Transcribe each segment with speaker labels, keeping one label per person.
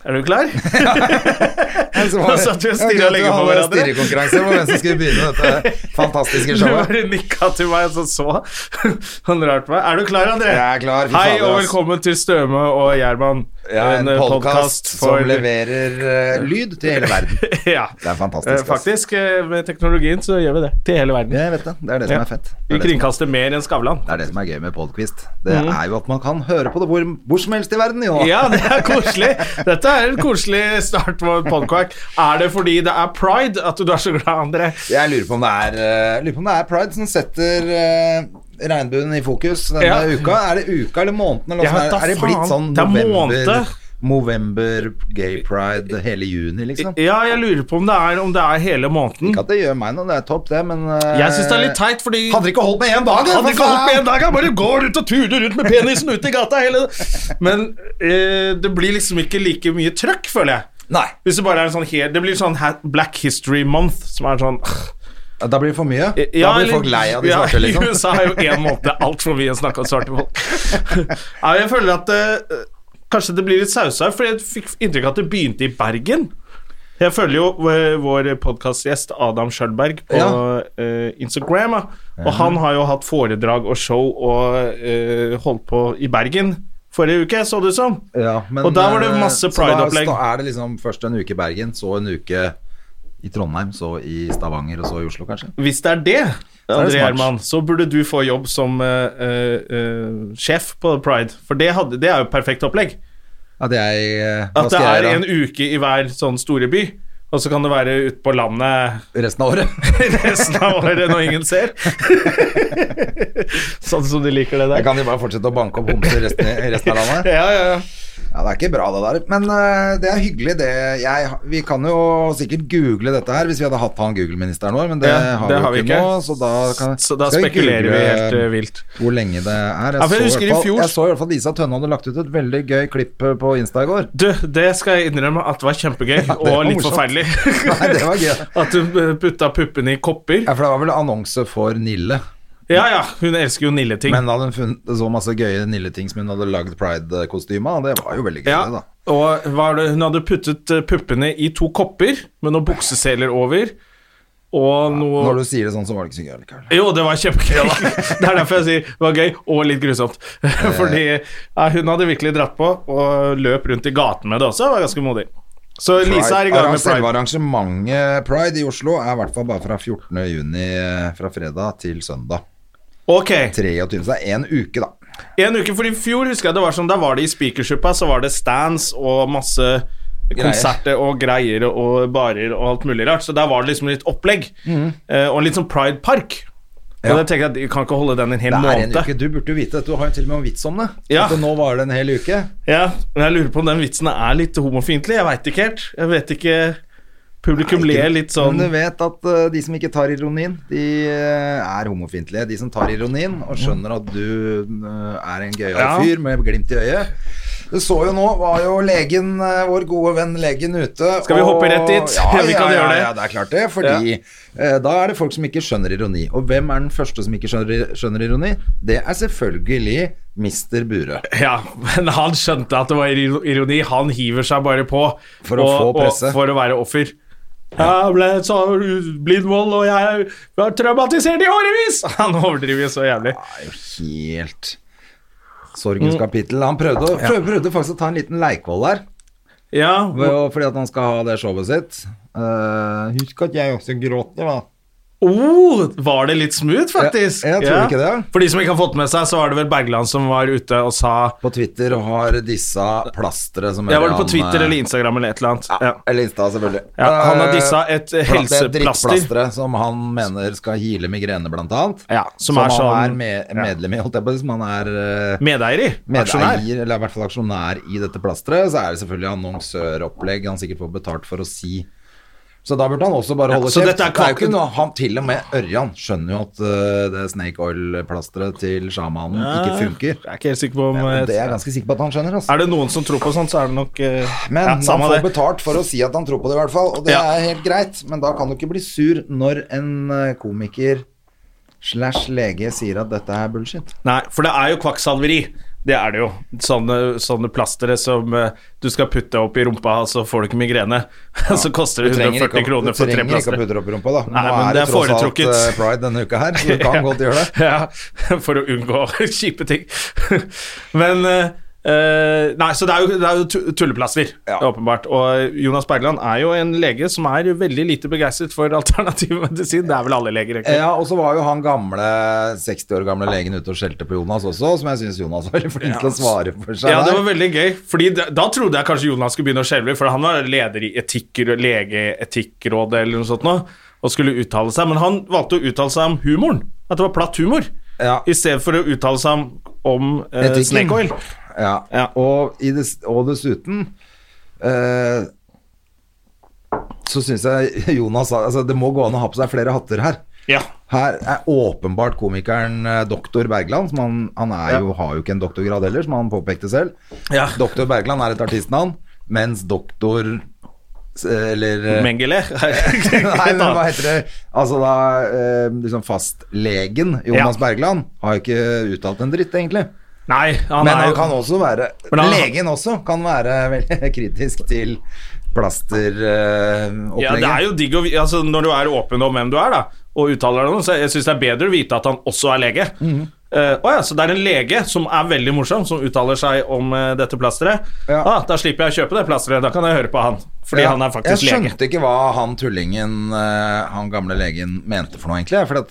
Speaker 1: Er du klar?
Speaker 2: Da
Speaker 1: satt vi og stirret lenge på hverandre.
Speaker 2: Stirrekonkurranse på hvem som skulle begynne dette fantastiske
Speaker 1: Du
Speaker 2: showet.
Speaker 1: bare nikka til meg, så så han rart på meg. Er du klar, André?
Speaker 2: Jeg er klar. fy
Speaker 1: Hei,
Speaker 2: fader,
Speaker 1: og
Speaker 2: ass.
Speaker 1: velkommen til Støme og Gjerman.
Speaker 2: Ja, en
Speaker 1: eh,
Speaker 2: podkast
Speaker 1: podcast
Speaker 2: som leverer eh, lyd til hele verden.
Speaker 1: Ja.
Speaker 2: Det er fantastisk,
Speaker 1: Eh, Faktisk, eh, med teknologien så gjør vi det. Til hele verden.
Speaker 2: Jeg vet det. Det er det som
Speaker 1: Ja.
Speaker 2: er fett. Det
Speaker 1: Vi
Speaker 2: er det, som,
Speaker 1: kringkaster mer enn Skavlan.
Speaker 2: det er det som er gøy med podkvist. Det er jo at man kan høre på det hvor, hvor som helst i verden, jo.
Speaker 1: Mhm. Ja, det er koselig. Dette er en koselig start på en podquack. Er det fordi det er pride at du er så glad, André?
Speaker 2: Jeg lurer på om det er, eh, lurer på om det er Pride som setter eh, regnbuen i fokus denne
Speaker 1: Ja.
Speaker 2: uka. Er det uka eller måneden? Eller
Speaker 1: Jeg
Speaker 2: hvordan
Speaker 1: vet da
Speaker 2: er, er det blitt
Speaker 1: faen.
Speaker 2: sånn
Speaker 1: Det er
Speaker 2: november,
Speaker 1: måned.
Speaker 2: Movember, gay pride, hele juni, liksom?
Speaker 1: Ja, jeg lurer på om det er, om det er hele måneden.
Speaker 2: Ikke at det gjør meg noe, det er topp, det, men eh,
Speaker 1: Jeg syns det er litt teit, fordi
Speaker 2: Hadde det ikke holdt med én dag, da!
Speaker 1: Hadde
Speaker 2: for
Speaker 1: ikke holdt med
Speaker 2: faen!
Speaker 1: en dag, han bare går ut og turer rundt med penisen ute i gata hele Men eh, det blir liksom ikke like mye trøkk, føler jeg.
Speaker 2: Nei,
Speaker 1: Hvis det bare er en sånn her, Det blir sånn ha- Black History Month, som er sånn
Speaker 2: da blir det for mye. da
Speaker 1: Ja,
Speaker 2: blir
Speaker 1: eller-
Speaker 2: folk lei av de
Speaker 1: ja,
Speaker 2: svarte, liksom.
Speaker 1: I USA er jo én måned altfor mye å snakke om svarte folk. ja, jeg føler at eh, Kanskje det blir litt sausa, for jeg fikk inntrykk av at det begynte i Bergen. Jeg følger jo eh, vår podkastgjest Adam Schjølberg på
Speaker 2: Ja.
Speaker 1: eh, Instagram. da. Og han har jo hatt foredrag og show og eh, holdt på i Bergen forrige uke, så det ut som.
Speaker 2: Ja, men,
Speaker 1: Og der var det
Speaker 2: eh,
Speaker 1: masse
Speaker 2: så da-
Speaker 1: Pride-opplegg.
Speaker 2: Da er det liksom først en uke i Bergen, så en uke i Trondheim, så i Stavanger, og så i Oslo, kanskje.
Speaker 1: Hvis det er det,
Speaker 2: er det
Speaker 1: André
Speaker 2: smart.
Speaker 1: Gjerman, så burde du få jobb som eh, eh, eh, sjef på Pride. For det, hadde, det er jo perfekt opplegg.
Speaker 2: At jeg eh, Hva
Speaker 1: At det
Speaker 2: skal jeg
Speaker 1: er en
Speaker 2: gjøre
Speaker 1: uke i hver sånn store by, og så kan det være ute på landet
Speaker 2: resten av året?
Speaker 1: resten av året når ingen ser. sånn som de liker det
Speaker 2: Jeg
Speaker 1: der.
Speaker 2: kan jo bare fortsette å banke opp homser resten, i- resten av landet.
Speaker 1: Ja, ja, ja.
Speaker 2: Ja, Det er ikke bra, det der. Men eh, det er hyggelig, det. Jeg, vi kan jo sikkert google dette her, hvis vi hadde hatt han Google-ministeren vår, men det,
Speaker 1: Ja,
Speaker 2: har,
Speaker 1: det har
Speaker 2: vi
Speaker 1: vi
Speaker 2: jo ikke,
Speaker 1: ikke.
Speaker 2: nå. Så da, kan,
Speaker 1: Så da
Speaker 2: skal vi
Speaker 1: spekulerer vi
Speaker 2: google
Speaker 1: helt eh, vilt.
Speaker 2: Hvor lenge det er. Jeg,
Speaker 1: Ja, for jeg
Speaker 2: så, i
Speaker 1: husker i
Speaker 2: hvert fall,
Speaker 1: fjor-
Speaker 2: jeg så i hvert fall at Isa Tønne hadde lagt ut et veldig gøy klipp eh, på Insta i går.
Speaker 1: Du, det skal jeg innrømme at var kjempegøy,
Speaker 2: var
Speaker 1: og litt
Speaker 2: morsomt.
Speaker 1: forferdelig.
Speaker 2: Nei, det var gøy.
Speaker 1: At hun eh, putta puppene i kopper.
Speaker 2: Ja, for det var vel annonse for Nille.
Speaker 1: Ja ja, hun elsker jo Nille-ting.
Speaker 2: Men da hadde hun funnet så masse gøye Nille-ting som hun hadde lagd pride-kostyme av. Det var jo veldig gøy, det,
Speaker 1: Ja,
Speaker 2: da.
Speaker 1: og hva er det? hun hadde puttet eh, puppene i to kopper med noen bukseseler over. Og noe
Speaker 2: Når du sier det sånn, så var det ikke så gøy likevel.
Speaker 1: Jo, det var kjempegøy. det er derfor jeg sier det var gøy og litt grusomt. Fordi ja, hun hadde virkelig dratt på og løp rundt i gaten med det også. Det var ganske modig. Så Lisa er i gang med
Speaker 2: Selve
Speaker 1: pride.
Speaker 2: arrangementet Pride i Oslo er i hvert fall bare fra 14. juni, eh, fra fredag til søndag.
Speaker 1: Ok,
Speaker 2: 23. Så det er én uke, da.
Speaker 1: En uke for i fjor husker jeg det var sånn, da var det i speakershuppa, så var det stands og masse konserter og greier og barer og alt mulig rart. Så der var det liksom litt opplegg. Eh, og litt sånn Pride Park. Og
Speaker 2: Mhm. Ja.
Speaker 1: da tenker jeg at de kan ikke holde den en hel
Speaker 2: Det er en
Speaker 1: måned.
Speaker 2: uke. Du burde jo vite dette, du har jo til og med en vits om det.
Speaker 1: Ja.
Speaker 2: At nå var det en hel uke.
Speaker 1: Ja, men jeg lurer på om den vitsen er litt homofiendtlig. Jeg veit ikke helt. Jeg vet ikke Publikum ler litt sånn
Speaker 2: Men du vet at eh, de som ikke tar ironien, de eh, er homofiendtlige. De som tar ironien og skjønner at du eh, er en gøyal
Speaker 1: Ja.
Speaker 2: fyr med glimt i øyet. Du så jo nå, var jo legen, eh, vår gode venn legen ute.
Speaker 1: Skal vi hoppe rett dit?
Speaker 2: Ja, ja,
Speaker 1: Vi
Speaker 2: ja, ja,
Speaker 1: kan gjøre det.
Speaker 2: ja, det er klart det. Fordi eh, da er det folk som ikke skjønner ironi. Og hvem er den første som ikke skjønner, skjønner ironi? Det er selvfølgelig Mr. Burøe.
Speaker 1: Ja, men han skjønte at det var iro- ironi. Han hiver seg bare på
Speaker 2: For å få presse.
Speaker 1: Og, for å være offer. Jeg ble så blindvold, og jeg var traumatisert i årevis! Han overdriver jo så jævlig.
Speaker 2: er jo helt sorgens kapittel. Han prøvde, å- prøv- prøvde faktisk å ta en liten leikvoll der,
Speaker 1: Ja,
Speaker 2: ved å- fordi at han skal ha det showet sitt. Eh, husk at jeg også gråter, da.
Speaker 1: Oh, var det litt smooth, faktisk?
Speaker 2: Ja, jeg tror ikke det.
Speaker 1: For de som ikke har fått med seg, så var det vel Bergland som var ute og sa
Speaker 2: På Twitter har disse plastre som
Speaker 1: Jeg var det på Twitter
Speaker 2: eh,
Speaker 1: eller Instagram eller et eller annet.
Speaker 2: Ja,
Speaker 1: Ja.
Speaker 2: Eller Insta, selvfølgelig.
Speaker 1: Ja, han har dissa
Speaker 2: Eh,
Speaker 1: et
Speaker 2: pla- det er
Speaker 1: helseplaster.
Speaker 2: drittplasteret som han mener skal hile migrene, blant annet.
Speaker 1: Ja, som
Speaker 2: som
Speaker 1: er
Speaker 2: han
Speaker 1: sånn-
Speaker 2: er med, medlem i, holdt jeg på å si. Som han er eh,
Speaker 1: Medeier i. Aksjonær.
Speaker 2: medeier, eller i hvert fall aksjonær i dette plasteret. Så er det selvfølgelig annonsøropplegg han sikkert får betalt for å si. Så da burde han også bare holde
Speaker 1: så
Speaker 2: kjeft.
Speaker 1: dette er
Speaker 2: det er jo
Speaker 1: kvak-
Speaker 2: ikke noe han Til og med Ørjan skjønner jo at eh, det snake oil-plasteret til sjamanen ikke funker.
Speaker 1: Ah, Jeg er ikke helt sikker på om
Speaker 2: Men det er
Speaker 1: eh,
Speaker 2: jeg ganske sikker på at han skjønner. Altså.
Speaker 1: Er det noen som tror på sånt, så er det nok eh,
Speaker 2: Men
Speaker 1: ja,
Speaker 2: han
Speaker 1: samme
Speaker 2: får
Speaker 1: det.
Speaker 2: betalt for å si at han tror på det, i hvert fall. Og det
Speaker 1: Ja.
Speaker 2: er helt greit, men da kan du ikke bli sur når en eh, komiker slash lege sier at dette er bullshit.
Speaker 1: Nei, for det er jo kvakksalveri. Det er det jo. Sånne, sånne plastere som eh, du skal putte opp i rumpa, og så får du ikke migrene. så koster det
Speaker 2: Du trenger ikke
Speaker 1: 140
Speaker 2: å-
Speaker 1: kroner for
Speaker 2: Du
Speaker 1: tre
Speaker 2: trenger ikke å
Speaker 1: plastere.
Speaker 2: putte det opp i rumpa, da.
Speaker 1: Nei,
Speaker 2: Nå er
Speaker 1: men det
Speaker 2: det
Speaker 1: er
Speaker 2: tross alt
Speaker 1: foretrukket.
Speaker 2: eh, pride denne uka her, så du kan godt gjøre det.
Speaker 1: Ja, for å unngå kjipe ting. Men eh, eh, Nei, så det er jo, det er jo tu- tulleplaster, åpenbart. Og eh, Jonas Bergland er jo en lege som er veldig lite begeistret for alternativ medisin. Det er vel alle leger, egentlig.
Speaker 2: Ja, og så var jo han gamle, 60 år gamle legen ute og skjelte på Jonas også, som jeg syns Jonas var veldig flink til å svare for seg.
Speaker 1: Ja, det
Speaker 2: der.
Speaker 1: var veldig gøy. Fordi da, da trodde jeg kanskje Jonas skulle begynne å skjelve, for han var leder i etikk, legeetikkrådet eller noe sånt nå, og skulle uttale seg. Men han valgte å uttale seg om humoren. At det var platt humor.
Speaker 2: Ja.
Speaker 1: I stedet for å uttale seg om, om eh,
Speaker 2: Etikken.
Speaker 1: snake oil.
Speaker 2: Ja.
Speaker 1: Ja.
Speaker 2: Og, i des, og dessuten eh, så syns jeg Jonas sa altså, Det må gå an å ha på seg flere hatter her.
Speaker 1: Ja.
Speaker 2: Her er åpenbart komikeren eh, doktor Bergland, som han, han er jo, har jo ikke en doktorgrad heller, som han påpekte selv.
Speaker 1: Ja.
Speaker 2: Doktor Bergland er et artistnavn, mens doktor Eller eh,
Speaker 1: Mengele.
Speaker 2: Nei, men hva heter det? Altså da eh, liksom fastlegen Jonas
Speaker 1: Ja.
Speaker 2: Bergland har jo ikke uttalt en dritt, egentlig.
Speaker 1: Nei, han
Speaker 2: Men
Speaker 1: er
Speaker 2: han
Speaker 1: jo
Speaker 2: kan også være
Speaker 1: Men han-
Speaker 2: Legen også kan være veldig kritisk til eh, plasteropplegget.
Speaker 1: Ja, det er jo digg å vi- altså, Når du er åpen om hvem du er, da, og uttaler deg om det, så jeg syns det er bedre å vite at han også er lege.
Speaker 2: Mhm.
Speaker 1: Eh, å ja, så det er en lege som er veldig morsom, som uttaler seg om eh, dette plasteret.
Speaker 2: Ja.
Speaker 1: Ah, da slipper jeg å kjøpe det plasteret, da kan jeg høre på han. Fordi han er faktisk
Speaker 2: jeg
Speaker 1: lege.
Speaker 2: skjønte ikke hva han tullingen, eh, han gamle legen, mente for noe, egentlig. For at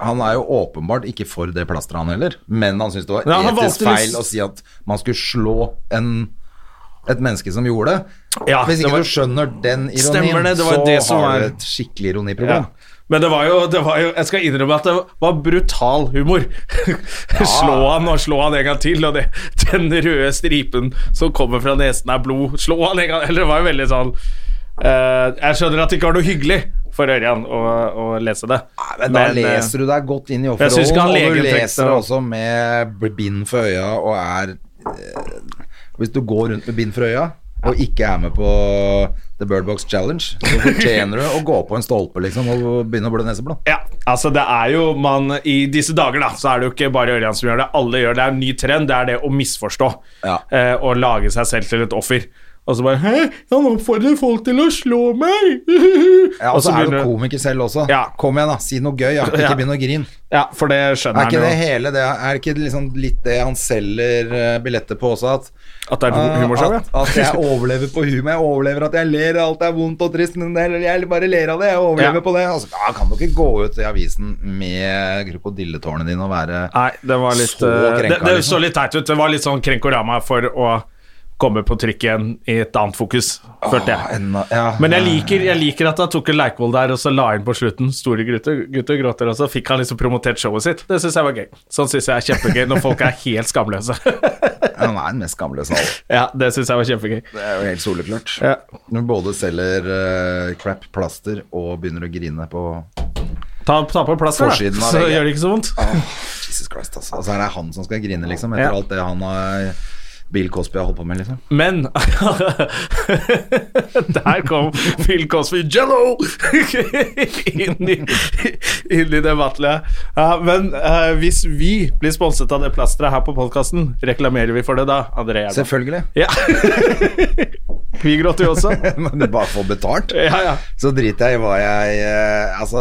Speaker 2: han er jo åpenbart ikke for det plasteret, han heller. Men han syntes det var
Speaker 1: Ja, han
Speaker 2: etisk
Speaker 1: valgte litt-
Speaker 2: feil å si at man skulle slå en et menneske som gjorde det.
Speaker 1: Ja,
Speaker 2: Hvis
Speaker 1: det
Speaker 2: ikke
Speaker 1: var-
Speaker 2: du skjønner den
Speaker 1: Stemmer
Speaker 2: ironien,
Speaker 1: det, det var
Speaker 2: så
Speaker 1: det som
Speaker 2: har
Speaker 1: var-
Speaker 2: du et skikkelig
Speaker 1: Ja.
Speaker 2: ironiproblem.
Speaker 1: Men det var, jo, det var jo Jeg skal innrømme at det var brutal humor. slå han og slå han en gang til, og det, den røde stripen som kommer fra nesen er blod. Slå han en gang Eller det var jo veldig sånn eh, Jeg skjønner at det ikke var noe hyggelig for Ørjan å, å lese det.
Speaker 2: Nei, men da
Speaker 1: eh,
Speaker 2: leser du deg godt inn i
Speaker 1: jeg synes ikke han
Speaker 2: offerrollen, og du
Speaker 1: legen tenkte-
Speaker 2: leser også med b- bind for øya og er eh, Hvis du går rundt med bind for øya og ikke er med på The Birdbox Challenge, så fortjener du å gå på en stolpe liksom og begynne å blø neseblod.
Speaker 1: Ja, altså det er jo man I disse dager da, så er det jo ikke bare Ørjan som gjør det. Alle gjør det. Det er en ny trend. Det er det å misforstå.
Speaker 2: Ja.
Speaker 1: Eh, og lage seg selv til et offer. Og så bare Hæ, han oppfordrer folk til å slå meg!
Speaker 2: Ja, og så er du
Speaker 1: begynner-
Speaker 2: komiker selv også.
Speaker 1: Ja.
Speaker 2: Kom igjen, da. Si noe gøy. Ja.
Speaker 1: Ja.
Speaker 2: Ikke begynn å grine.
Speaker 1: Ja, for det skjønner
Speaker 2: Er ikke det
Speaker 1: han jo.
Speaker 2: hele det Er ikke det liksom litt det han selger eh, billetter på også, at
Speaker 1: At det er et humorshow, ja.
Speaker 2: Eh, at, at jeg overlever på humor. Jeg overlever at jeg ler. Alt er vondt og trist, men jeg, jeg bare ler av det. Jeg overlever
Speaker 1: Ja.
Speaker 2: på det. Altså, da kan du ikke gå ut i avisen med krokodilletårene dine og være
Speaker 1: Nei, det var litt
Speaker 2: Så
Speaker 1: eh,
Speaker 2: krenka,
Speaker 1: det, det
Speaker 2: liksom.
Speaker 1: så litt teit ut. Det var litt sånn krenkorama for å komme på trykk igjen i et annet fokus, følte
Speaker 2: «Åh,
Speaker 1: jeg.
Speaker 2: enda- ja,
Speaker 1: Men jeg liker, jeg liker at han tok en Leikvoll der og så la inn på slutten 'Store gutter, gutter gråter', og så fikk han liksom promotert showet sitt. Det syns jeg var gøy. Sånn syns jeg er kjempegøy når folk er helt skamløse.
Speaker 2: Han er den mest skamløse av alle.
Speaker 1: ja, det syns jeg var kjempegøy.
Speaker 2: Det er jo helt soleklart.
Speaker 1: Ja.
Speaker 2: Når du både selger eh, crap plaster og begynner å grine på
Speaker 1: Ta, ta på plass, da,
Speaker 2: Forsiden av
Speaker 1: så
Speaker 2: VG.
Speaker 1: gjør det ikke så vondt.
Speaker 2: Åh, Jesus Christ, altså. Og så er det han som skal grine, liksom, etter
Speaker 1: Ja.
Speaker 2: alt det han har Bill Cosby har holdt på med, liksom.
Speaker 1: Men Der kom Phil Cosby Jello inn i, inn i det battlet. Ja, men eh, hvis vi blir sponset av det plasteret her på podkasten, reklamerer vi for det da, André Gjerman?
Speaker 2: Selvfølgelig.
Speaker 1: Ja. vi gråter jo også.
Speaker 2: Men du bare får betalt.
Speaker 1: Ja, ja.
Speaker 2: Så driter jeg i hva jeg eh, Altså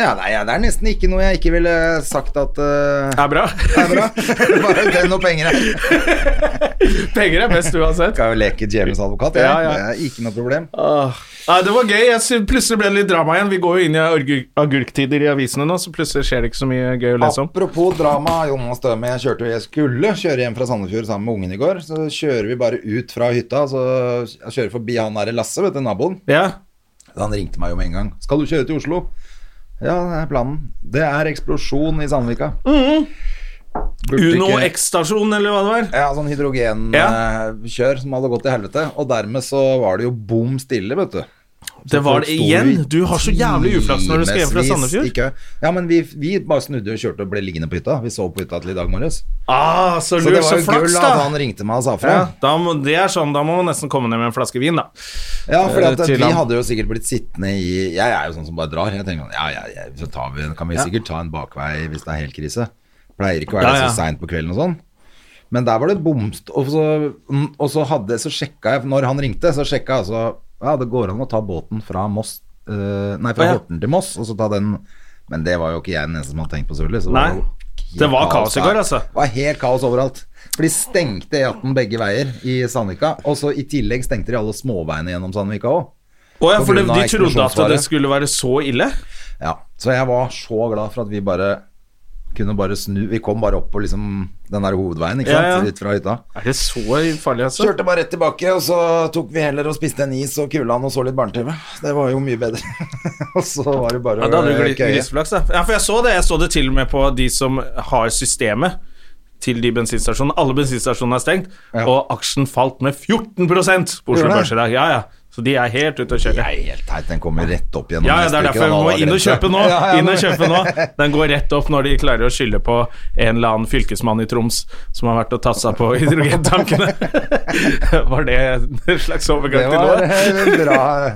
Speaker 2: ja, Nei, ja, det er nesten ikke noe jeg ikke ville sagt at eh,
Speaker 1: Det er bra.
Speaker 2: er bra. Bare det er noe penger her.
Speaker 1: Penger er best uansett.
Speaker 2: Skal jo leke djevelens advokat, jeg.
Speaker 1: Ja, ja.
Speaker 2: Det er ikke noe problem.
Speaker 1: Åh, Nei, Ah, det var gøy. Jeg sy- plutselig ble det litt drama igjen. Vi går jo inn i agurk- agurktider i avisene nå, så plutselig skjer det ikke så mye gøy å lese om.
Speaker 2: Apropos drama, Jonas Døme, jeg kjørte jo Jeg skulle kjøre hjem fra Sandefjord sammen med ungen i går. Så kjører vi bare ut fra hytta, så jeg kjører forbi han derre Lasse, vet du, naboen.
Speaker 1: Ja.
Speaker 2: Han ringte meg jo med en gang. 'Skal du kjøre til Oslo?' Ja, det er planen. Det er eksplosjon i Sandvika. Burde
Speaker 1: Mm. Uno
Speaker 2: ikke-
Speaker 1: X-stasjon, eller hva det var.
Speaker 2: Ja, sånn hydrogenkjør som hadde gått til helvete. Og dermed så var det jo bom stille, vet du.
Speaker 1: Det var
Speaker 2: Folk
Speaker 1: det
Speaker 2: sto
Speaker 1: igjen.
Speaker 2: i
Speaker 1: Du har så jævlig uflaks når du skal hjem fra
Speaker 2: timesvis i
Speaker 1: Sandefjord.
Speaker 2: kø. Ja, men vi, vi bare snudde og kjørte og ble liggende på hytta. Vi sov på hytta til i dag morges.
Speaker 1: Ah, så
Speaker 2: Så det
Speaker 1: lurt.
Speaker 2: var
Speaker 1: Så
Speaker 2: jo
Speaker 1: flaks,
Speaker 2: gull at
Speaker 1: da.
Speaker 2: han ringte meg og sa fra.
Speaker 1: Ja, da må, det er sånn, da må man nesten komme ned med en flaske vin, da.
Speaker 2: Ja, for
Speaker 1: Eh, til
Speaker 2: vi
Speaker 1: han.
Speaker 2: hadde jo sikkert blitt sittende i Jeg er jo sånn som bare drar. Jeg tenker sånn, ja, ja, ja, så tar vi, kan vi sikkert ta en bakvei hvis det er helt krise. Pleier ikke å være
Speaker 1: Ja, ja.
Speaker 2: så seint på kvelden og sånn. Men der var det bomst. Og så, og så hadde Så sjekka jeg Når han ringte, så sjekka jeg altså Ja, det går an å ta båten fra Moss eh, Nei, fra
Speaker 1: Å, ja.
Speaker 2: Horten til Moss, og så ta den Men det var jo ikke jeg den eneste som hadde tenkt på, selvfølgelig. så det
Speaker 1: Nei.
Speaker 2: var jo
Speaker 1: Det var
Speaker 2: helt
Speaker 1: kaos i
Speaker 2: der.
Speaker 1: går, altså.
Speaker 2: Det var helt kaos overalt. For de stengte E18 begge veier i Sandvika. Og så i tillegg stengte de alle småveiene gjennom Sandvika òg.
Speaker 1: Å ja,
Speaker 2: På
Speaker 1: for det,
Speaker 2: grunn av
Speaker 1: de trodde at det
Speaker 2: eksplosjonsfare.
Speaker 1: skulle være så ille?
Speaker 2: Ja. Så jeg var så glad for at vi bare kunne bare snu Vi kom bare opp på liksom den der hovedveien, ikke
Speaker 1: Ja,
Speaker 2: sant?
Speaker 1: ja.
Speaker 2: Ut fra hytta.
Speaker 1: Er det så farlig, altså?
Speaker 2: Kjørte bare rett tilbake, og så tok vi heller og spiste en is og kulan og så litt barne-TV. Det var jo mye bedre. og så var det bare
Speaker 1: Ja, da hadde du
Speaker 2: å
Speaker 1: gli- griseflaks, da. Ja, for jeg så det. Jeg så det til og med på de som har systemet til de bensinstasjonene. Alle bensinstasjonene er stengt,
Speaker 2: Ja.
Speaker 1: og aksjen falt med 14 på Oslo
Speaker 2: Gjorde det?
Speaker 1: Børs i dag. Ja, ja. Så de er helt ute å
Speaker 2: Det
Speaker 1: kjøre.
Speaker 2: er helt teit. Den kommer rett opp gjennom
Speaker 1: Ja, ja, det er
Speaker 2: neste uke,
Speaker 1: derfor
Speaker 2: da,
Speaker 1: vi må
Speaker 2: da
Speaker 1: inn og
Speaker 2: grenser.
Speaker 1: kjøpe nå.
Speaker 2: Ja, ja,
Speaker 1: Inn og
Speaker 2: men-
Speaker 1: kjøpe nå. Den går rett opp når de klarer å skylde på en eller annen fylkesmann i Troms som har vært og tassa på hydrogentankene. Var det en slags
Speaker 2: Det
Speaker 1: overgang til
Speaker 2: var
Speaker 1: noe?
Speaker 2: eh, bra.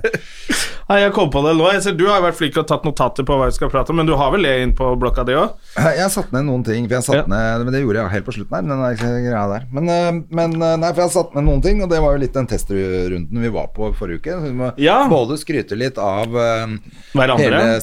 Speaker 1: Nei, jeg kom på det nå. Jeg ser, du har vært flink og tatt notater på hva vi skal prate om, men du har vel det inn på blokka di òg?
Speaker 2: Jeg satte ned noen ting, for jeg satt
Speaker 1: Ja.
Speaker 2: ned, men det gjorde jeg helt på slutten her. Men, den der greia der. men, eh, men eh, nei, for jeg satte ned noen ting, og det var jo litt den testrunden vi var på forrige uke. Så vi må
Speaker 1: Ja.
Speaker 2: både skryte litt av eh,
Speaker 1: Hverandre.
Speaker 2: hele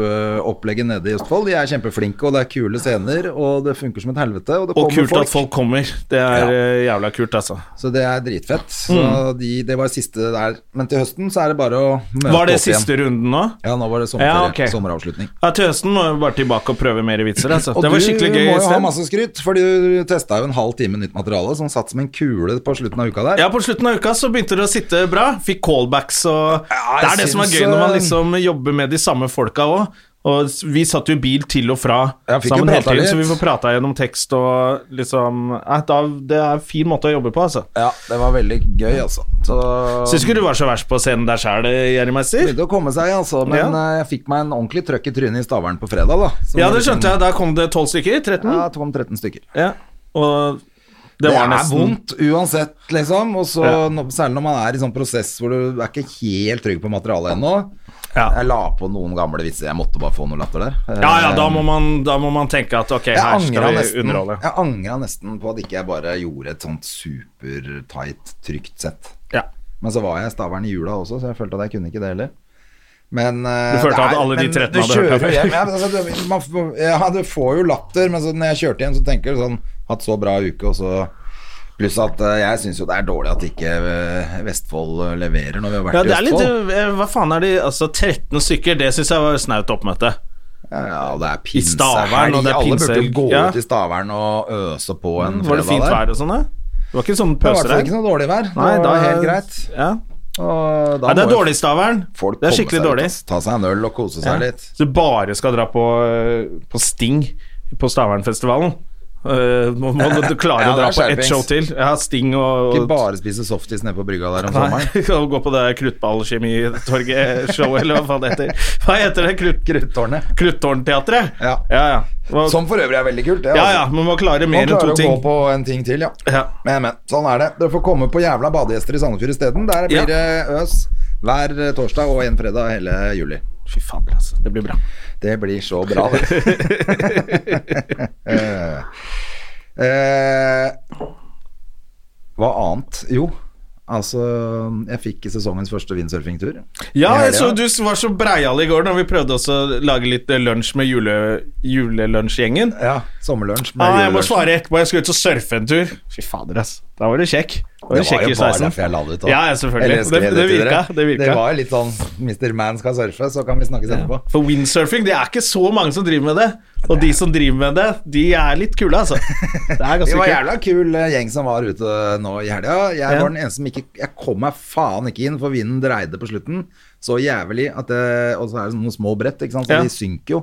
Speaker 2: standup-opplegget nede i Østfold. De er kjempeflinke, og det er kule scener, og det funker som et helvete. Og det
Speaker 1: Og
Speaker 2: kommer
Speaker 1: kult at folk kommer. Det er
Speaker 2: Ja.
Speaker 1: eh, jævla kult, altså.
Speaker 2: Så det er dritfett. Så
Speaker 1: Mm.
Speaker 2: de, det var siste der. Men til høsten så er det bare å møte
Speaker 1: Var det
Speaker 2: opp
Speaker 1: siste
Speaker 2: igjen.
Speaker 1: runden nå?
Speaker 2: Ja, nå var det sommerferie.
Speaker 1: Ja, ok.
Speaker 2: Sommeravslutning.
Speaker 1: Ja, til høsten må vi bare tilbake og prøve mer vitser. Altså.
Speaker 2: Og
Speaker 1: Det var skikkelig gøy
Speaker 2: Du må jo ha
Speaker 1: sted.
Speaker 2: masse skryt, for du testa jo en halv time nytt materiale som satt som en kule på slutten av uka der.
Speaker 1: Ja, På slutten av uka så begynte det å sitte bra. Fikk callbacks og
Speaker 2: Ja, jeg
Speaker 1: Det er det som er
Speaker 2: syns,
Speaker 1: gøy når man
Speaker 2: eh,
Speaker 1: liksom jobber med de samme folka òg. Og s- vi satt jo i bil til og fra
Speaker 2: Jeg fikk jo
Speaker 1: sammen hele
Speaker 2: prata
Speaker 1: tiden, så
Speaker 2: litt.
Speaker 1: vi får prata gjennom tekst og liksom eh, da, Det er en fin måte å jobbe på, altså.
Speaker 2: Ja, det var veldig gøy, altså. Så
Speaker 1: Syns ikke du var så verst på scenen der sjæl, Jerry Meister?
Speaker 2: begynte å komme seg, altså. Men
Speaker 1: Ja.
Speaker 2: eh, jeg fikk meg en ordentlig trøkk i trynet i Stavern på fredag, da. Som
Speaker 1: Ja,
Speaker 2: var
Speaker 1: det
Speaker 2: liksom-
Speaker 1: skjønte jeg. Da kom det tolv stykker? 13?
Speaker 2: Ja, tom 13 stykker.
Speaker 1: Ja. Og det,
Speaker 2: Det,
Speaker 1: var
Speaker 2: er
Speaker 1: nesten
Speaker 2: vondt uansett, liksom. Og så,
Speaker 1: Ja.
Speaker 2: nå- særlig når man er i sånn prosess hvor du er ikke helt trygg på materialet ennå.
Speaker 1: Ja.
Speaker 2: Jeg la på noen gamle vitser. Jeg måtte bare få noe latter der.
Speaker 1: Ja, ja,
Speaker 2: Eh,
Speaker 1: da må man, da må man tenke at ok,
Speaker 2: Jeg
Speaker 1: her skal
Speaker 2: angra
Speaker 1: vi
Speaker 2: nesten,
Speaker 1: underholde.
Speaker 2: jeg angra nesten på at ikke jeg bare gjorde et sånt supertight, trygt sett.
Speaker 1: Ja.
Speaker 2: Men så var jeg i Stavern i jula også, så jeg følte at jeg kunne ikke det heller. Men eh,
Speaker 1: Du følte
Speaker 2: det
Speaker 1: at alle de
Speaker 2: men
Speaker 1: 13
Speaker 2: du
Speaker 1: hadde hørt
Speaker 2: kjører
Speaker 1: deg
Speaker 2: jo
Speaker 1: før.
Speaker 2: hjem. Ja, men altså, du, man, får- ja, du får jo latter, men så når jeg kjørte hjem, så tenker du sånn Hatt så bra uke, og så Pluss at eh, jeg syns jo det er dårlig at ikke eh, Vestfold eh, leverer når vi har vært
Speaker 1: Ja, det
Speaker 2: i
Speaker 1: er litt,
Speaker 2: Østfold.
Speaker 1: eh, Hva faen er de Altså, 13 stykker, det syns jeg var snaut oppmøte.
Speaker 2: Ja, og det er
Speaker 1: Stavern,
Speaker 2: pinsehelg.
Speaker 1: og det er
Speaker 2: Alle burde jo
Speaker 1: pinsehelg.
Speaker 2: gå
Speaker 1: Ja.
Speaker 2: ut i Stavern og øse på en fredag der.
Speaker 1: Var det fint vær og sånn, da? Det var ikke sånn
Speaker 2: Det var i hvert fall
Speaker 1: pøsere?
Speaker 2: ikke noe dårlig vær. Det
Speaker 1: Nei,
Speaker 2: var
Speaker 1: da
Speaker 2: helt greit.
Speaker 1: Ja.
Speaker 2: Og da
Speaker 1: Nei, det er
Speaker 2: må jo
Speaker 1: dårlig, Stavern.
Speaker 2: folk
Speaker 1: Det er
Speaker 2: komme
Speaker 1: skikkelig
Speaker 2: seg ut
Speaker 1: dårlig.
Speaker 2: og Ta seg en øl og kose seg litt.
Speaker 1: Så du bare skal dra på, eh, på Sting på Stavernfestivalen? Uh, må, må du klare
Speaker 2: Ja,
Speaker 1: å
Speaker 2: det er
Speaker 1: dra på ett
Speaker 2: skjerpings.
Speaker 1: show til? Ja, Sting og,
Speaker 2: Ikke
Speaker 1: og
Speaker 2: bare spise softis nede på brygga der om
Speaker 1: Nei,
Speaker 2: sommeren.
Speaker 1: og gå på det kruttballkjemitorget-showet, eller hva faen det heter. Hva heter det? Krutt,
Speaker 2: Kruttårnet.
Speaker 1: Kruttårnteatret?
Speaker 2: Ja.
Speaker 1: ja. ja. Hva,
Speaker 2: Som for øvrig er veldig kult. Det,
Speaker 1: ja,
Speaker 2: altså.
Speaker 1: ja, man må klare
Speaker 2: Man
Speaker 1: mer enn
Speaker 2: klarer
Speaker 1: to
Speaker 2: å
Speaker 1: ting.
Speaker 2: gå på en ting til, ja.
Speaker 1: Ja.
Speaker 2: Men, men sånn er det. Dere får komme på jævla badegjester i Sandefjord isteden. Der
Speaker 1: Ja.
Speaker 2: blir det øs hver eh, torsdag og en fredag hele juli.
Speaker 1: Fy fader, altså. Det blir bra.
Speaker 2: Det blir så bra, det. Eh, eh, hva annet? Jo, altså Jeg fikk sesongens første windsurfingtur.
Speaker 1: Ja,
Speaker 2: I helga.
Speaker 1: jeg så du var så breial i går når vi prøvde også å lage litt eh, lunsj med jule, julelunsjgjengen.
Speaker 2: Ja, sommerlunsj med
Speaker 1: Ah, jeg må
Speaker 2: julelunsj.
Speaker 1: svare etterpå. Jeg skal ut og surfe en tur. Fy fader, ass. Da var du kjekk. Da var
Speaker 2: Det
Speaker 1: du
Speaker 2: var
Speaker 1: kjekk
Speaker 2: jo
Speaker 1: i
Speaker 2: bare
Speaker 1: sveisen.
Speaker 2: derfor jeg la det ut. da.
Speaker 1: sånn. Ja, ja, selvfølgelig.
Speaker 2: Eller jeg skrev
Speaker 1: Det- det
Speaker 2: til
Speaker 1: virka,
Speaker 2: dere.
Speaker 1: det virka.
Speaker 2: Det var jo litt sånn Mr. Man skal surfe, så kan vi snakkes etterpå.
Speaker 1: For windsurfing, det er ikke så mange som driver med det. Og de som driver med det, de er litt kule, altså. Det er
Speaker 2: Vi
Speaker 1: ganske
Speaker 2: var
Speaker 1: kult.
Speaker 2: jævla kul eh, gjeng som var ute nå i helga. Jeg
Speaker 1: Ja.
Speaker 2: var den eneste som ikke Jeg kom meg faen ikke inn, for vinden dreide på slutten så jævlig at det Og så er det noen små brett, ikke sant, så
Speaker 1: Ja.
Speaker 2: de synker jo.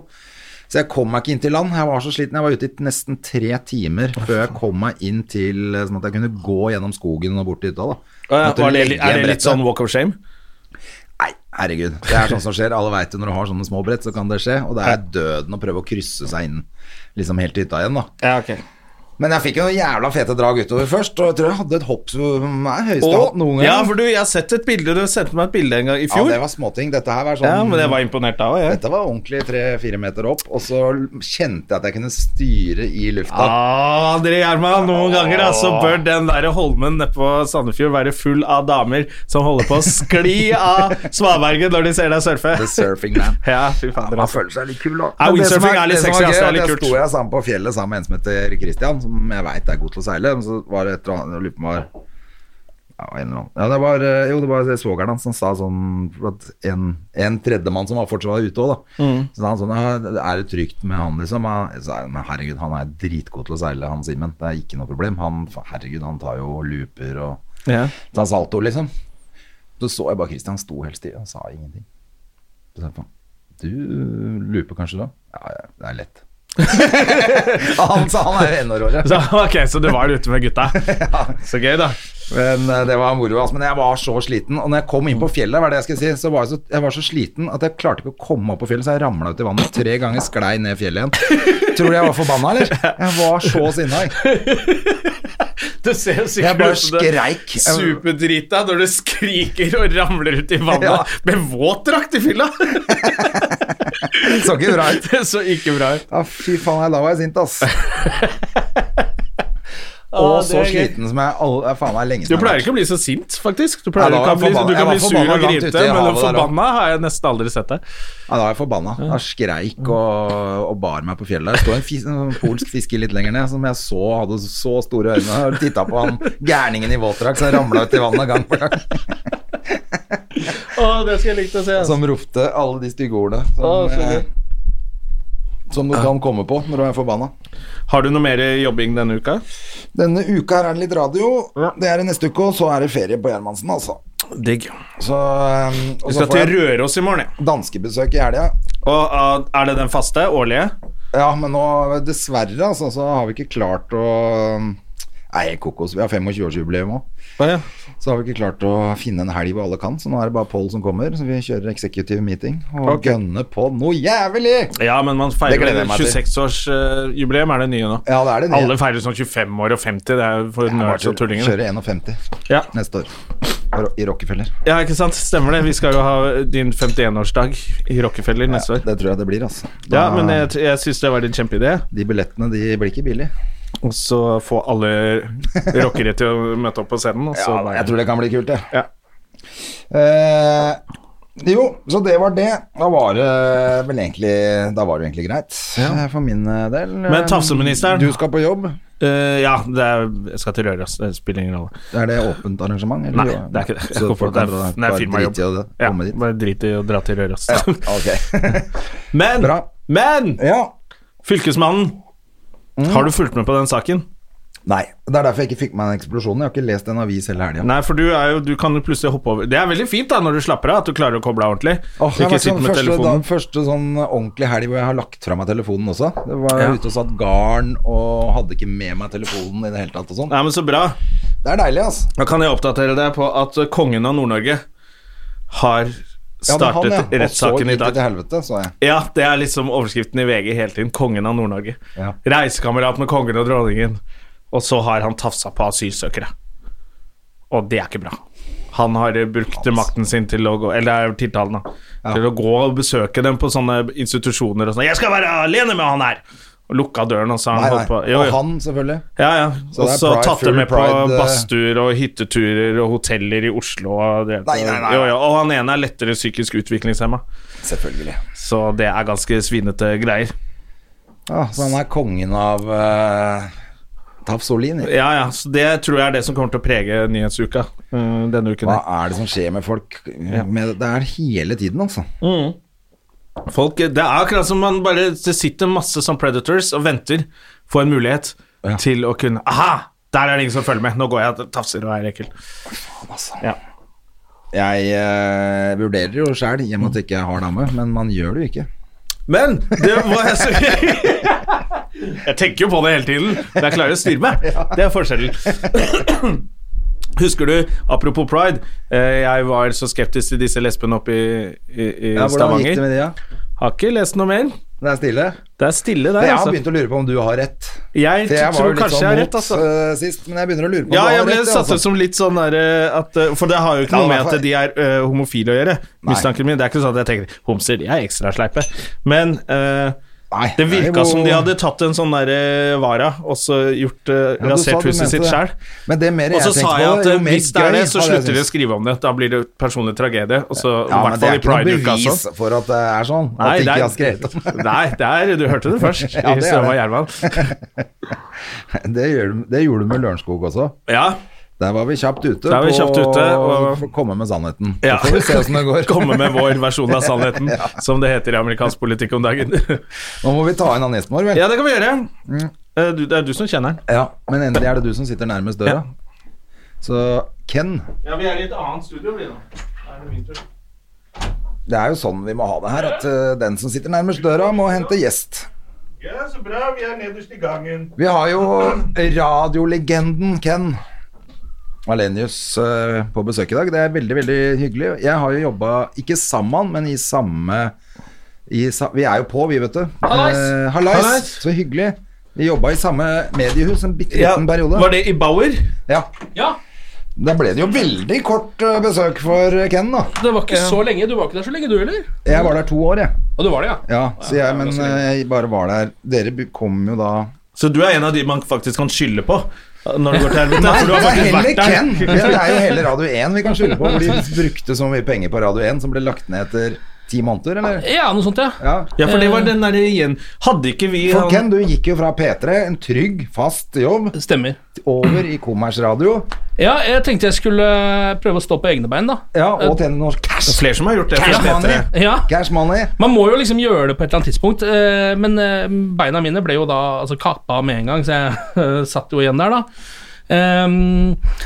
Speaker 2: Så jeg kom meg ikke inn til land. Jeg var så sliten. Jeg var ute i nesten tre timer før jeg kom meg inn til eh, Sånn at jeg kunne gå gjennom skogen og bort til hytta, da.
Speaker 1: Å, ja,
Speaker 2: Måtte
Speaker 1: var det,
Speaker 2: legge
Speaker 1: er det
Speaker 2: brettet.
Speaker 1: litt sånn walk of shame?
Speaker 2: Nei, herregud. Det er sånt som skjer. Alle veit jo når du har sånne små brett, så kan det skje. Og det er døden å prøve å krysse seg inn liksom helt til hytta igjen, da.
Speaker 1: Ja, ok.
Speaker 2: Men jeg fikk jo noen jævla fete drag utover først, og jeg tror jeg hadde et hopp som er høyeste jeg har
Speaker 1: Og,
Speaker 2: hatt noen gang.
Speaker 1: ja, for du, jeg har sett et bilde, du sendte meg et bilde en gang i
Speaker 2: Ja,
Speaker 1: fjor.
Speaker 2: det var småting. Dette her var sånn
Speaker 1: Ja, men jeg var imponert da òg, jeg.
Speaker 2: Dette var ordentlig tre-fire meter opp, og så kjente jeg at jeg kunne styre i lufta.
Speaker 1: Ah, André Gjerman, noen ganger da, så bør den der holmen nede på Sandefjord være full av damer som holder på å skli av svaberget når de ser deg surfe.
Speaker 2: The surfing man.
Speaker 1: Ja, fy
Speaker 2: Ja,
Speaker 1: fader.
Speaker 2: man
Speaker 1: altså.
Speaker 2: føler seg litt kul, da. Men
Speaker 1: Ja,
Speaker 2: det som
Speaker 1: windsurfing er litt
Speaker 2: det som
Speaker 1: sexy, ass, det er
Speaker 2: var
Speaker 1: litt
Speaker 2: gøy,
Speaker 1: kult.
Speaker 2: Jeg sto jeg sammen på fjellet sammen med en som heter Christian, som jeg veit er god til å seile, men så var det et eller annet jeg lurer på om det var- ja, en eller annen. ja, det var, eh, jo, det var svogeren hans som sa sånn for at En, en tredjemann som var fortsatt var ute òg, da.
Speaker 1: Mm.
Speaker 2: Så sa han sånn ja, Er det trygt med han, liksom? Ja, Så er han, men herregud, han er dritgod til å seile, han Simen. Det er ikke noe problem. Han, herregud, han tar jo looper og
Speaker 1: Ja.
Speaker 2: så han salto, liksom. Så så jeg bare Christian han sto helt stille og sa ingenting. Så sa jeg på han, du looper kanskje da? Ja, ja, det er lett. han sa han er jo enårere.
Speaker 1: Så, ok, så du var ute med gutta. Så gøy, da.
Speaker 2: Men eh, det var moro. Altså. Men jeg var så sliten. Og når jeg kom inn på fjellet, hva er det jeg skal si, så var jeg, så, jeg var så sliten at jeg klarte ikke å komme opp på fjellet, så jeg ramla ut i vannet tre ganger, sklei ned fjellet igjen. Tror du jeg var forbanna, eller? Jeg var så sinna. jeg.
Speaker 1: Du ser jo
Speaker 2: Jeg bare
Speaker 1: sikkert ut som det-
Speaker 2: skreik. Jeg-
Speaker 1: Superdrita når du skriker og ramler ut i vannet
Speaker 2: Ja.
Speaker 1: med våt drakt i fylla!
Speaker 2: Så ikke bra ut.
Speaker 1: Det så ikke bra ut.
Speaker 2: Ja, fy faen, jeg, da var jeg sint, ass.
Speaker 1: Å,
Speaker 2: Og
Speaker 1: Ah, det
Speaker 2: så
Speaker 1: er gøy.
Speaker 2: sliten som jeg all, jeg faen meg lenge
Speaker 1: Du pleier ikke å bli så sint, faktisk. Du, pleier,
Speaker 2: Nei, da
Speaker 1: du
Speaker 2: var
Speaker 1: kan bli,
Speaker 2: jeg forbanna.
Speaker 1: du kan
Speaker 2: Jeg
Speaker 1: bli
Speaker 2: var
Speaker 1: sur og
Speaker 2: forbanna langt ute
Speaker 1: grinte,
Speaker 2: i
Speaker 1: men
Speaker 2: havet der
Speaker 1: forbanna har jeg nesten aldri sett deg.
Speaker 2: Ja, da var jeg forbanna. Da skreik og, og bar meg på fjellet. Det sto en, fis, en polsk fisker litt lenger ned som jeg så hadde så store øyne og titta på han gærningen i våtdrakt som ramla ut i vannet gang på gang.
Speaker 1: Å, det skulle jeg likt å se.
Speaker 2: Som ropte alle de stygge ordene som,
Speaker 1: Å, så
Speaker 2: Altså,
Speaker 1: gøy.
Speaker 2: eh, som du kan komme på når du er forbanna.
Speaker 1: Har du noe mer jobbing denne uka?
Speaker 2: Denne uka her er det litt radio. Det er det neste uke, og så er det ferie på Gjermansen, altså.
Speaker 1: Digg.
Speaker 2: Så, eh, og
Speaker 1: Vi
Speaker 2: så
Speaker 1: skal
Speaker 2: får
Speaker 1: til
Speaker 2: jeg
Speaker 1: Røros i morgen. ja.
Speaker 2: danskebesøk i helga.
Speaker 1: Og ah, Er det den faste? Årlige?
Speaker 2: Ja, men nå, dessverre, altså, så har vi ikke klart å Nei, kokos, vi har 25-årsjubileum òg.
Speaker 1: Å, ja.
Speaker 2: Så har vi ikke klart å finne en helg hvor alle kan, så nå er det bare Pål som kommer. Så vi kjører executive meeting og
Speaker 1: Ok.
Speaker 2: gønner på noe jævlig!
Speaker 1: ja, men man
Speaker 2: Det
Speaker 1: feirer
Speaker 2: gleder jeg meg til.
Speaker 1: 26-årsjubileum, er det nye nå.
Speaker 2: Ja, det er det. nye.
Speaker 1: Alle feirer sånn 25 år og 50, det er jo for
Speaker 2: Jeg bare
Speaker 1: nerds og tullinger.
Speaker 2: Kjører 51
Speaker 1: Ja.
Speaker 2: neste år På Ro- i Rockefeller.
Speaker 1: ja, ikke sant? Stemmer det. Vi skal jo ha din 51-årsdag i Rockefeller
Speaker 2: Ja,
Speaker 1: neste år.
Speaker 2: det tror jeg det blir, altså.
Speaker 1: Ja,
Speaker 2: Da-
Speaker 1: men jeg, jeg syns det var en kjempeidé.
Speaker 2: De billettene de blir ikke billige.
Speaker 1: Og så få alle rockere til å møte opp på scenen. Og så
Speaker 2: Ja, jeg tror det kan bli kult, jeg.
Speaker 1: Ja.
Speaker 2: Eh, jo, så det var det. Da var det vel egentlig, da var det egentlig greit, eh, for min eh, del.
Speaker 1: Men tafseministeren-
Speaker 2: Du skal på jobb.
Speaker 1: Eh, ja, det er, jeg skal til Røros. Det spiller ingen rolle.
Speaker 2: Er det åpent arrangement? eller?
Speaker 1: Nei, det er ikke det. Jeg
Speaker 2: Så
Speaker 1: går for
Speaker 2: folk
Speaker 1: det
Speaker 2: kan
Speaker 1: er,
Speaker 2: bare-
Speaker 1: det er
Speaker 2: bare
Speaker 1: firmajobb.
Speaker 2: drite i å
Speaker 1: Ja,
Speaker 2: komme dit.
Speaker 1: bare drit i å dra til Røros.
Speaker 2: Ja, ok.
Speaker 1: Men,
Speaker 2: Bra. Eh.
Speaker 1: men!
Speaker 2: ja.
Speaker 1: Fylkesmannen, har du fulgt med på den saken?
Speaker 2: Nei, det er derfor jeg ikke fikk med den eksplosjonen. Jeg har ikke lest en avis hele helga.
Speaker 1: Nei, for du, er jo, du kan jo plutselig hoppe over Det er veldig fint da når du slapper av, at du klarer å koble av ordentlig.
Speaker 2: Åh, det har
Speaker 1: ikke
Speaker 2: vært
Speaker 1: sitte
Speaker 2: sånn
Speaker 1: med
Speaker 2: første,
Speaker 1: telefonen.
Speaker 2: da- første sånn ordentlig helg hvor jeg har lagt fra meg telefonen også. Det var
Speaker 1: Ja.
Speaker 2: ute og satt garn og hadde ikke med meg telefonen i det hele tatt og sånn.
Speaker 1: Nei, men Så bra.
Speaker 2: Det er deilig, altså.
Speaker 1: Da kan jeg oppdatere deg på at eh, kongen av Nord-Norge har
Speaker 2: Ja, men
Speaker 1: startet
Speaker 2: han, ja.
Speaker 1: rettssaken i
Speaker 2: Og så gikk det
Speaker 1: dag.
Speaker 2: til helvete, så jeg.
Speaker 1: Ja, det er liksom overskriften i VG hele tiden. Kongen av Nord-Norge.
Speaker 2: Ja.
Speaker 1: Reisekamerat med kongen og dronningen. Og så har han tafsa på asylsøkere. Og det er ikke bra. Han har eh, brukt makten sin til å gå Eller det er tiltalen, da. Til å gå og besøke dem på sånne institusjoner og sånn 'Jeg skal være alene med han her!' Og lukka døren, og så har
Speaker 2: Nei,
Speaker 1: han
Speaker 2: nei.
Speaker 1: holdt på jo,
Speaker 2: Og
Speaker 1: jo.
Speaker 2: han, selvfølgelig.
Speaker 1: Ja, ja.
Speaker 2: Så
Speaker 1: Og
Speaker 2: det er
Speaker 1: så
Speaker 2: pride,
Speaker 1: tatt det
Speaker 2: full
Speaker 1: med på
Speaker 2: pride, eh.
Speaker 1: badstuer og hytteturer og hoteller i Oslo. Og, det,
Speaker 2: Nei, nei, nei.
Speaker 1: Jo, jo. og han ene er lettere psykisk utviklingshemma.
Speaker 2: Selvfølgelig.
Speaker 1: Så det er
Speaker 2: Ah,
Speaker 1: ganske svinete greier.
Speaker 2: Ja, så han er kongen av eh, Tafsolini.
Speaker 1: Ja, ja, så Det tror jeg er det som kommer til å prege nyhetsuka eh, denne uken.
Speaker 2: Hva
Speaker 1: her.
Speaker 2: er det som skjer med folk? Med, det er hele tiden, altså.
Speaker 1: Folk, det er akkurat som man bare Det sitter masse som predators og venter på en mulighet
Speaker 2: Ja.
Speaker 1: til å kunne Aha! Der er det ingen som følger med. Nå går jeg og tafser og er ekkel.
Speaker 2: altså.
Speaker 1: Ja.
Speaker 2: Jeg eh, vurderer jo sjæl, i og med at jeg ikke har dame, men man gjør det jo ikke.
Speaker 1: Men det må jeg si Jeg tenker jo på det hele tiden, men jeg klarer å styre meg. Det er forskjellen. Husker du, apropos pride, eh, jeg var så skeptisk til disse lesbene oppe i, i, i
Speaker 2: Ja, hvordan gikk det
Speaker 1: Stavanger.
Speaker 2: med de, ja?
Speaker 1: Har ikke lest noe mer.
Speaker 2: Det er stille.
Speaker 1: Det er stille der,
Speaker 2: Jeg har
Speaker 1: altså.
Speaker 2: begynt å lure på om du har rett.
Speaker 1: Jeg,
Speaker 2: For jeg var
Speaker 1: tror
Speaker 2: jo litt
Speaker 1: kanskje
Speaker 2: sånn
Speaker 1: jeg har
Speaker 2: mot
Speaker 1: rett, altså.
Speaker 2: eh, sist, men jeg begynner å lure på om
Speaker 1: Ja,
Speaker 2: du
Speaker 1: jeg
Speaker 2: har
Speaker 1: ble
Speaker 2: rett. altså. jeg,
Speaker 1: satt ut som litt sånn derre at eh, For det har jo ikke
Speaker 2: Ja,
Speaker 1: noe med
Speaker 2: i hvert
Speaker 1: at de er eh, homofile å gjøre,
Speaker 2: Nei.
Speaker 1: mistanken min. Det er ikke sånn at jeg tenker homser, de er ekstra sleipe. Men eh,
Speaker 2: Nei,
Speaker 1: det
Speaker 2: det er
Speaker 1: virka
Speaker 2: jo-
Speaker 1: som de hadde tatt en sånn derre vara og så gjort eh,
Speaker 2: Ja, du sa
Speaker 1: rasert
Speaker 2: du
Speaker 1: huset
Speaker 2: mente
Speaker 1: sitt
Speaker 2: det.
Speaker 1: sjæl.
Speaker 2: Men det mer
Speaker 1: Og så
Speaker 2: jeg
Speaker 1: sa
Speaker 2: tenker
Speaker 1: jeg
Speaker 2: på,
Speaker 1: at
Speaker 2: jo
Speaker 1: eh,
Speaker 2: mer
Speaker 1: hvis det er
Speaker 2: gøy hadde
Speaker 1: det, så
Speaker 2: jeg
Speaker 1: slutter de å
Speaker 2: syntes.
Speaker 1: skrive om det. Da blir det personlig tragedie. Og så,
Speaker 2: Ja,
Speaker 1: i
Speaker 2: men
Speaker 1: hvert
Speaker 2: det er
Speaker 1: fall i
Speaker 2: ikke noe
Speaker 1: Pride-uka.
Speaker 2: bevis
Speaker 1: altså.
Speaker 2: for at det er sånn. at
Speaker 1: Nei,
Speaker 2: de
Speaker 1: det
Speaker 2: ikke
Speaker 1: er-
Speaker 2: har skrevet om det.
Speaker 1: Nei, det er, du hørte det først.
Speaker 2: Ja,
Speaker 1: I
Speaker 2: det er
Speaker 1: Støva
Speaker 2: det.
Speaker 1: Jervan.
Speaker 2: Det, gjør, de- det gjorde du med Lørenskog også.
Speaker 1: Ja,
Speaker 2: Der var vi kjapt ute
Speaker 1: Der var vi kjapt ute, og-
Speaker 2: for å komme med sannheten.
Speaker 1: Ja.
Speaker 2: Så får vi se åssen det går.
Speaker 1: Komme med vår versjon av sannheten, som det heter i amerikansk politikk om dagen.
Speaker 2: Nå må vi ta inn han gjesten vår, vel.
Speaker 1: Ja, det kan vi gjøre.
Speaker 2: Mm.
Speaker 1: Eh, Du, det er du som kjenner den.
Speaker 2: Ja, Men endelig er det du som sitter nærmest døra. Så Ken,
Speaker 1: Ja, vi er i et annet studio, vi nå. Er det min tur?
Speaker 2: det er jo sånn vi må ha det her, at eh, den som sitter nærmest døra, må hente gjest.
Speaker 1: Ja, så bra. Vi er nederst i gangen.
Speaker 2: Vi har jo radiolegenden Ken Alenius eh, på besøk i dag. Det er veldig, veldig hyggelig. Jeg har jo jobba ikke sammen, men i samme i sa, Vi er jo på, vi, vet du.
Speaker 1: Hallais!
Speaker 2: Eh, hallais.
Speaker 1: Hallais!
Speaker 2: Så hyggelig. Vi jobba i samme mediehus en bitte
Speaker 1: Ja,
Speaker 2: liten periode.
Speaker 1: var det i Bauer?
Speaker 2: Ja. Da ble det jo veldig kort eh, besøk for Ken, da.
Speaker 3: Det var ikke så lenge. Du var ikke der så lenge, du heller.
Speaker 2: Jeg var der to år, jeg.
Speaker 3: Og du var det, ja.
Speaker 2: Ja, så jeg, men eh, jeg bare var der. Dere bu- kom jo da
Speaker 1: Så du er en av de man faktisk kan skylde på eh, når det går til helvete?
Speaker 2: Nei,
Speaker 1: for du
Speaker 2: det
Speaker 1: har
Speaker 2: er
Speaker 1: faktisk
Speaker 2: heller
Speaker 1: vært der.
Speaker 2: Ken. Det er jo heller Radio 1 vi kan skylde på. Hvor de brukte så mye penger på Radio 1 som ble lagt ned etter ti måneder, eller?
Speaker 3: Ja, noe sånt, ja.
Speaker 2: Ja.
Speaker 1: Ja, for det var den derre igjen Hadde ikke vi
Speaker 2: Eh, For
Speaker 1: han-
Speaker 2: Ken, du gikk jo fra P3, en trygg, fast jobb,
Speaker 3: Stemmer.
Speaker 2: over i kommersradio.
Speaker 3: Ja, jeg tenkte jeg skulle eh, prøve å stå på egne bein, da.
Speaker 2: Ja, og tjene norsk cash.
Speaker 1: Flere som har gjort det.
Speaker 2: Cash
Speaker 1: for det heter
Speaker 2: money.
Speaker 1: det.
Speaker 3: Ja.
Speaker 2: Cash money.
Speaker 3: Man må jo liksom gjøre det på et eller annet tidspunkt, eh, men eh, beina mine ble jo da altså, kappa med en gang, så jeg eh, satt jo igjen der, da. Ehm,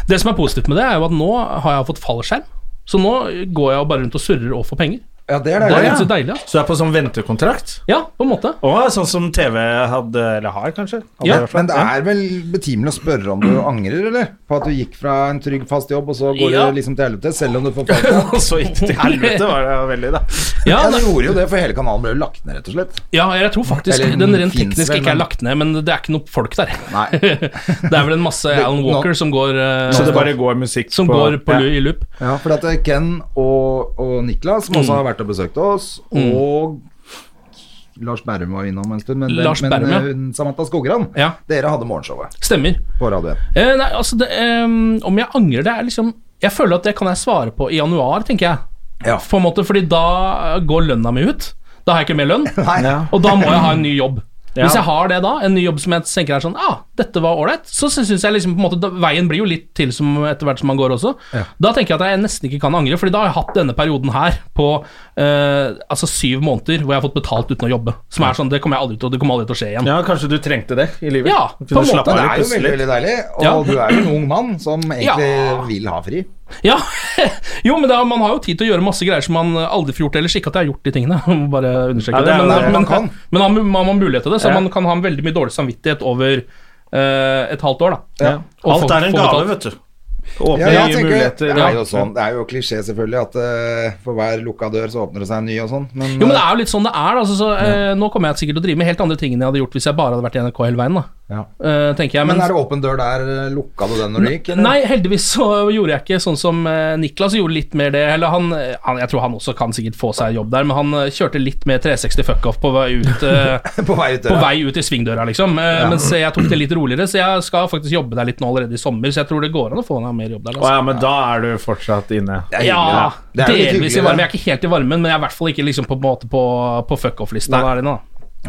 Speaker 3: det som er positivt med det, er jo at nå har jeg fått fallskjerm. Så nå går jeg jo bare rundt og surrer og får penger.
Speaker 2: Ja, det er
Speaker 3: Det er
Speaker 2: deilig.
Speaker 1: ja.
Speaker 3: ganske deilig. ass.
Speaker 1: Så du er på sånn ventekontrakt?
Speaker 3: Ja, på en måte.
Speaker 1: Å, sånn som TV hadde, eller har, kanskje? Hadde
Speaker 3: Ja,
Speaker 1: i hvert fall.
Speaker 2: Men det er vel betimelig å spørre om du angrer, eller? På at du gikk fra en trygg, fast jobb, og så går
Speaker 3: Ja.
Speaker 2: det liksom til helvete, selv om du får fallskjerm.
Speaker 1: Og så gikk det til helvete, var det veldig, da.
Speaker 3: Ja,
Speaker 2: Ja,
Speaker 3: nei,
Speaker 2: det gjorde jo det, for hele kanalen ble jo lagt ned, rett og slett.
Speaker 3: Ja, jeg tror faktisk
Speaker 2: Eller
Speaker 3: den rent
Speaker 2: finnes
Speaker 3: teknisk
Speaker 2: vel,
Speaker 3: ikke er
Speaker 2: men-
Speaker 3: lagt ned, men det er ikke noe folk der.
Speaker 2: Nei.
Speaker 3: det er vel en masse Alan Walker
Speaker 2: nå-
Speaker 3: som går, eh,
Speaker 1: Så det bare går musikk
Speaker 3: som går på lu- i loop.
Speaker 2: Ja, for at det er Ken og, og Niklas, som
Speaker 3: Mm.
Speaker 2: også har vært og besøkt oss, og Lars Berrum var innom en stund, men,
Speaker 3: Lars
Speaker 2: men, eh,
Speaker 3: Berrum, ja.
Speaker 2: hun, Samantha Skogran,
Speaker 3: Ja.
Speaker 2: dere hadde morgenshowet
Speaker 3: Stemmer.
Speaker 2: på Radio 1.
Speaker 3: Eh, nei, altså, det, ehm, om jeg angrer det, er liksom Jeg føler at det kan jeg svare på i januar, tenker jeg.
Speaker 2: Ja.
Speaker 3: På en måte, fordi da går lønna mi ut. Da har jeg ikke mer lønn,
Speaker 2: Nei, ja.
Speaker 3: og da må jeg ha en ny jobb.
Speaker 1: Ja.
Speaker 3: Hvis jeg har det da, en ny jobb som jeg tenker er sånn Ja, ah, dette var ålreit. Så syns jeg liksom på en måte da, Veien blir jo litt til som etter hvert som man går også. Da tenker jeg at jeg nesten ikke kan angre, Fordi da har jeg hatt denne perioden her på eh, altså syv måneder hvor jeg har fått betalt uten å jobbe. Som er sånn, det kommer jeg aldri til, det kommer aldri til å skje igjen.
Speaker 1: Ja, kanskje du trengte det i livet?
Speaker 3: Ja,
Speaker 1: Kunne
Speaker 3: på en måte.
Speaker 1: slappe
Speaker 2: Men
Speaker 1: av
Speaker 2: det
Speaker 1: litt
Speaker 2: er jo
Speaker 1: plutselig.
Speaker 2: veldig, veldig deilig, og
Speaker 3: Ja.
Speaker 2: du er jo en ung mann som egentlig
Speaker 3: Ja.
Speaker 2: vil ha fri.
Speaker 3: Ja, jo, men det er, man har jo tid til å gjøre masse greier som man aldri får gjort ellers. Ikke at jeg har gjort de tingene, må bare understreke
Speaker 1: Ja, det
Speaker 3: det.
Speaker 1: er jo
Speaker 3: Men,
Speaker 1: det
Speaker 2: man
Speaker 3: men,
Speaker 2: kan.
Speaker 3: men, man, man har mulighet til det, så
Speaker 1: Ja.
Speaker 3: man kan ha veldig mye dårlig samvittighet over eh, et halvt år, da.
Speaker 1: Ja.
Speaker 3: Og
Speaker 1: Alt
Speaker 3: få-
Speaker 1: er en
Speaker 3: få
Speaker 1: gave,
Speaker 3: betalt.
Speaker 1: vet du. Åpne
Speaker 2: Ja, jeg
Speaker 1: nye
Speaker 2: tenker, det
Speaker 1: muligheter.
Speaker 2: er jo
Speaker 1: Ja.
Speaker 2: sånn, det er jo klisjé selvfølgelig, at eh, for hver lukka dør så åpner det seg en ny og sånn, men,
Speaker 3: Jo, men det
Speaker 2: eh,
Speaker 3: er jo litt sånn det er. da, Altså, så, eh, nå kommer jeg sikkert til å drive med helt andre ting enn jeg hadde gjort hvis jeg bare hadde vært i NRK hele veien, da.
Speaker 2: Ja.
Speaker 3: Eh, tenker jeg.
Speaker 2: men
Speaker 3: Men,
Speaker 2: er det åpen dør der, eh, lukka du den når du gikk? eller?
Speaker 3: Nei, heldigvis så gjorde jeg ikke sånn som eh, Niklas gjorde litt mer det. Eller han, eh, han Jeg tror han også kan sikkert få seg jobb der, men han eh, kjørte litt mer 360 fuck off på vei ut. eh,
Speaker 2: På vei ut
Speaker 3: på
Speaker 2: døra.
Speaker 3: vei ut i svingdøra, liksom. Eh, Mens jeg tok det litt roligere, så jeg skal faktisk jobbe der litt nå allerede i sommer. Så jeg tror det går an å få noe mer jobb der.
Speaker 1: Å
Speaker 3: Altså.
Speaker 1: ja, men da er du fortsatt inne.
Speaker 2: Det er hyggelig,
Speaker 3: Ja,
Speaker 2: da. Det er jo litt
Speaker 3: delvis i
Speaker 2: hyggelig,
Speaker 3: varmen.
Speaker 2: da.
Speaker 3: Jeg er ikke helt i varmen, men jeg er i hvert fall ikke liksom på, en måte på, på fuck off-lista.
Speaker 2: Nei.
Speaker 3: der inne, da.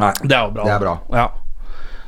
Speaker 2: Nei.
Speaker 3: Det er jo bra.
Speaker 2: Det er bra.
Speaker 3: Ja.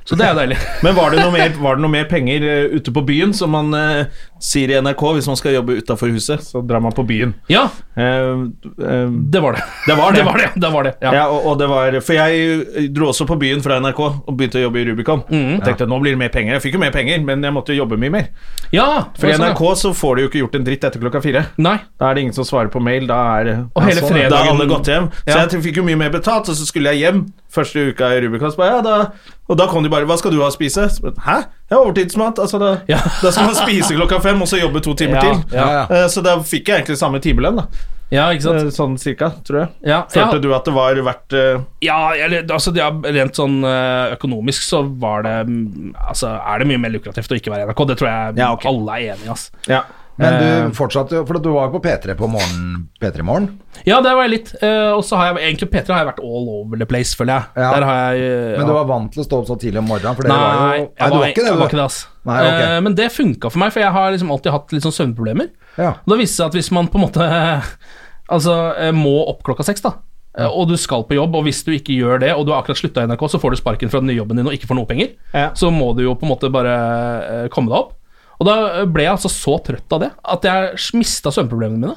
Speaker 3: Så det er jo deilig.
Speaker 1: Men var det noe mer, var det noe mer penger eh, ute på byen, som man eh, sier i NRK hvis man skal jobbe utafor huset? Så drar man på byen.
Speaker 3: Ja,
Speaker 1: Eh, eh,
Speaker 3: det var det.
Speaker 1: det var det.
Speaker 3: Det var det, det, var det ja.
Speaker 1: Ja, og, og det var, For jeg eh, dro også på byen fra NRK og begynte å jobbe i Rubicon.
Speaker 3: Mhm.
Speaker 1: Jeg tenkte nå blir det mer penger. Jeg fikk jo mer penger, men jeg måtte jo jobbe mye mer.
Speaker 3: ja
Speaker 1: For i
Speaker 3: det var sånn,
Speaker 1: NRK så får du jo ikke gjort en dritt etter klokka fire.
Speaker 3: ja. Nei.
Speaker 1: Da er det ingen som svarer på mail. Da er sånn,
Speaker 3: Og hele
Speaker 1: da er
Speaker 3: fredagen-
Speaker 1: alle gått hjem. Så
Speaker 3: Ja.
Speaker 1: jeg fikk jo mye mer betalt, og så skulle jeg hjem første uka i Rubicon. så bare, Ja, da, og da kom de bare 'Hva skal du ha å spise?' Så bare, Hæ? Jeg har overtidsmat. Altså, da,
Speaker 3: Ja.
Speaker 1: da skal man spise klokka fem, og så jobbe to timer
Speaker 3: Ja,
Speaker 1: til.
Speaker 2: Ja, ja.
Speaker 1: Eh, Så da fikk jeg egentlig samme timelønn, da.
Speaker 3: Ja, ikke sant.
Speaker 1: Eh, Sånn cirka, tror jeg.
Speaker 3: Ja,
Speaker 1: Følte
Speaker 3: ja.
Speaker 1: du at det var verdt eh,
Speaker 3: Ja, eller, altså ja, rent sånn eh, økonomisk så var det mm, Altså, er det mye mer lukrativt å ikke være i NRK? Det tror jeg
Speaker 1: Ja, ok.
Speaker 3: alle er enig i, ass.
Speaker 1: Ja.
Speaker 3: Eh.
Speaker 2: Men du fortsatte jo, for du var jo på P3 på morgen, P3 i morgen.
Speaker 3: Ja, der var jeg litt. eh, og så har jeg egentlig P3 har jeg vært all over the place, føler jeg.
Speaker 2: Ja.
Speaker 3: Der har jeg eh,
Speaker 2: Men du var
Speaker 3: ja.
Speaker 2: vant til å stå opp så tidlig om morgenen, for det
Speaker 3: Nei,
Speaker 2: var jo
Speaker 3: jeg var,
Speaker 2: du var ikke det,
Speaker 3: jeg var
Speaker 2: du.
Speaker 3: ikke det ass.
Speaker 2: Nei, ok.
Speaker 3: Eh, men det funka for meg, for jeg har liksom alltid hatt litt sånn søvnproblemer.
Speaker 2: Ja.
Speaker 3: Og da viste det seg at hvis man på en måte Altså eh, må opp klokka seks, da. eh, Og du skal på jobb, og hvis du ikke gjør det, og du har akkurat slutta i NRK, så får du sparken fra den nye jobben din og ikke får noe penger.
Speaker 1: Ja.
Speaker 3: Så må du jo på en måte bare eh, komme deg opp. Og da eh, ble jeg altså så trøtt av det at jeg mista søvnproblemene mine.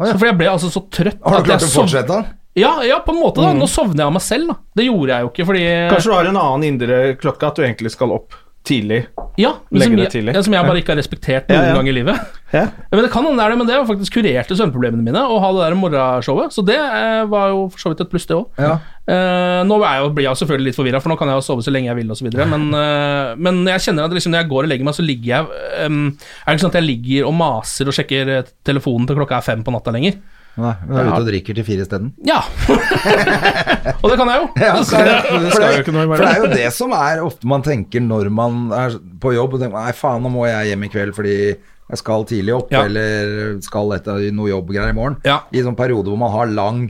Speaker 2: ja.
Speaker 3: Så For jeg ble altså så trøtt
Speaker 2: Har
Speaker 3: at
Speaker 2: du klart
Speaker 3: jeg
Speaker 2: å
Speaker 3: sov-
Speaker 2: fortsette? Mm.
Speaker 3: Ja, ja, på en måte, da. Nå sovner jeg av meg selv, da. Det gjorde jeg jo ikke fordi
Speaker 1: Kanskje du har en annen indre klokke, at du egentlig skal opp tidlig.
Speaker 3: Ja, men
Speaker 1: Legge
Speaker 3: som,
Speaker 1: det
Speaker 3: jeg-
Speaker 1: tidlig.
Speaker 3: ja, som jeg bare ikke har respektert noen
Speaker 1: Ja, ja.
Speaker 3: gang i livet.
Speaker 1: Ja.
Speaker 3: Men det kan hende det er det, men det har faktisk kurerte søvnproblemene mine å ha det der morgenshowet, så det eh, var jo for så vidt et pluss, det òg.
Speaker 2: Ja.
Speaker 3: Eh, nå er jeg, jo- blir jeg jo selvfølgelig litt forvirra, for nå kan jeg jo sove så lenge jeg vil osv., men, eh, men jeg kjenner at liksom, når jeg går og legger meg, så ligger jeg ehm, Er det ikke sånn at jeg ligger og maser og sjekker eh, telefonen til klokka er fem på natta lenger?
Speaker 2: Nei, men du er ute og drikker til fire isteden.
Speaker 3: Ja! og det kan jeg jo.
Speaker 2: Ja, så er det, for, det,
Speaker 1: skal jo ikke noe i morgen.
Speaker 2: for det er jo det som er ofte man tenker når man er på jobb og tenker Nei, faen, nå må jeg hjem i kveld fordi jeg skal tidlig opp,
Speaker 3: Ja.
Speaker 2: eller skal etter noe jobbgreier i morgen.
Speaker 3: Ja.
Speaker 2: I en sånn periode hvor man har lang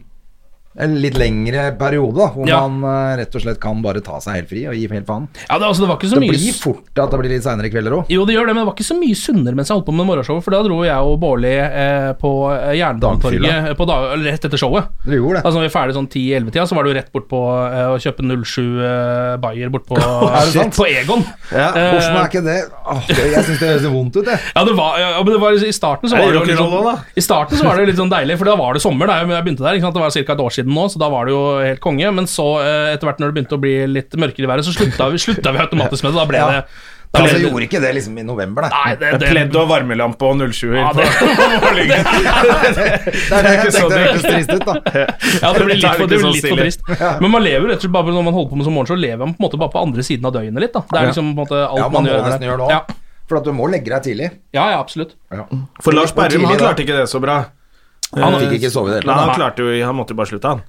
Speaker 2: en litt lengre periode, da, hvor
Speaker 3: Ja.
Speaker 2: man eh, rett og slett kan bare ta seg helt fri og gi helt faen.
Speaker 3: Ja, det, altså, det var ikke så
Speaker 2: Det
Speaker 3: mye
Speaker 2: blir fort at det blir litt seinere kvelder òg.
Speaker 3: Jo, det gjør det, men det var ikke så mye sunnere mens jeg holdt på med morgenshowet, for da dro jeg og Bårli eh, på eh, Jernbanetorget
Speaker 2: Dagfylla.
Speaker 3: eh, på dag, eller rett etter showet.
Speaker 2: Dere gjorde det.
Speaker 3: Altså når vi var ferdig sånn 10-11-tida, så var det jo rett bort på eh, å kjøpe 07 eh, Bayer bort på, eh,
Speaker 2: Er det sant?
Speaker 3: på Egon.
Speaker 1: Ja,
Speaker 3: Eh,
Speaker 2: Hvorfor er ikke det Åh, det- Jeg syns det høres vondt ut, jeg.
Speaker 3: ja, det var, ja, men det var i starten så
Speaker 1: Er det
Speaker 3: var det jo litt
Speaker 1: rock'n'roll
Speaker 3: sånn,
Speaker 1: da?
Speaker 3: I starten så var det jo litt sånn deilig, for da var det sommer da jeg jeg begynte der. Ikke sant? Det var ca. et år siden nå, så da var det jo helt konge. Men så, eh, etter hvert når det begynte å bli litt mørkere i været, så slutta vi, slutta vi automatisk med det. Da ble
Speaker 2: Ja.
Speaker 3: det da
Speaker 2: Altså,
Speaker 3: ble
Speaker 2: jeg
Speaker 3: det,
Speaker 2: gjorde ikke det liksom i november, nei.
Speaker 3: Nei, det, det,
Speaker 1: Pledd og varmelampe og 07-er.
Speaker 3: ja, det,
Speaker 2: Det er det jeg
Speaker 1: ikke så
Speaker 2: tenkte
Speaker 1: dyrt.
Speaker 2: hørtes trist ut, da.
Speaker 3: Ja, det
Speaker 1: Da er det
Speaker 3: blir litt for, det
Speaker 1: ikke så
Speaker 3: blir litt for
Speaker 1: stilig.
Speaker 3: trist. Men man lever rett og slett bare når man holder på med som morgen, så lever man på en måte bare på andre siden av døgnet litt. da Det er liksom på en måte alt
Speaker 2: Ja, man
Speaker 3: man
Speaker 2: må
Speaker 3: gjør.
Speaker 2: nesten
Speaker 3: der.
Speaker 2: gjøre det
Speaker 3: ja.
Speaker 2: òg. For at du må legge deg tidlig.
Speaker 3: ja, ja, absolutt.
Speaker 1: For Lars Berrum,
Speaker 2: tidlig,
Speaker 1: han
Speaker 2: da.
Speaker 1: klarte ikke det så bra.
Speaker 2: Han fikk ikke sove i det hele
Speaker 1: Nei,
Speaker 2: tatt.
Speaker 1: han klarte jo Han måtte jo bare slutte, han.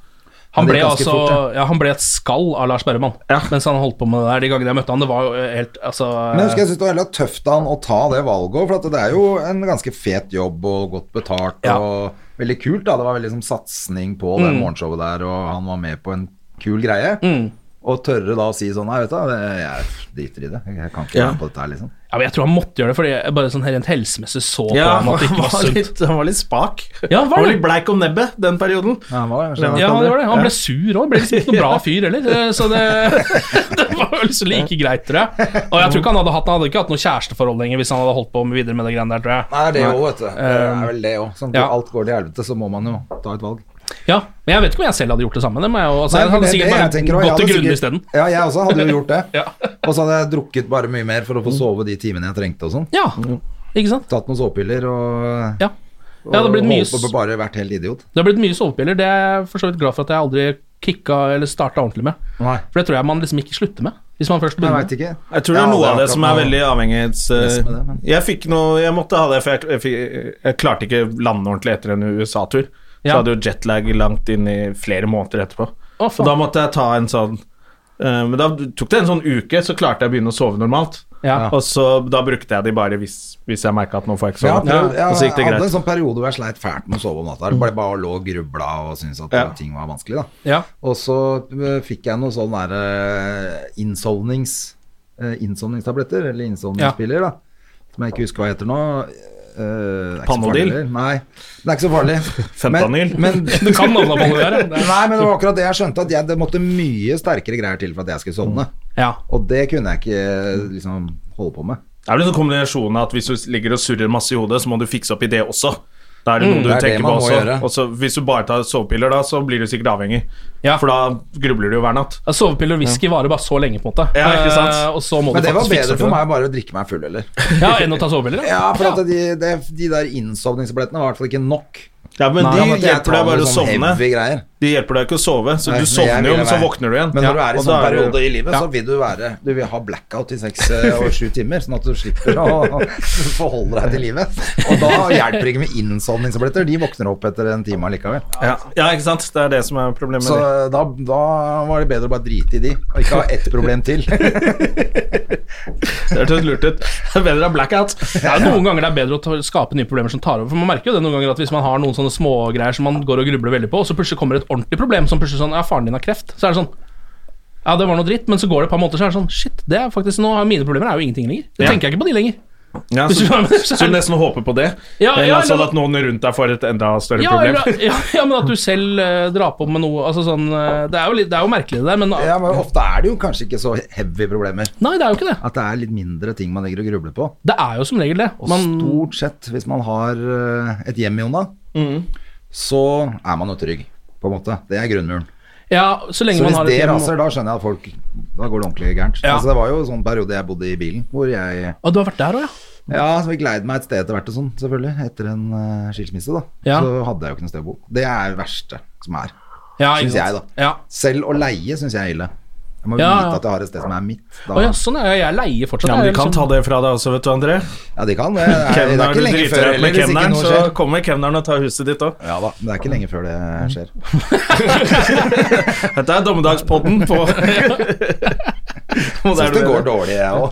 Speaker 2: Men
Speaker 3: Han
Speaker 2: det
Speaker 3: ble,
Speaker 2: gikk ganske
Speaker 3: altså,
Speaker 2: fort,
Speaker 3: ja, han ble et skall av Lars Berremann mens han holdt på med det der. De gangene jeg møtte han, det var jo eh, helt altså,
Speaker 2: Men jeg husker jeg synes det var veldig tøft av han å ta det valget òg, for at det er jo en ganske fet jobb og godt betalt
Speaker 3: Ja.
Speaker 2: og veldig kult. da Det var veldig som satsing på det morgenshowet der, og han var med på en kul greie. Og tørre da å si sånn Nei, vet du, det- jeg driter i det. Jeg kan ikke være med på dette her, liksom.
Speaker 3: ja, men Jeg tror han måtte gjøre det, fordi jeg bare sånn rent helsemessig så på
Speaker 1: Ja,
Speaker 3: ham at det
Speaker 1: han
Speaker 3: ikke var
Speaker 1: var,
Speaker 3: sunt.
Speaker 1: litt, han var litt spak.
Speaker 3: Ja, han var
Speaker 1: han var
Speaker 3: det.
Speaker 1: litt bleik om nebbet den perioden.
Speaker 2: Ja, han var, kanskje-
Speaker 3: Ja, det var det. Han ble sur òg. Ble liksom ikke noe bra fyr heller. eh, Så det, det var vel så like greit, tror jeg. Og jeg tror ikke han hadde hatt Han hadde ikke hatt noe kjæresteforhold lenger hvis han hadde holdt på med videre med det greiene der, tror jeg.
Speaker 2: Nei, det òg, vet du. Det er vel det òg. Sånn,
Speaker 3: Um, ja.
Speaker 2: Alt går til helvete, så må man jo ta et valg.
Speaker 3: Ja, men jeg vet ikke om jeg selv hadde gjort det samme. Det må jeg, jo- altså,
Speaker 2: Nei,
Speaker 3: jeg
Speaker 2: for
Speaker 3: hadde
Speaker 2: det-
Speaker 3: sikkert
Speaker 2: det
Speaker 3: bare
Speaker 2: jeg tenker også. Jeg
Speaker 3: gått til
Speaker 2: hadde
Speaker 3: grunne
Speaker 2: sikkert-
Speaker 3: isteden.
Speaker 2: Ja, jeg også hadde jo gjort det.
Speaker 3: Ja. Mm.
Speaker 2: Og så hadde jeg drukket bare mye mer for å få sove de timene jeg trengte og sånn.
Speaker 3: Ja, ikke sant?
Speaker 2: Tatt noen sovepiller og
Speaker 3: Ja. Ja, det har blitt
Speaker 2: og
Speaker 3: mye,
Speaker 2: holdt på å bare vært helt idiot.
Speaker 3: det har blitt mye sovepiller. Det er jeg for så vidt glad for at jeg aldri kicka eller starta ordentlig med.
Speaker 2: Nei.
Speaker 3: For det tror jeg man liksom ikke slutter med. Hvis man først
Speaker 2: Jeg
Speaker 3: begynner.
Speaker 2: veit ikke.
Speaker 1: Jeg tror det er noe av det som er veldig sånn. avhengighets... eh,
Speaker 2: Yes, med det, men-
Speaker 1: Jeg fikk noe Jeg måtte ha det, for jeg, jeg, fikk- jeg klarte ikke lande ordentlig etter en USA-tur. Så
Speaker 3: Ja.
Speaker 1: hadde jo jetlag langt inn i flere måneder etterpå.
Speaker 3: Å,
Speaker 1: Og da
Speaker 3: faen.
Speaker 1: måtte jeg ta en sånn eh, Men da tok det en sånn uke, så klarte jeg å begynne å sove normalt.
Speaker 3: Ja.
Speaker 1: Og så da brukte jeg de bare hvis, hvis jeg merka at nå får jeg ikke
Speaker 2: Jeg,
Speaker 1: sove.
Speaker 2: har prøvd,
Speaker 1: Og så
Speaker 2: jeg
Speaker 1: gikk det
Speaker 2: hadde en
Speaker 1: greit.
Speaker 2: sånn periode hvor jeg sleit fælt med å sove om natta.
Speaker 3: Mm.
Speaker 2: Jeg Bare, bare lå og grubla og syntes at
Speaker 1: Ja.
Speaker 2: ting var vanskelig. da
Speaker 3: Ja.
Speaker 2: Og så øh, fikk jeg noen sånne der, eh, øh, innsovnings, øh, innsovningstabletter, eller innsovningspiller, da, som jeg ikke husker hva heter nå. Uh,
Speaker 1: Panodil?
Speaker 2: Nei, det er ikke så farlig.
Speaker 1: Fentanyl?
Speaker 2: Men, men,
Speaker 3: Du kan navnet på det der. ja.
Speaker 2: nei, men det var akkurat det jeg skjønte, at jeg, det måtte mye sterkere greier til for at jeg skulle sovne.
Speaker 1: Mm.
Speaker 3: Ja.
Speaker 2: Og det kunne jeg ikke liksom holde på med.
Speaker 1: Det er vel en sånn kombinasjon av at hvis du ligger og surrer masse i hodet, så må du fikse opp i det også. Da er det noe du
Speaker 2: Mm, det er det
Speaker 1: tenker på
Speaker 2: man må
Speaker 1: også.
Speaker 2: gjøre.
Speaker 1: Og så hvis du bare tar sovepiller, da, så blir du sikkert avhengig.
Speaker 3: Ja.
Speaker 1: For da grubler du jo hver natt.
Speaker 3: Ja, Sovepiller og whisky varer bare så lenge, på en måte.
Speaker 1: Ja, ikke sant?
Speaker 3: Eh, og så må
Speaker 2: Men
Speaker 3: du
Speaker 2: det var
Speaker 3: faktisk
Speaker 2: bedre
Speaker 3: fikse opp i
Speaker 2: for
Speaker 3: det.
Speaker 2: meg bare å drikke meg full, eller?
Speaker 3: Ja, enn å ta sovepiller?
Speaker 2: Ja, for at de, de, de der innsovningsbillettene var i hvert fall ikke nok.
Speaker 1: Ja, men
Speaker 2: Nei,
Speaker 1: de
Speaker 2: jeg måtte jeg
Speaker 1: hjelper
Speaker 2: ta
Speaker 1: deg bare
Speaker 2: med
Speaker 1: å
Speaker 2: sånn
Speaker 1: sovne.
Speaker 2: heavy greier.
Speaker 1: De hjelper deg ikke å sove, så
Speaker 2: Nei, men
Speaker 1: du
Speaker 2: jeg
Speaker 1: sovner jo,
Speaker 2: ville
Speaker 1: men så
Speaker 2: være-
Speaker 1: våkner du igjen.
Speaker 2: Men når
Speaker 1: Ja,
Speaker 2: du er i
Speaker 1: og
Speaker 2: sånn
Speaker 1: da er du-
Speaker 2: periode i livet, så vil du være Du vil ha blackout i seks eh, og sju timer, sånn at du slipper å forholde deg til livet. Og da hjelper det ikke med innsovningstabletter. De våkner opp etter en time allikevel.
Speaker 1: ja. ja, ikke sant. Det er det som er problemet.
Speaker 2: Så da, da var det bedre å bare drite i de, og ikke ha ett problem til.
Speaker 1: Det hørtes lurt ut. Det er bedre å ha blackout.
Speaker 3: Ja, noen ganger det er bedre å ta, skape nye problemer som tar over. For man merker jo det noen ganger at Hvis man har noen sånne smågreier som man går og grubler veldig på, og så plutselig kommer et ordentlig problem som plutselig sånn Ja, faren din har kreft. Så er det sånn Ja, det var noe dritt, men så går det et par måneder, så er det sånn Shit, det er faktisk nå Mine problemer er jo ingenting lenger. Det
Speaker 1: Ja.
Speaker 3: tenker jeg ikke på de lenger.
Speaker 1: Ja,
Speaker 3: Hvis
Speaker 1: så,
Speaker 3: du skjønner.
Speaker 1: så du nesten håper på det?
Speaker 3: Ja,
Speaker 1: eller
Speaker 3: ja,
Speaker 1: sånn at
Speaker 3: eller-
Speaker 1: noen rundt deg får et enda større
Speaker 3: Ja,
Speaker 1: problem?
Speaker 3: eller, ja, ja, men at du selv eh, drar på med noe Altså sånn eh, Det er jo, litt, det er jo merkelig, det der, men
Speaker 2: Ja, men ofte er det jo kanskje ikke så heavy problemer.
Speaker 3: Nei, det er jo ikke det.
Speaker 2: At det er litt mindre ting man ligger og grubler på.
Speaker 3: Det er jo som regel det.
Speaker 2: Og
Speaker 3: Man,
Speaker 2: stort sett, hvis man har eh, et hjem, Jonna,
Speaker 1: Mm.
Speaker 2: så er man jo trygg, på en måte. Det er grunnmuren.
Speaker 3: ja, så lenge
Speaker 2: Så
Speaker 3: man
Speaker 2: hvis
Speaker 3: har
Speaker 2: det
Speaker 3: et hjem
Speaker 2: raser, da skjønner jeg at folk Da går det ordentlig gærent.
Speaker 3: Ja.
Speaker 2: Altså, det var jo en sånn periode jeg bodde i bilen, hvor jeg
Speaker 3: Å, du har vært der òg, ja?
Speaker 2: Ja, så fikk leid meg et sted etter hvert og sånn, selvfølgelig. Etter en eh, skilsmisse, da.
Speaker 3: Ja.
Speaker 2: Så hadde jeg jo ikke noe sted å bo. Det er det verste som er.
Speaker 3: ja
Speaker 2: Synes
Speaker 3: ikke sant.
Speaker 2: jeg, da.
Speaker 3: Ja.
Speaker 2: Selv å leie syns jeg er ille. Jeg må
Speaker 3: Ja, ja.
Speaker 2: vite at jeg har et sted som er mitt. Da.
Speaker 3: Å ja, sånn er jeg. Jeg leier fortsatt.
Speaker 1: Ja, men
Speaker 3: jeg
Speaker 1: de kan
Speaker 3: liksom-
Speaker 1: ta det fra deg også, vet du, André.
Speaker 2: Ja, de kan det. Det er, det er
Speaker 1: Kemneren,
Speaker 2: ikke
Speaker 1: du
Speaker 2: lenge
Speaker 1: driter
Speaker 2: før
Speaker 1: deg ut med
Speaker 2: eller hvis ikke
Speaker 1: kemneren,
Speaker 2: noe
Speaker 1: så
Speaker 2: skjer.
Speaker 1: kommer kemneren og tar huset ditt òg.
Speaker 2: Ja da, men det er ikke lenge før det skjer.
Speaker 1: Dette er dommedagspodden på Og der
Speaker 2: Syns
Speaker 1: du
Speaker 2: det går
Speaker 1: er.
Speaker 2: dårlig, jeg òg.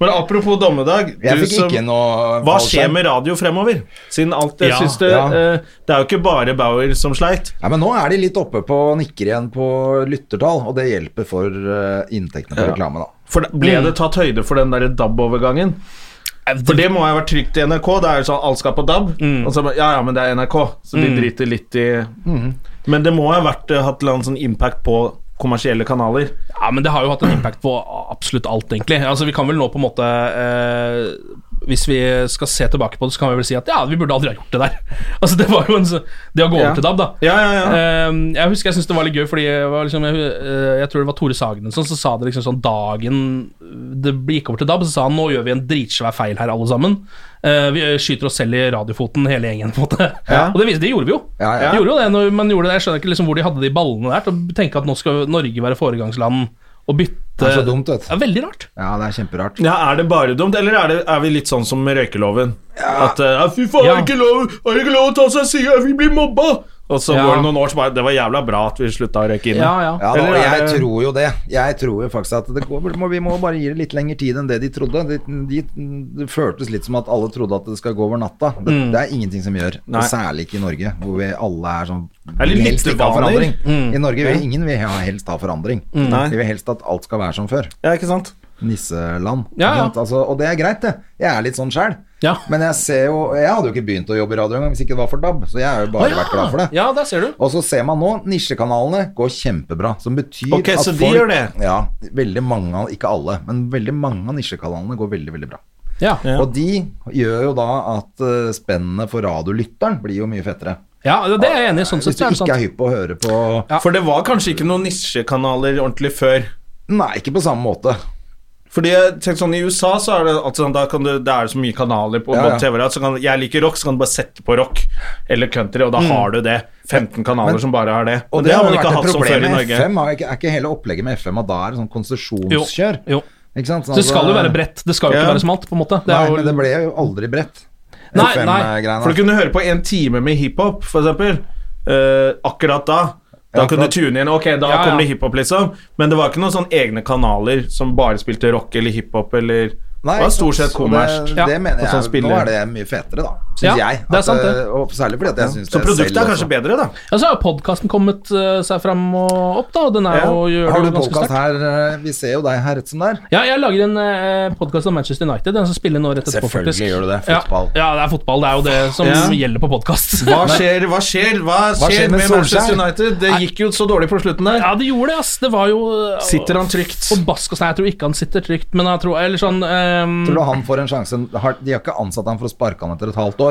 Speaker 1: Men apropos dommedag
Speaker 2: Jeg
Speaker 1: du
Speaker 2: fikk
Speaker 1: som-
Speaker 2: ikke noe
Speaker 1: Hva skjer med radio fremover? Siden alt jeg
Speaker 3: Ja,
Speaker 1: synes det,
Speaker 2: ja.
Speaker 1: eh, det er jo ikke bare Bauer som sleit.
Speaker 2: Ja, men nå er de litt oppe på nikker igjen på lyttertall, og det hjelper for eh, inntektene på reklame, da.
Speaker 1: For det- Ble det tatt høyde for den der DAB-overgangen? For det må ha vært trygt i NRK. Det er jo sånn alt skal på DAB. Og så, bare, ja, ja, men det er NRK, så de driter litt i
Speaker 2: Mm.
Speaker 1: Men det må ha vært, eh, hatt en sånn impact på kommersielle kanaler.
Speaker 3: Ja, men det har jo hatt en impact på absolutt alt, egentlig. Altså, vi kan vel nå på en måte eh, Hvis vi skal se tilbake på det, så kan vi vel si at ja, vi burde aldri ha gjort det der. Altså, det var jo en så- Det å gå over
Speaker 1: Ja.
Speaker 3: til DAB, da.
Speaker 1: Ja, ja, ja.
Speaker 3: Eh, jeg husker jeg syntes det var litt gøy, fordi jeg, var liksom, jeg, eh, jeg tror det var Tore Sagen som så sa det liksom sånn dagen eh, det gikk over til DAB, så sa han nå gjør vi en dritsvær feil her, alle sammen. Eh, vi eh, skyter oss selv i radiofoten, hele gjengen, på en måte. Og det, vis- det gjorde vi jo.
Speaker 2: Ja, ja.
Speaker 3: Vi gjorde jo det når man gjorde det. Jeg skjønner ikke liksom hvor de hadde de ballene der til å tenke at nå skal Norge være foregangsland og bytte
Speaker 2: Det er så dumt, vet
Speaker 3: Det
Speaker 2: du.
Speaker 3: er veldig rart.
Speaker 2: Ja, det er kjemperart.
Speaker 1: Ja, Er det bare dumt, eller er, det, er vi litt sånn som med røykeloven? At eh, ja, 'fy faen,
Speaker 3: Ja.
Speaker 1: er, det ikke lov, er det ikke lov å ta seg sida, vi blir mobba'? Og så
Speaker 3: Ja.
Speaker 1: går det noen år, så bare 'det var jævla bra at vi slutta å røyke inne'.
Speaker 3: Ja, ja.
Speaker 2: Ja, da,
Speaker 1: Eller
Speaker 2: og
Speaker 1: er
Speaker 2: jeg
Speaker 1: det-
Speaker 2: tror jo det. Jeg tror jo faktisk at det går, må, vi må bare gi det litt lengre tid enn det de trodde. Det, de, det føltes litt som at alle trodde at det skal gå over natta. Det, det er ingenting som gjør.
Speaker 1: Mm. Nei.
Speaker 2: Og særlig ikke i Norge, hvor vi alle er sånn
Speaker 1: Er det
Speaker 2: vil helst ikke ha
Speaker 1: lyttevaner? Mm.
Speaker 2: forandring. I Norge vil ingen vil ha- helst ha forandring.
Speaker 1: Nei.
Speaker 2: Vi vil helst at alt skal være som før.
Speaker 1: Ja, ikke sant?
Speaker 2: Nisseland.
Speaker 3: Ja, ja.
Speaker 2: ikke sant? Altså, og det er greit, det. Jeg er litt sånn sjæl.
Speaker 3: Ja.
Speaker 2: Men jeg ser jo Jeg hadde jo ikke begynt å jobbe i radio engang hvis ikke det var for DAB, så jeg har jo bare vært glad for det.
Speaker 3: Ja, der ser du.
Speaker 2: Og så ser man nå, nisjekanalene går kjempebra. Som betyr
Speaker 1: Ok,
Speaker 2: at
Speaker 1: så de
Speaker 2: folk
Speaker 1: gjør det?
Speaker 2: Ja, veldig mange av Ikke alle, men veldig mange av nisjekanalene går veldig, veldig bra.
Speaker 3: Ja.
Speaker 1: Ja.
Speaker 2: Og de gjør jo da at eh, spennet for radiolytteren blir jo mye fettere.
Speaker 3: ja, det er jeg enig i. Sånn
Speaker 2: Hvis du
Speaker 3: sett så er
Speaker 2: ikke
Speaker 3: det sant.
Speaker 2: er hypp på å høre på
Speaker 1: For det var kanskje ikke noen nisjekanaler ordentlig før.
Speaker 2: Nei, ikke på samme måte.
Speaker 1: Fordi jeg tenkte sånn, I USA så er det altså, sånn, da kan du, det er så mye kanaler på,
Speaker 2: Ja, ja.
Speaker 1: på TV. da, Så kan, jeg liker rock, så kan du bare sette på rock eller country, og da har du det. 15 kanaler som bare har det.
Speaker 2: Mm. Og
Speaker 1: Men
Speaker 2: det, har
Speaker 1: man
Speaker 2: jo
Speaker 1: ikke
Speaker 2: vært
Speaker 1: hatt
Speaker 2: et
Speaker 1: som
Speaker 2: problem
Speaker 1: før i
Speaker 2: med
Speaker 1: Norge.
Speaker 2: FM. Er ikke, er ikke hele opplegget med FM at da er det sånn konsesjonskjør?
Speaker 3: Jo.
Speaker 2: Ikke sant? Sånn
Speaker 3: Så det
Speaker 2: at-
Speaker 3: skal jo være bredt. Det skal jo ikke
Speaker 1: Ja.
Speaker 3: være smalt, på en måte. Det
Speaker 2: Nei,
Speaker 3: er jo,
Speaker 2: men det ble jo aldri bredt.
Speaker 3: Nei,
Speaker 2: FM
Speaker 3: nei,
Speaker 2: -greiene.
Speaker 1: For du kunne høre på en time med hiphop, for eksempel. Eh, akkurat da. Da
Speaker 2: Ja,
Speaker 1: kunne
Speaker 2: akkurat.
Speaker 1: du tune inn. Ok, da
Speaker 3: Ja, ja.
Speaker 1: kom det hiphop, liksom. Men det var ikke noen sånn egne kanaler som bare spilte rock eller hiphop eller
Speaker 2: Nei,
Speaker 1: Det var
Speaker 2: ikke
Speaker 1: stort
Speaker 2: sant?
Speaker 1: sett kommersielt.
Speaker 2: Det,
Speaker 3: Ja.
Speaker 2: det mener
Speaker 1: Og sånn
Speaker 2: jeg.
Speaker 1: spiller-
Speaker 2: Nå er det mye fetere, da. Syns
Speaker 3: Ja,
Speaker 2: jeg.
Speaker 3: det er sant, det.
Speaker 2: eh, Og særlig fordi at jeg altså. syns
Speaker 1: Så produktet er kanskje bedre, da.
Speaker 3: Ja, så har jo podkasten kommet eh, seg fram og opp, da, og den er
Speaker 1: Ja.
Speaker 3: jo gjør
Speaker 2: Har
Speaker 3: det
Speaker 2: du
Speaker 3: jo ganske
Speaker 2: podkast
Speaker 3: sterkt.
Speaker 2: her? eh, Vi ser jo deg her rett som det er.
Speaker 3: Ja, jeg lager en eh, podkast om Manchester United, den som spiller nå rett etterpå,
Speaker 2: Selvfølgelig
Speaker 3: faktisk.
Speaker 2: gjør du det,
Speaker 3: Ja.
Speaker 2: fotball.
Speaker 3: Ja, det er fotball. Det er jo det som
Speaker 1: Ja.
Speaker 3: gjelder på podkast.
Speaker 1: Hva skjer, hva skjer, hva skjer,
Speaker 2: skjer med
Speaker 1: med, Manchester
Speaker 2: Solskjær?
Speaker 1: United? Det gikk jo så dårlig på slutten der.
Speaker 3: Ja, det gjorde det, ass. Det var jo eh,
Speaker 1: Sitter han trygt?
Speaker 3: Og Baskos Nei, jeg tror ikke han sitter trygt, men jeg tror Eller sånn ehm,
Speaker 2: Tror du han får en sjanse? Har- De har ikke ansatt han for å sparke han etter et halvt år.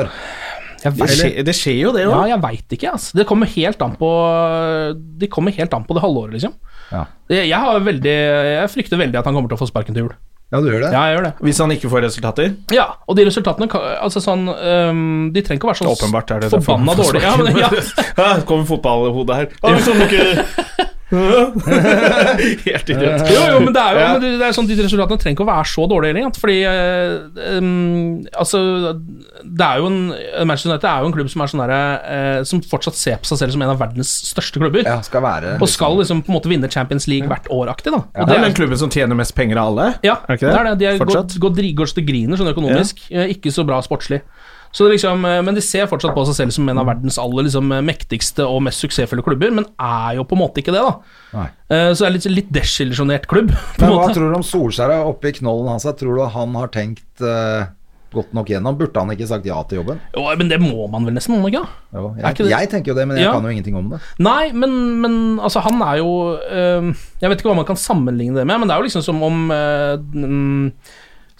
Speaker 1: Det
Speaker 3: jeg vet-
Speaker 1: skjer, det skjer jo, det
Speaker 3: Ja,
Speaker 1: òg.
Speaker 3: jeg veit ikke, ass. Det kommer helt an på De kommer helt an på det halve året, liksom.
Speaker 2: Ja,
Speaker 3: Jeg, jeg har veldig Jeg frykter veldig at han kommer til å få sparken til jul.
Speaker 2: ja du gjør det?
Speaker 3: Ja, jeg gjør det.
Speaker 1: Hvis han ikke får resultater.
Speaker 3: Ja, og de resultatene kan- Altså sånn ehm, De trenger ikke å være så
Speaker 1: Åpenbart er det derfor
Speaker 3: forbanna
Speaker 1: han får
Speaker 3: dårlige. Ja, men, ja.
Speaker 1: Ja, det kommer fotballhodet her. Ah, hvis han ikke- Helt idiot.
Speaker 3: Jo, jo, men det er jo
Speaker 1: Ja.
Speaker 3: men det- det er sånn, De resultatene trenger ikke å være så dårlige heller. ikke sant? Fordi eh, ehm, Altså, det er jo en Manchester United er jo en klubb som er sånn derre eh, Som fortsatt ser på seg selv som en av verdens største klubber.
Speaker 2: Ja, skal være
Speaker 3: Og skal liksom på en måte vinne Champions League hvert år-aktig, da. Og
Speaker 1: Det er
Speaker 3: er-
Speaker 1: den klubben som tjener mest penger av alle?
Speaker 3: Ja,
Speaker 1: Er det ikke det?
Speaker 3: det er det. De er
Speaker 1: Fortsatt?
Speaker 3: går, går, dri- går så det griner sånn økonomisk. eh, Ikke så bra sportslig. Så det liksom, eh, men de ser fortsatt på seg selv som en
Speaker 1: Mm.
Speaker 3: av verdens aller liksom, eh, mektigste og mest suksessfulle klubber, men er jo på en måte ikke det, da.
Speaker 2: Nei.
Speaker 3: Eh, Så det er litt, litt desillusjonert klubb, på en
Speaker 2: Men hva
Speaker 3: måte.
Speaker 2: tror du om Solskjær er oppe i knollen hans? her? Tror du han har tenkt eh, godt nok gjennom? Burde han ikke sagt ja til jobben?
Speaker 3: Jo, men det må man vel nesten, må man ikke? da?
Speaker 2: Jo,
Speaker 3: Er
Speaker 2: jeg,
Speaker 3: ikke det-
Speaker 2: jeg tenker jo det, men jeg
Speaker 3: Ja.
Speaker 2: kan jo ingenting om det.
Speaker 3: Nei, men, men altså, han er jo eh, Jeg vet ikke hva man kan sammenligne det med, men det er jo liksom som om eh, mm,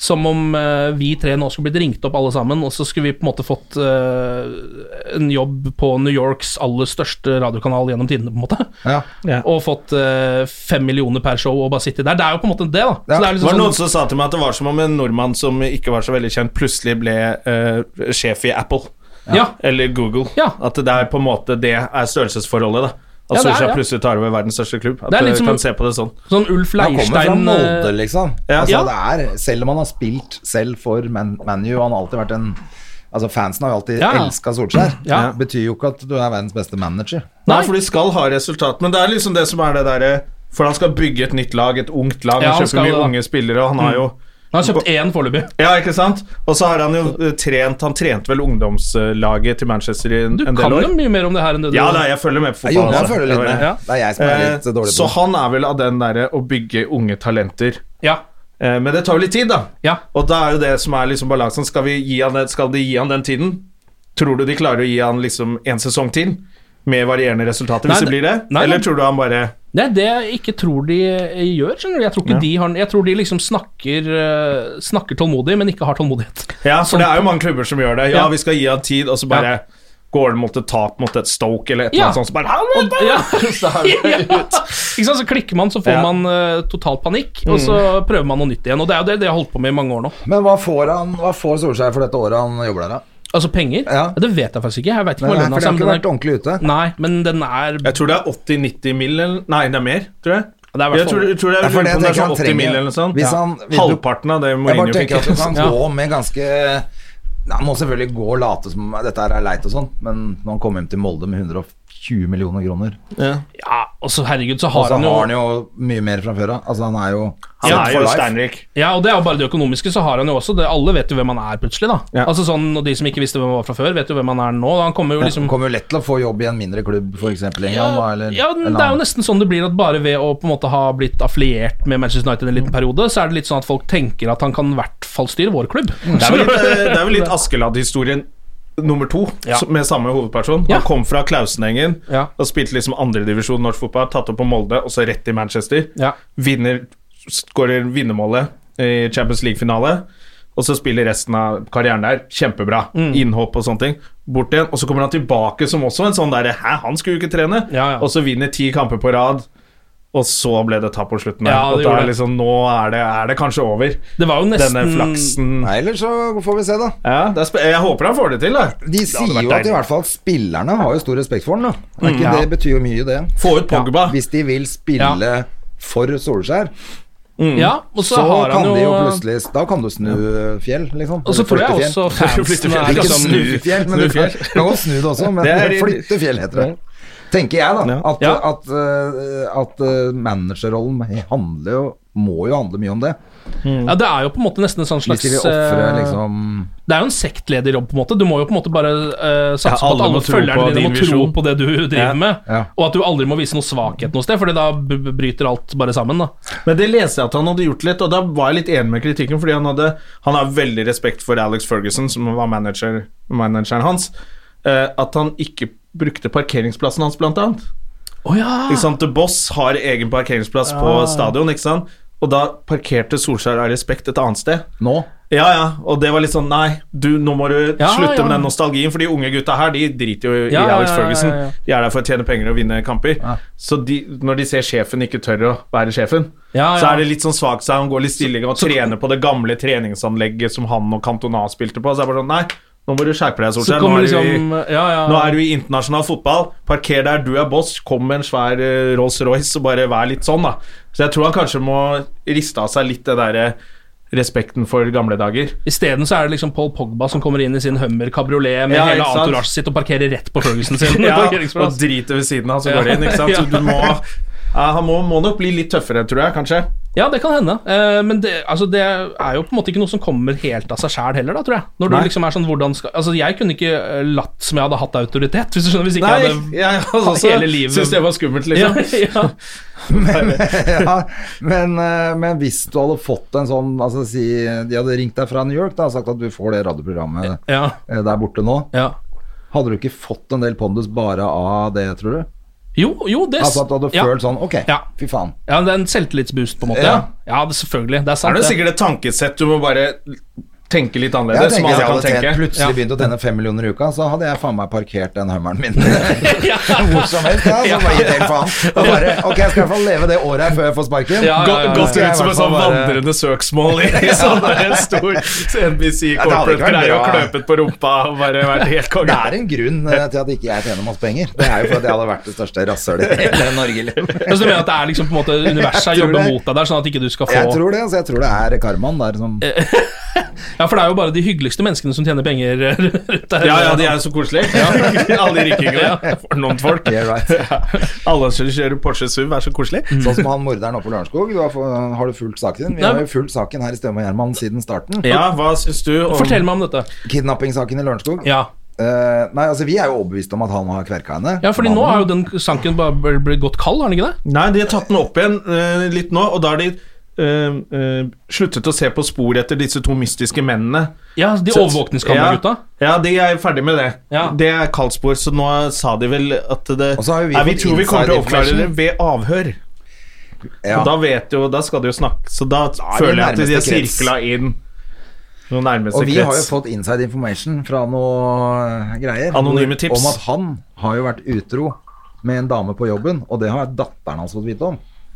Speaker 3: Som om eh, vi tre nå skulle blitt ringt opp alle sammen, og så skulle vi på en måte fått eh, en jobb på New Yorks aller største radiokanal gjennom tidene, på en måte.
Speaker 2: Ja.
Speaker 3: Og fått eh, fem millioner per show og bare sitte der. Det er jo på en måte det, da. Så
Speaker 2: Ja.
Speaker 3: det er
Speaker 1: Det
Speaker 3: liksom
Speaker 1: var
Speaker 3: sånn-
Speaker 1: noen som sa til meg at det var som om en nordmann som ikke var så veldig kjent, plutselig ble eh, sjef i Apple
Speaker 3: ja.
Speaker 1: eller Google.
Speaker 3: Ja.
Speaker 1: At det er på en måte det er størrelsesforholdet, da. At
Speaker 3: Ja, det er
Speaker 1: Solskjær
Speaker 3: det.
Speaker 1: plutselig tar over verdens største klubb. At
Speaker 3: Det er liksom litt
Speaker 1: du
Speaker 3: som-
Speaker 1: kan se på det sånn.
Speaker 3: Sånn Ulf
Speaker 2: Han kommer fra
Speaker 3: Leirstein eh,
Speaker 2: Molde, liksom.
Speaker 1: Ja.
Speaker 2: Altså,
Speaker 3: Ja.
Speaker 2: det er, selv om han har spilt selv for Man- ManU, han har alltid vært en Altså Fansen har jo alltid
Speaker 3: Ja.
Speaker 2: elska Solskjær.
Speaker 3: Ja.
Speaker 2: Det betyr jo ikke at du er verdens beste manager.
Speaker 1: Nei.
Speaker 3: Nei.
Speaker 1: for de skal ha resultat, men det er liksom det som er det derre For han skal bygge et nytt lag, et ungt lag,
Speaker 3: Ja,
Speaker 1: han
Speaker 3: han skal
Speaker 1: kjøper mye
Speaker 3: det, da. Mm.
Speaker 1: unge spillere, og han har jo
Speaker 3: Han har kjøpt én foreløpig.
Speaker 1: Ja, ikke sant? Og så har han jo eh, trent Han trente vel ungdomslaget til Manchester i en,
Speaker 3: Du
Speaker 1: en
Speaker 3: kan
Speaker 1: del år.
Speaker 3: jo mye mer om det her enn det du
Speaker 1: Ja, da, jeg følger med på
Speaker 2: Jo,
Speaker 1: fotball.
Speaker 2: jeg
Speaker 1: altså.
Speaker 2: føler litt med.
Speaker 3: Ja.
Speaker 2: Det er jeg som er litt
Speaker 1: Eh,
Speaker 2: dårlig på
Speaker 1: Så
Speaker 2: det.
Speaker 1: han er vel av den derre å bygge unge talenter.
Speaker 3: Ja.
Speaker 1: Eh, Men det tar jo litt tid, da.
Speaker 3: ja.
Speaker 1: Og da er jo det som er liksom balansen. Skal, vi gi han, det- skal de gi han den tiden? Tror du de klarer å gi han liksom en sesong til? Med varierende resultater, hvis
Speaker 3: Nei,
Speaker 1: det blir det?
Speaker 3: nei,
Speaker 1: Eller
Speaker 3: nei.
Speaker 1: tror du han bare
Speaker 3: Det er det jeg ikke tror de eh, gjør. skjønner du Jeg tror ikke
Speaker 1: Ja.
Speaker 3: de har Jeg tror de liksom snakker eh, Snakker tålmodig, men ikke har tålmodighet.
Speaker 1: Ja, for
Speaker 3: Sånn-
Speaker 1: det er jo mange klubber som gjør det. Ja,
Speaker 3: Ja.
Speaker 1: vi skal gi han tid, og så bare
Speaker 3: Ja.
Speaker 1: går han mot et tap mot et Stoke eller et eller
Speaker 3: Ja.
Speaker 1: annet sånt. Så bare, han,
Speaker 3: Og, ja. ja. Ikke sant, Så klikker man, så får
Speaker 1: Ja.
Speaker 3: man eh, total panikk,
Speaker 2: Mm.
Speaker 3: og så prøver man noe nytt igjen. Og det er jo det, det jeg har holdt på med i mange år nå.
Speaker 2: Men hva får, han, hva får Solskjær for dette året han jobber der, da?
Speaker 3: Altså penger?
Speaker 2: Ja.
Speaker 3: Det vet jeg faktisk ikke. Jeg vet ikke
Speaker 2: Nei,
Speaker 3: hva
Speaker 2: nei, for det
Speaker 3: lønna er, altså,
Speaker 2: har
Speaker 3: men
Speaker 2: ikke
Speaker 3: den
Speaker 2: vært ordentlig ute.
Speaker 3: er- Nei, men den er
Speaker 1: Jeg tror det er 80-90 mil, eller Nei, det er mer, tror jeg.
Speaker 3: det er i hvert
Speaker 1: jeg tror,
Speaker 3: fall-
Speaker 2: Det
Speaker 1: jeg tror det er,
Speaker 2: er fordi jeg
Speaker 1: om det er
Speaker 2: tenker
Speaker 1: sånn
Speaker 2: han
Speaker 1: 80 mil
Speaker 2: trenger-
Speaker 1: eller noe sånt.
Speaker 2: Hvis han- hvis du-
Speaker 1: Halvparten av det
Speaker 2: Jeg bare
Speaker 1: Mourinho fikk. altså.
Speaker 2: tenker at du kan
Speaker 3: Ja.
Speaker 2: gå med ganske Nei, Han må selvfølgelig gå og late som dette her er leit og sånn, men når han kom hjem til Molde med 120 millioner kroner
Speaker 3: Ja, og så herregud, så
Speaker 2: Og
Speaker 3: har
Speaker 2: så
Speaker 3: han jo
Speaker 2: har han jo mye mer fra før av. Altså, han er jo set
Speaker 1: Han er
Speaker 2: for
Speaker 1: jo
Speaker 2: life.
Speaker 1: steinrik.
Speaker 3: Ja, og det er jo bare det økonomiske, så har han jo også det. Alle vet jo hvem han er plutselig, da.
Speaker 1: Ja.
Speaker 3: Altså sånn, Og de som ikke visste hvem han var fra før, vet jo hvem han er nå. Da. Han kommer jo liksom
Speaker 2: Han kommer jo lett til å få jobb i en mindre klubb, f.eks. England. da, eller,
Speaker 3: ja,
Speaker 2: eller
Speaker 3: det er jo
Speaker 2: annen.
Speaker 3: nesten sånn det blir at bare ved å på en måte ha blitt affiliert med Manchester United en
Speaker 1: Mm.
Speaker 3: liten periode, så er det litt sånn at folk tenker at han kan i hvert fall styre vår klubb.
Speaker 1: Det er vel litt, eh, det er vel litt Askeladd-historien nummer to,
Speaker 3: Ja.
Speaker 1: som- med samme hovedperson.
Speaker 3: Ja.
Speaker 1: Han kom fra Klausenengen
Speaker 3: Ja.
Speaker 1: og spilte liksom andredivisjon norsk fotball, tatt opp på Molde, og så rett til Manchester.
Speaker 3: Ja.
Speaker 1: Vinner, skårer vinnermålet i Champions League-finale. Og så spiller resten av karrieren der kjempebra.
Speaker 3: Mm.
Speaker 1: Innhopp og sånne ting. Bort igjen, og så kommer han tilbake som også en sånn derre Hæ, han skulle jo ikke trene!
Speaker 3: Ja, ja.
Speaker 1: Og så vinner ti kamper på rad, og så ble det tap på slutten. der.
Speaker 3: Ja, det
Speaker 1: og da
Speaker 3: gjorde
Speaker 1: er
Speaker 3: det.
Speaker 1: liksom Nå er det, er det kanskje over.
Speaker 3: Det var jo nesten
Speaker 1: Denne flaksen
Speaker 2: Nei, Ellers så får vi se, da.
Speaker 1: ja, det er spe- jeg håper han får det til. Da.
Speaker 2: De sier jo at i hvert fall spillerne har jo stor respekt for han. Da. Er ikke,
Speaker 3: Mm. ja.
Speaker 2: Det betyr jo mye, det.
Speaker 1: Få ut Pogba.
Speaker 2: Hvis de vil spille for Solskjær,
Speaker 1: mm.
Speaker 3: Ja, og så,
Speaker 2: så,
Speaker 3: har
Speaker 2: kan
Speaker 3: han
Speaker 2: de jo
Speaker 3: jo
Speaker 2: plutselig Da kan du snu fjell, liksom.
Speaker 3: Og så
Speaker 2: Eller
Speaker 3: tror jeg
Speaker 2: flytte fjell.
Speaker 3: også fansen
Speaker 1: Flyttefjell.
Speaker 3: er
Speaker 2: Ikke
Speaker 3: liksom
Speaker 2: snu fjell, men du
Speaker 1: Snu
Speaker 2: kan,
Speaker 1: fjell.
Speaker 2: kan godt snu det også. Men
Speaker 1: Det er-
Speaker 2: flytte fjell heter det. Tenker jeg, da. At,
Speaker 3: Ja.
Speaker 2: at, eh, at eh, managerrollen handler jo må jo handle mye om det.
Speaker 3: Ja, det er jo på en måte nesten en sånn
Speaker 2: Hvis
Speaker 3: slags
Speaker 2: de vil ofre
Speaker 3: eh,
Speaker 2: liksom
Speaker 3: Det er jo en sektlederjobb, på en måte. Du må jo på en måte bare eh,
Speaker 1: Ja,
Speaker 3: satse på at
Speaker 1: alle må
Speaker 3: alle
Speaker 1: tro på
Speaker 3: følgerne dine
Speaker 1: din
Speaker 3: må tro
Speaker 1: visjon.
Speaker 3: på det du driver
Speaker 1: Ja,
Speaker 3: med,
Speaker 2: ja.
Speaker 3: og at du aldri må vise noe svakhet noe sted, Fordi da b- b- bryter alt bare sammen. Da.
Speaker 1: Men det leste jeg at han hadde gjort litt, og da var jeg litt enig med kritikken, fordi han hadde Han har veldig respekt for Alex Ferguson, som var manager, manageren hans, eh, at han ikke brukte parkeringsplassen hans, blant annet.
Speaker 3: Å ja.
Speaker 1: Ikke sant? The Boss har egen parkeringsplass
Speaker 2: Ah.
Speaker 1: på stadion, ikke sant? Og da parkerte Solskjær av respekt et annet sted.
Speaker 2: Nå?
Speaker 1: Ja, ja, og det var litt sånn Nei, du, nå må du
Speaker 3: Ja,
Speaker 1: slutte
Speaker 3: ja.
Speaker 1: med den nostalgien, for de unge gutta her, de driter jo i
Speaker 3: Ja, ja,
Speaker 1: Alex
Speaker 3: ja, ja,
Speaker 1: Ferguson.
Speaker 3: ja.
Speaker 1: De er der for å tjene penger og vinne kamper. Så de, når de ser sjefen ikke tør å være sjefen,
Speaker 3: Ja,
Speaker 1: så
Speaker 3: ja.
Speaker 1: er det litt sånn svak seg. Han går litt stilling og trener på det gamle treningsanlegget som han og Cantona spilte på. Så er det bare sånn Nei, nå må du skjerpe deg,
Speaker 3: Så
Speaker 1: Solskjær. Nå
Speaker 3: kommer
Speaker 1: er du i
Speaker 3: liksom Ja, ja.
Speaker 1: nå er du i internasjonal fotball. Parker der du er boss. Kom med en svær eh, Rolls-Royce og bare vær litt sånn, da. Så jeg tror han kanskje må riste av seg litt det derre respekten for gamle dager.
Speaker 3: Isteden så er det liksom Paul Pogba som kommer inn i sin Hummer kabriolet med
Speaker 1: Ja,
Speaker 3: hele
Speaker 1: ikke sant?
Speaker 3: entourage sitt og parkerer rett på Ferguson sin
Speaker 1: Ja, og
Speaker 3: parkeringsplass.
Speaker 1: driter ved siden av, så
Speaker 3: Ja.
Speaker 1: går det inn, ikke sant. Så
Speaker 3: Ja.
Speaker 1: du må ja, Han må, må nok bli litt tøffere, tror jeg, kanskje.
Speaker 3: Ja, det kan hende. Eh, men det, altså, det er jo på en måte ikke noe som kommer helt av seg sjæl heller, da, tror jeg. Når du
Speaker 1: Nei.
Speaker 3: liksom er sånn, hvordan skal Altså, jeg kunne ikke eh, latt som jeg hadde hatt autoritet, hvis du skjønner. Hvis ikke
Speaker 1: Nei,
Speaker 3: jeg
Speaker 1: jeg,
Speaker 3: hadde
Speaker 1: altså,
Speaker 3: hele livet-
Speaker 1: synes det var skummelt,
Speaker 3: ja,
Speaker 1: liksom.
Speaker 3: ja.
Speaker 2: ja, men, eh, men hvis du hadde fått en sånn altså, si, De hadde ringt deg fra New York da, og sagt at du får det radioprogrammet
Speaker 3: Ja,
Speaker 2: eh, der borte nå.
Speaker 3: ja.
Speaker 2: Hadde du ikke fått en del pondus bare av det, tror du?
Speaker 3: Jo, jo, det
Speaker 2: Altså at du hadde
Speaker 3: ja.
Speaker 2: følt sånn Ok,
Speaker 3: Ja.
Speaker 2: fy faen.
Speaker 3: ja, det er en selvtillitsboost, på en måte.
Speaker 2: Ja.
Speaker 3: Ja, ja det, selvfølgelig. Det er
Speaker 1: Er
Speaker 3: sant,
Speaker 1: det sikkert et tankesett du må bare tenke litt
Speaker 2: Jeg
Speaker 1: annerledes? som
Speaker 2: tenker
Speaker 1: alle
Speaker 2: jeg hadde
Speaker 1: kan
Speaker 2: tjent,
Speaker 1: tenke.
Speaker 2: plutselig begynt å tjene fem millioner i uka, så hadde jeg faen meg parkert den hummeren min hvor som helst. Ja, så bare gitt helt faen. Og bare, ok, jeg skal i hvert fall leve det året her før jeg får sparken.
Speaker 3: Ja, ja, ja, ja.
Speaker 1: Gått ut som en sånn vandrende søksmål i sånn der stor NBC
Speaker 2: Ja, det hadde ikke vært
Speaker 1: Corporate-greie og
Speaker 2: bra.
Speaker 1: kløpet på rumpa og bare vært helt
Speaker 2: Det
Speaker 1: konge.
Speaker 2: er en grunn eh, til at ikke jeg tjener masse penger. Det er jo for at jeg hadde vært det største rasshølet i hele Norge. liksom.
Speaker 3: Altså, du mener at det er liksom på en måte universet har
Speaker 2: Jeg tror
Speaker 3: jobba
Speaker 2: det.
Speaker 3: mot deg der, sånn at ikke du skal få
Speaker 2: Jeg tror det, altså jeg tror det er karmaen der som
Speaker 3: Ja, for det er jo bare de hyggeligste menneskene som tjener penger rundt her.
Speaker 1: Ja, ja, de er jo så koselige. Alle de rikingene. For noen folk.
Speaker 2: Yeah, right.
Speaker 1: Alle som kjører Porsche SUV, er så
Speaker 3: Mm.
Speaker 1: koselige.
Speaker 2: Sånn som han morderen oppe på Lørenskog. Du har, få- har du fulgt saken din? Vi har jo fulgt saken her i Støme og Gjerman siden starten.
Speaker 1: Ja, hva syns du om
Speaker 3: Fortell meg om dette.
Speaker 2: Kidnappingssaken i Lørenskog.
Speaker 3: Ja,
Speaker 2: Eh, nei, altså vi er jo overbevist om at han har kverka henne.
Speaker 3: ja fordi nå har jo den sanken bare bl- blitt gått kald, har den ikke det?
Speaker 1: Nei, de har tatt den opp igjen eh, litt nå, og da har de eh, eh, sluttet å se på spor etter disse to mystiske mennene.
Speaker 3: Ja, de
Speaker 1: Så-
Speaker 3: overvåkningskameragutta.
Speaker 1: Ja, ja, de er ferdig med det.
Speaker 3: Ja.
Speaker 1: Det er kaldt spor, så nå sa de vel at det
Speaker 2: Og så har jo vi
Speaker 1: Nei, vi
Speaker 2: fått
Speaker 1: tror vi kommer til å
Speaker 2: inside
Speaker 1: oppklare det
Speaker 2: information.
Speaker 1: ved avhør.
Speaker 2: Ja.
Speaker 1: Og da vet jo Da skal de jo snakke, så da
Speaker 2: det
Speaker 1: føler jeg at de har
Speaker 2: nærmeste krets.
Speaker 1: sirkla inn noen nærmeste
Speaker 2: Og vi har jo
Speaker 1: krets.
Speaker 2: fått inside information fra noe eh, greier
Speaker 1: Anonyme tips.
Speaker 2: om at han har jo vært utro med en dame på jobben, og det har datteren hans fått vite om.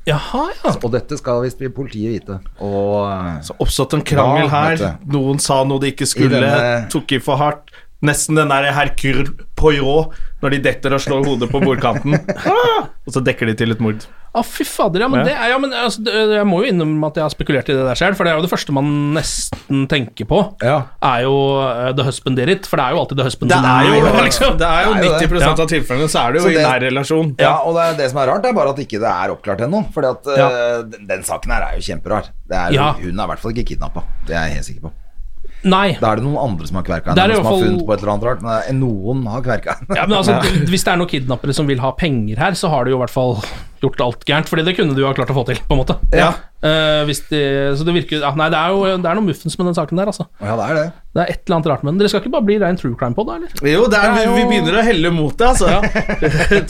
Speaker 3: Jaha, ja.
Speaker 2: Og dette skal visst politiet vite. Og eh,
Speaker 1: Så oppstått en krangel
Speaker 2: Ja,
Speaker 1: her.
Speaker 2: vet
Speaker 1: Noen sa noe de ikke skulle,
Speaker 2: I denne-
Speaker 1: tok i for hardt. Nesten den der Hercule Poirot når de detter og slår hodet på bordkanten. Ah! og så dekker de til et mord.
Speaker 3: Å, fy fader, ja, men,
Speaker 1: Ja.
Speaker 3: Det er, ja, men altså, det- jeg må jo innrømme at jeg har spekulert i det der selv, for det er jo det første man nesten tenker på,
Speaker 2: Ja.
Speaker 3: er jo eh, the husband did it, for det er jo alltid the husband
Speaker 1: Det
Speaker 3: did
Speaker 1: er jo,
Speaker 3: it, liksom.
Speaker 1: det er jo
Speaker 2: Det er jo det.
Speaker 1: 90 av tilfellene så er det jo
Speaker 2: Så det-
Speaker 1: i nær relasjon.
Speaker 2: Ja, og det, er det som er rart, er bare at ikke det er oppklart ennå. For
Speaker 3: Ja.
Speaker 2: den, den saken her er jo kjemperar. Det er, jo-
Speaker 3: Ja.
Speaker 2: Hun er i hvert fall ikke kidnappa. Det er jeg helt sikker på.
Speaker 3: Nei.
Speaker 2: Da er det noen andre som har kverka
Speaker 3: Det er i
Speaker 2: henne, som
Speaker 3: hvert
Speaker 2: har
Speaker 3: fall-
Speaker 2: funnet på et eller annet rart. Men det er- noen har kverka henne.
Speaker 3: Ja, men altså, d- Hvis det er noen kidnappere som vil ha penger her, så har de jo i hvert fall gjort alt gærent, Fordi det kunne du jo ha klart å få til, på en måte.
Speaker 1: Ja.
Speaker 3: Eh, hvis de, så det virker ja, Nei, det er jo det er noe muffens med den saken der, altså.
Speaker 2: Ja, det er det.
Speaker 3: Det er et eller annet rart med den. Dere skal ikke bare bli rein true crime på det, eller?
Speaker 1: Jo, det er, vi, vi begynner å helle mot det, altså.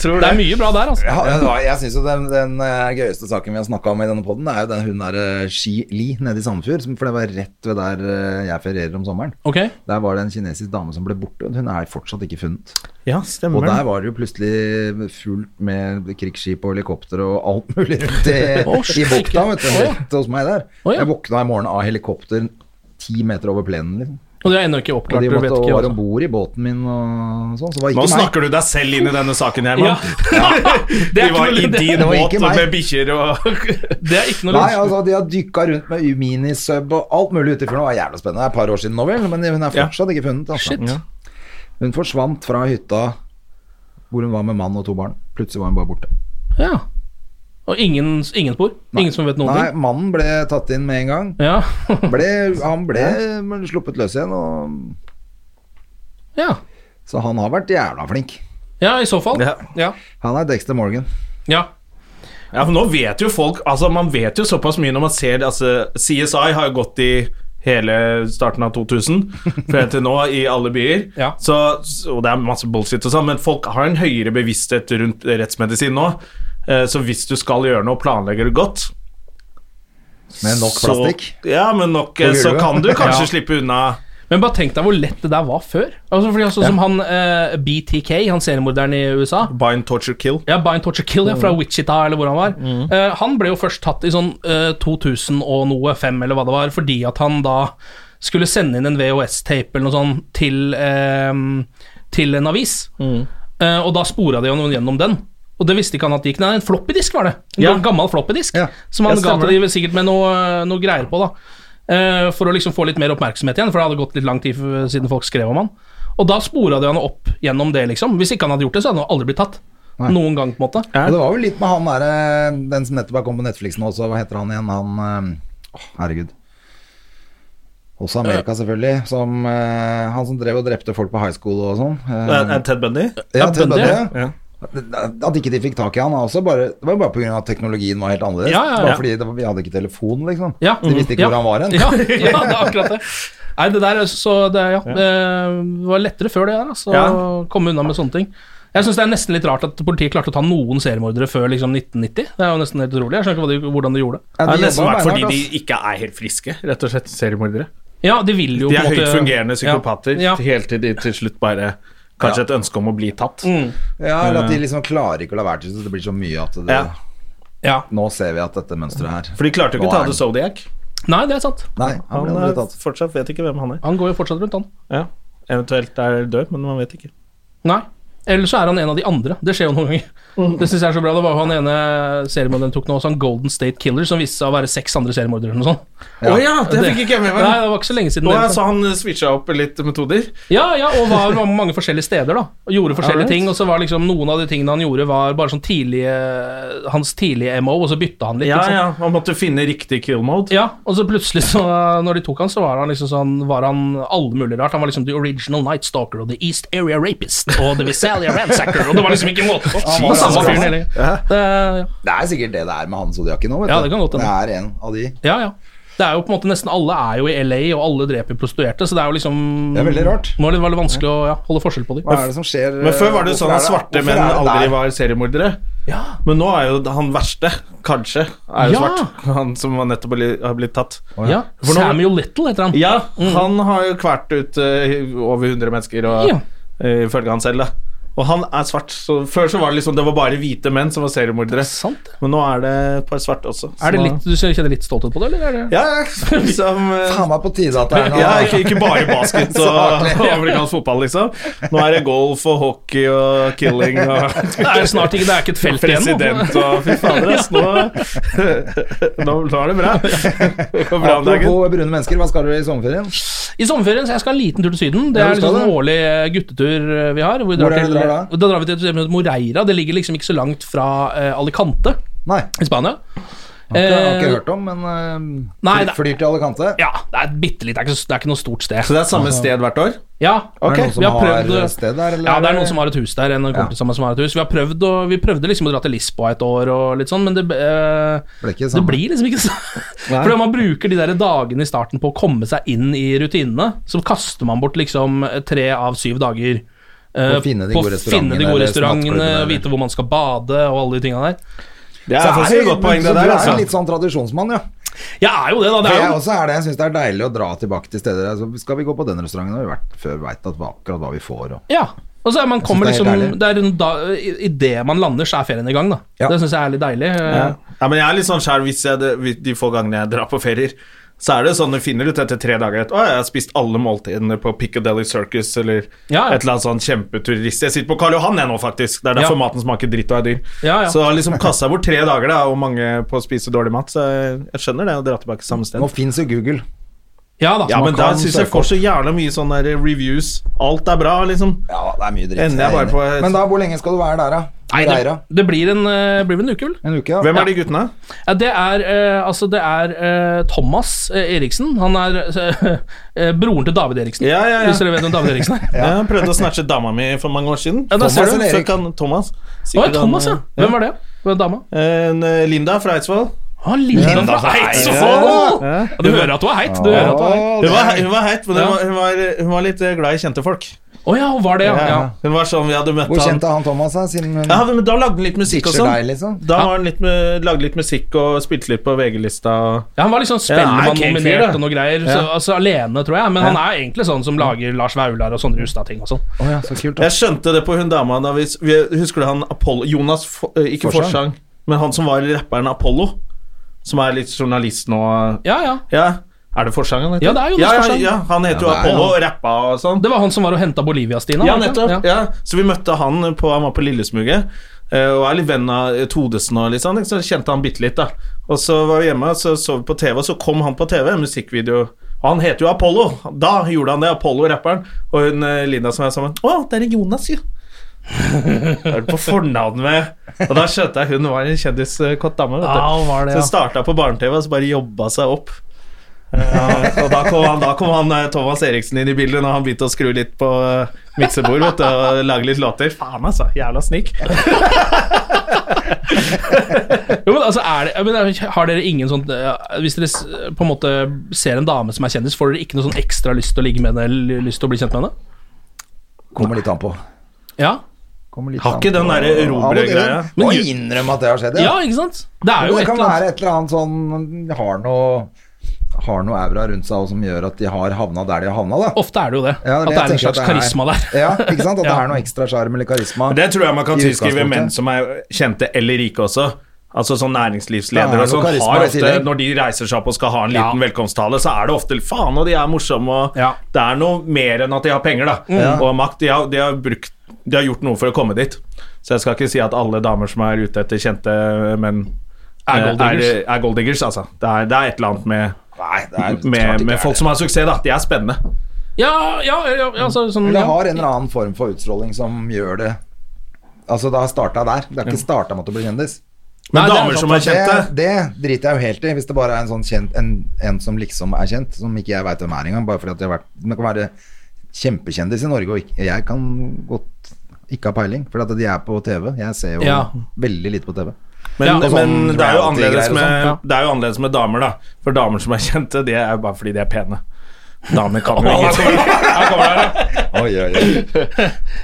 Speaker 1: Tror
Speaker 3: Det er mye bra der, altså.
Speaker 2: Ja, det var, jeg synes jo den, den eh, gøyeste saken vi har snakka om i denne poden, er jo den hun der eh, Shi Li nede i Sandefjord. som- For det var rett ved der eh, jeg ferierer om sommeren.
Speaker 3: Ok.
Speaker 2: Der var det en kinesisk dame som ble borte. Hun er fortsatt ikke funnet.
Speaker 1: Ja,
Speaker 2: Og
Speaker 1: stemmer
Speaker 2: der
Speaker 1: det.
Speaker 2: var det jo plutselig fullt med krigsskip og helikopter og alt mulig rundt i,
Speaker 3: Å,
Speaker 2: i bukta, vet du.
Speaker 3: Å, ja.
Speaker 2: Rett hos meg der.
Speaker 3: Å, ja.
Speaker 2: Jeg våkna i morgen av helikopter ti meter over plenen, liksom.
Speaker 3: Og de har ennå ikke
Speaker 2: Og
Speaker 3: oppklart
Speaker 2: de
Speaker 3: det,
Speaker 2: måtte
Speaker 3: vet ikke.
Speaker 2: være om
Speaker 3: Altså.
Speaker 2: bord i båten min og sånn. Så det var
Speaker 1: Nå
Speaker 2: ikke meg.
Speaker 1: snakker du deg selv inn i denne saken, Herman.
Speaker 3: Ja. det,
Speaker 1: Vi
Speaker 3: er ikke
Speaker 1: var i
Speaker 3: noe, det,
Speaker 1: din
Speaker 2: Det var
Speaker 1: båt
Speaker 2: ikke meg.
Speaker 1: med bikkjer og
Speaker 3: det er ikke noe
Speaker 2: Nei,
Speaker 3: lurt.
Speaker 2: altså De har dykka rundt med minisub og alt mulig ute i fjorden. Det var jævla spennende. Det er et par år siden nå, vel, men hun er fortsatt ikke funnet. Altså.
Speaker 3: Shit.
Speaker 2: Hun forsvant fra hytta hvor hun var med mann og to barn. Plutselig var hun bare borte.
Speaker 3: Ja. Og ingen, ingen spor. Ingen som vet noen
Speaker 2: Nei, mannen ble tatt inn med en gang.
Speaker 3: ting. Ja.
Speaker 2: Ble, han ble sluppet løs igjen, og,
Speaker 3: ja.
Speaker 2: så han har vært jævla flink.
Speaker 3: ja, i så fall.
Speaker 1: Ja.
Speaker 3: Ja.
Speaker 2: Han er Dexter Morgan.
Speaker 3: ja.
Speaker 1: Ja, for nå vet jo folk Altså, man vet jo såpass mye når man ser det altså, CSI har jo gått i hele starten av 2000 frem til nå i alle byer.
Speaker 3: Ja.
Speaker 1: Så, og det er masse bullshit og sånn, men folk har en høyere bevissthet rundt rettsmedisin nå. Eh, Så hvis du skal gjøre noe, planlegger du godt.
Speaker 2: Med nok
Speaker 1: så-
Speaker 2: plastikk.
Speaker 1: Ja, men nok eh,
Speaker 2: På
Speaker 1: Så
Speaker 2: gulvet.
Speaker 1: kan du kanskje
Speaker 3: Ja.
Speaker 1: slippe unna.
Speaker 3: Men bare tenk deg hvor lett det der var før. Altså, fordi altså, Som han eh, BTK, han seriemorderen i USA.
Speaker 1: Bind, torture, kill. Mm.
Speaker 3: Ja, Bind Torture Kill, ja, fra Wichita, eller hvor han var. Eh, han ble jo først tatt i sånn eh, 2000 og noe, 5 eller hva det var, fordi at han da skulle sende inn en VHS-tape eller noe sånt til, eh, til en avis.
Speaker 1: Mm.
Speaker 3: Eh, og da spora de jo noen gjennom den. Og det visste ikke han at det gikk. Nei, en floppydisk var det. En
Speaker 1: Ja.
Speaker 3: gammel floppydisk.
Speaker 2: Ja.
Speaker 3: Som
Speaker 1: Ja,
Speaker 3: han ga
Speaker 1: stemmer
Speaker 3: til de sikkert med noe, noe greier på, da. Eh, for å liksom få litt mer oppmerksomhet igjen, for det hadde gått litt lang tid f- siden folk skrev om han. Og da spora de han opp gjennom det, liksom. Hvis ikke han hadde gjort det, så hadde han aldri blitt tatt. Noen gang, på en måte.
Speaker 2: Og det var vel litt med han derre Den som nettopp er kommet på Netflix nå også, hva heter han igjen? Han eh, Åh, herregud. Også Amerika, selvfølgelig. Som, eh, han som drev og drepte folk på high school og sånn.
Speaker 1: Er-
Speaker 2: Eh,
Speaker 1: er Ted Bundy?
Speaker 2: ja, Ted
Speaker 3: Bundy,
Speaker 2: Bundy.
Speaker 3: ja.
Speaker 2: ja. At ikke de fikk tak i han, er også bare, det var jo bare pga. at teknologien var helt annerledes.
Speaker 3: Ja, ja, ja.
Speaker 2: Bare fordi det var, Vi hadde ikke telefon, liksom.
Speaker 3: Ja.
Speaker 2: De visste ikke
Speaker 3: Ja.
Speaker 2: hvor han var hen.
Speaker 3: Ja, ja, det er akkurat det. Nei, det der, så det, ja, det var lettere før det der, altså, å
Speaker 1: Ja.
Speaker 3: komme unna med sånne ting. Jeg synes Det er nesten litt rart at politiet klarte å ta noen seriemordere før liksom 1990. Det er jo nesten helt utrolig. Jeg skjønner ikke hva de, hvordan de gjorde det.
Speaker 2: Ja, de
Speaker 1: Det har nesten
Speaker 2: jobba
Speaker 1: vært fordi
Speaker 2: beinhardt,
Speaker 1: de
Speaker 2: ass.
Speaker 1: ikke er helt friske, rett og slett. Seriemordere.
Speaker 3: Ja, De vil jo
Speaker 1: De
Speaker 3: på
Speaker 1: er
Speaker 3: en måte-
Speaker 1: høyt fungerende psykopater
Speaker 3: Ja, ja.
Speaker 1: helt til de til slutt bare Kanskje et ønske om å bli tatt.
Speaker 2: Ja, eller at de liksom klarer ikke å la være til, så det blir så mye at det,
Speaker 1: Ja.
Speaker 3: Eh. Ja.
Speaker 2: Nå ser vi at dette mønsteret her
Speaker 1: For de klarte jo ikke
Speaker 2: Nå
Speaker 1: å ta
Speaker 2: er
Speaker 1: det Zodiac.
Speaker 3: Nei, det er sant.
Speaker 2: Nei, han
Speaker 1: Han
Speaker 2: ble
Speaker 1: er,
Speaker 2: aldri tatt.
Speaker 1: fortsatt vet ikke hvem han er.
Speaker 3: Han går jo fortsatt rundt, han.
Speaker 1: Ja. Eventuelt er død, men man vet ikke.
Speaker 3: Nei. Eller så er han en av de andre. Det skjer jo noen ganger.
Speaker 1: Mm.
Speaker 3: Det synes jeg er så bra. Det var jo han ene seriemorderen tok nå, også han Golden State Killer, som viste seg å være seks andre seriemordere eller noe sånt.
Speaker 1: Å ja. det fikk ikke jeg med
Speaker 3: Nei,
Speaker 1: meg.
Speaker 3: det var ikke så lenge siden.
Speaker 1: Nå
Speaker 3: det,
Speaker 1: har
Speaker 3: altså.
Speaker 1: så han switcha opp litt metoder.
Speaker 3: Ja, ja, og var var mange forskjellige steder, da. Og gjorde
Speaker 1: Alright.
Speaker 3: forskjellige ting. Og så var liksom noen av de tingene han gjorde, var bare sånn tidlige Hans tidlige MO, og så bytta han litt.
Speaker 1: Ja,
Speaker 3: ikke sant?
Speaker 1: ja, Han måtte finne riktig kill mode.
Speaker 3: Ja, og så plutselig, så, når de tok han, så var han liksom sånn Var han alle mulige rart. Han var liksom The Original Night Stalker og The East Area Rapist og The Visalia Ransacker, og det var liksom ikke måte på. Han var samme fyren hele tiden. Det- ja.
Speaker 2: Det er sikkert det det er med han Zodiaken nå, vet
Speaker 3: Ja,
Speaker 2: du.
Speaker 3: det kan godt hende.
Speaker 2: det er en av de.
Speaker 3: Ja, ja. Det er jo på en måte Nesten alle er jo i LA, og alle dreper prostituerte, så det er jo liksom
Speaker 2: Det er veldig rart.
Speaker 3: Nå er det veldig vanskelig å ja, holde forskjell på dem.
Speaker 2: Hva er det som skjer
Speaker 1: Men før var det jo
Speaker 2: Hvorfor
Speaker 1: sånn
Speaker 2: er
Speaker 1: at svarte
Speaker 2: hvorfor
Speaker 1: menn
Speaker 2: er det
Speaker 1: aldri
Speaker 2: der?
Speaker 1: var seriemordere.
Speaker 3: Ja.
Speaker 1: Men nå er jo han verste, kanskje, er jo
Speaker 3: Ja.
Speaker 1: svart. Han som nettopp har blitt- har blitt tatt.
Speaker 3: Ja.
Speaker 1: For nå-
Speaker 3: Samuel Little heter han.
Speaker 1: Ja, han har jo kvært ut eh, over 100 mennesker, og,
Speaker 3: Ja.
Speaker 1: eh, ifølge han selv. da. Og han er svart. Så før så var det liksom Det var bare hvite menn som var seriemordere.
Speaker 3: Sant.
Speaker 1: Men nå er det et par svarte også. så
Speaker 3: Er det
Speaker 1: nå-
Speaker 3: litt, du kjenner litt stolthet på det, eller? Er det?
Speaker 1: Ja, ja, liksom eh,
Speaker 2: Faen meg på tide at det er noe
Speaker 1: ja, ikke, ikke bare basket og
Speaker 2: artig.
Speaker 1: og amerikansk fotball, liksom. Nå er det golf og hockey og killing og
Speaker 3: Det er snart ikke, det er ikke et felt igjen. nå.
Speaker 1: president og Fy fader, ass. Nå, nå, nå er det bra. Det går bra om dagen.
Speaker 2: Apropos brune mennesker, hva skal dere i sommerferien?
Speaker 3: I sommerferien så jeg skal en liten tur til Syden. Det
Speaker 2: Ja,
Speaker 3: er
Speaker 2: du skal
Speaker 3: liksom en
Speaker 2: det.
Speaker 3: årlig eh, guttetur eh, vi har. Hvor vi
Speaker 2: Hvor er det
Speaker 3: til,
Speaker 2: du drar da?
Speaker 3: da drar vi til et sted som heter Moreira. Det ligger liksom ikke så langt fra eh, Alicante
Speaker 2: Nei,
Speaker 3: i Spania.
Speaker 2: det har jeg
Speaker 3: Eh,
Speaker 2: ikke hørt om, men eh,
Speaker 3: Nei,
Speaker 2: fly-
Speaker 3: det-
Speaker 2: flyr til alle kanter.
Speaker 3: Ja, det er bitte litt. Det er ikke, så- det er ikke noe stort sted.
Speaker 1: Så det er samme sted hvert år?
Speaker 3: Ja,
Speaker 2: Er det noen
Speaker 3: vi
Speaker 2: som
Speaker 3: har prøvd
Speaker 2: har sted der, eller?
Speaker 3: Ja, det er noen som har et hus der. En kompis av meg som har et hus. Vi har prøvd, og, vi prøvde liksom å dra til Lisboa et år og litt sånn, men det eh,
Speaker 2: Ble ikke det
Speaker 3: Det
Speaker 2: samme.
Speaker 3: blir liksom ikke sånn. Fordi man bruker de der dagene i starten på å komme seg inn i rutinene, så kaster man bort liksom tre av syv dager eh,
Speaker 2: På å finne de
Speaker 3: på
Speaker 2: gode
Speaker 3: å
Speaker 2: restaurantene
Speaker 3: finne de gode
Speaker 2: eller
Speaker 3: restaurantklubbene,
Speaker 2: nattklubbene, eller-
Speaker 3: vite hvor man skal bade og alle de tinga der.
Speaker 1: Det
Speaker 2: Så
Speaker 1: er faktisk et godt
Speaker 2: så
Speaker 1: poeng, det
Speaker 2: du
Speaker 1: der.
Speaker 2: er
Speaker 1: Altså.
Speaker 2: en litt sånn tradisonsmann, ja.
Speaker 3: Jeg er jo det, da. Det
Speaker 2: For
Speaker 3: er
Speaker 2: jeg
Speaker 3: jo
Speaker 2: også er det. Jeg syns det er deilig å dra tilbake til steder. Altså, skal vi gå på den restauranten? Har vi vært før, veit akkurat hva vi får. Og.
Speaker 3: Ja. Og så er man kommer
Speaker 2: det er
Speaker 3: liksom
Speaker 2: helt
Speaker 3: Det er en da, i, i det man lander, så er ferien i gang, da.
Speaker 2: Ja.
Speaker 3: Det syns jeg er litt deilig.
Speaker 1: Ja. ja, men jeg er litt sånn skjær hvis jeg, hvis de få gangene jeg drar på ferier, så er det sånn du finner ut etter tre dager at å, jeg har spist alle måltidene på Piccadilly Circus eller
Speaker 3: Ja, ja.
Speaker 1: et eller annet sånn kjempeturist. Jeg sitter på Karl Johan jeg nå, faktisk. Det er derfor
Speaker 3: Ja.
Speaker 1: maten smaker dritt og er dyr.
Speaker 3: Ja, ja.
Speaker 1: Så jeg har liksom kasta bort tre dager da, og mange på å spise dårlig mat, så jeg, jeg skjønner det å dra tilbake samme sted.
Speaker 2: Nå fins jo Google.
Speaker 3: Ja da.
Speaker 1: Ja, men
Speaker 2: man
Speaker 1: da
Speaker 2: kan
Speaker 1: syns
Speaker 2: søke
Speaker 1: jeg får så jævla mye sånne der reviews. Alt er bra, liksom.
Speaker 2: Ja, det er mye dritt.
Speaker 1: Ender jeg
Speaker 2: er
Speaker 1: bare
Speaker 2: enig.
Speaker 1: på et-
Speaker 2: Men da, hvor lenge skal du være der, da?
Speaker 3: Nei, det,
Speaker 2: Reira.
Speaker 3: det blir en, eh, blir vel en uke, vel?
Speaker 2: En uke, ja.
Speaker 1: Hvem er de guttene?
Speaker 3: Ja, det er, eh, altså, det er eh, Thomas eh, Eriksen. Han er eh, broren til David Eriksen.
Speaker 1: Ja, ja, ja.
Speaker 3: Hvis dere vet hvem David Eriksen er.
Speaker 1: Ja. Jeg prøvde å snatche dama mi for mange år siden.
Speaker 3: Ja, da ser
Speaker 2: du.
Speaker 1: Fuck han Thomas. eh,
Speaker 3: Å, ja, Thomas, ja. Hvem var det? Hvem dama?
Speaker 1: En, eh, Linda fra Eidsvoll.
Speaker 3: Å, Linda fra Eidsvoll! Ja, Du hører at du er heit. Du hører at du er
Speaker 1: Hun
Speaker 3: heit.
Speaker 1: var, hun var heit, men hun var, hun, var, hun var litt eh, glad i kjente folk.
Speaker 3: Å ja, hun var det, ja. ja.
Speaker 1: Hun var sånn, vi hadde møtt
Speaker 2: Hvor
Speaker 1: han
Speaker 2: kjent er han Thomas, da? Siden hun
Speaker 1: ja, men Da lagde han litt musikk og
Speaker 2: ditcher deg,
Speaker 1: sånn.
Speaker 2: liksom?
Speaker 1: Da var han litt med, lagde litt musikk og spilte litt på VG-lista.
Speaker 3: Ja, Han var liksom
Speaker 1: Ja, ok, fyr,
Speaker 3: Spellemann-nominert
Speaker 1: da.
Speaker 3: og noe greier. Så, altså, alene, tror jeg. Men han er egentlig sånn som lager Lars Vaular og sånne rusta ting og sånn.
Speaker 2: Å ja, så kult, da.
Speaker 1: Jeg skjønte det på hun dama da vi, vi Husker du han Apollo Jonas, Fo- eh, ikke
Speaker 2: Forsang.
Speaker 1: Forsang, men han som var rapperen Apollo? Som er litt journalist nå.
Speaker 3: Ja, ja.
Speaker 1: Ja, er det Forsang han heter?
Speaker 3: Ja, det er Jonas
Speaker 1: ja,
Speaker 3: Forsang.
Speaker 1: Ja, ja. Han heter jo
Speaker 2: Ja, det er
Speaker 1: Apollo og rappa og sånn.
Speaker 3: Det var han som var og henta Bolivia-Stina.
Speaker 1: Ja,
Speaker 3: var det ikke?
Speaker 1: nettopp. Ja. Så vi møtte han på Han var på Lillesmuget. eh, Og er litt venn av Todesen og litt sånn. ikke? Så kjente han bitte litt, da. Og så var vi hjemme, og så så vi på TV, og så kom han på TV, en musikkvideo. Og han heter jo Apollo. Da gjorde han det, Apollo-rapperen. Og hun eh, Linda som er sammen Å, det er en Jonas, jo. Er du på fornavn med Og da skjønte jeg hun var en kjendiskåt dame. Vet du.
Speaker 3: Ja, hun var det,
Speaker 1: Så
Speaker 3: ja.
Speaker 1: hun starta på barne-TV, og så bare jobba seg opp. Eh, og da kom, han, da kom han eh, Thomas Eriksen inn i bildet når han begynte å skru litt på eh, miksebord vet du, og lage litt låter. Faen, altså. Jævla snik.
Speaker 3: Jo, men altså, er det, jeg mener, har dere ingen sånn eh, Hvis dere s- på en måte ser en dame som er kjendis, får dere ikke noe sånn ekstra lyst til å ligge med henne eller lyst til å bli kjent med henne?
Speaker 2: Kommer litt an på.
Speaker 3: Ja,
Speaker 2: Kommer litt
Speaker 1: Har
Speaker 2: an
Speaker 1: ikke
Speaker 2: på-
Speaker 1: den der erobre-greia.
Speaker 2: Av og til Må innrømme at det har skjedd,
Speaker 3: ja ikke sant? Det er jo
Speaker 2: Men det
Speaker 3: et
Speaker 2: kan
Speaker 3: eller
Speaker 2: være
Speaker 3: annet.
Speaker 2: et eller annet sånn Har noe Har noe aura rundt seg og som gjør at de har havna der de har havna, da.
Speaker 3: Ofte er det jo det.
Speaker 2: Ja,
Speaker 3: at
Speaker 2: men jeg
Speaker 3: det er en
Speaker 2: tenker at
Speaker 3: slags karisma der.
Speaker 2: Ja, ikke sant? At det
Speaker 3: Ja.
Speaker 2: er noe ekstra sjarm eller karisma.
Speaker 1: Det tror jeg man kan
Speaker 2: I
Speaker 1: tilskrive
Speaker 2: utgangspunktet.
Speaker 1: menn som er kjente eller rike også. Altså sånn
Speaker 2: Det er
Speaker 1: Næringslivsledere og
Speaker 2: noe
Speaker 1: sånn
Speaker 2: karisma
Speaker 1: har
Speaker 2: i
Speaker 1: ofte
Speaker 2: tillegg.
Speaker 1: Når de reiser seg opp og skal ha en liten
Speaker 3: Ja.
Speaker 1: velkomsttale, så er det ofte Faen, og de er morsomme, og
Speaker 3: Ja.
Speaker 1: det er noe mer enn at de har penger, da.
Speaker 2: Mm.
Speaker 1: Og makt. De har, de, har brukt, de har gjort noe for å komme dit. Så jeg skal ikke si at alle damer som er ute etter kjente menn,
Speaker 3: Er
Speaker 1: eh,
Speaker 3: gold diggers.
Speaker 1: Er, er gold diggers altså. Det er, det er et eller annet med
Speaker 2: Nei, det er klart
Speaker 1: med,
Speaker 2: ikke
Speaker 1: med
Speaker 2: er
Speaker 1: folk
Speaker 2: det.
Speaker 1: som har suksess, da. De er spennende.
Speaker 3: Ja, ja, ja, ja altså, sånn,
Speaker 2: Eller
Speaker 3: ja.
Speaker 2: har en eller annen form for utstråling som gjør det Altså, det har starta der. Det har ikke starta med at du blir kjendis.
Speaker 1: Men
Speaker 3: Nei, det er
Speaker 1: damer
Speaker 3: sant,
Speaker 1: som er
Speaker 2: Det,
Speaker 1: kjente
Speaker 2: det driter jeg jo helt i, hvis det bare er en sånn kjent En, en som liksom er kjent, som ikke jeg veit hvem er engang, bare fordi at jeg har vært Men det kan være kjempekjendis i Norge, og ikke, jeg kan godt ikke ha peiling, for at de er på TV. Jeg ser jo
Speaker 3: Ja.
Speaker 2: veldig lite på TV.
Speaker 1: Men,
Speaker 3: Ja,
Speaker 2: og
Speaker 1: men
Speaker 2: sånn
Speaker 1: det, er jo
Speaker 2: reality-greier
Speaker 1: annerledes
Speaker 2: og
Speaker 1: med,
Speaker 2: sånt,
Speaker 1: det er jo annerledes med damer, da. For damer som er kjente, det er jo bare fordi de er pene. Damer kan jo ingenting.
Speaker 2: Oi, oi, oi.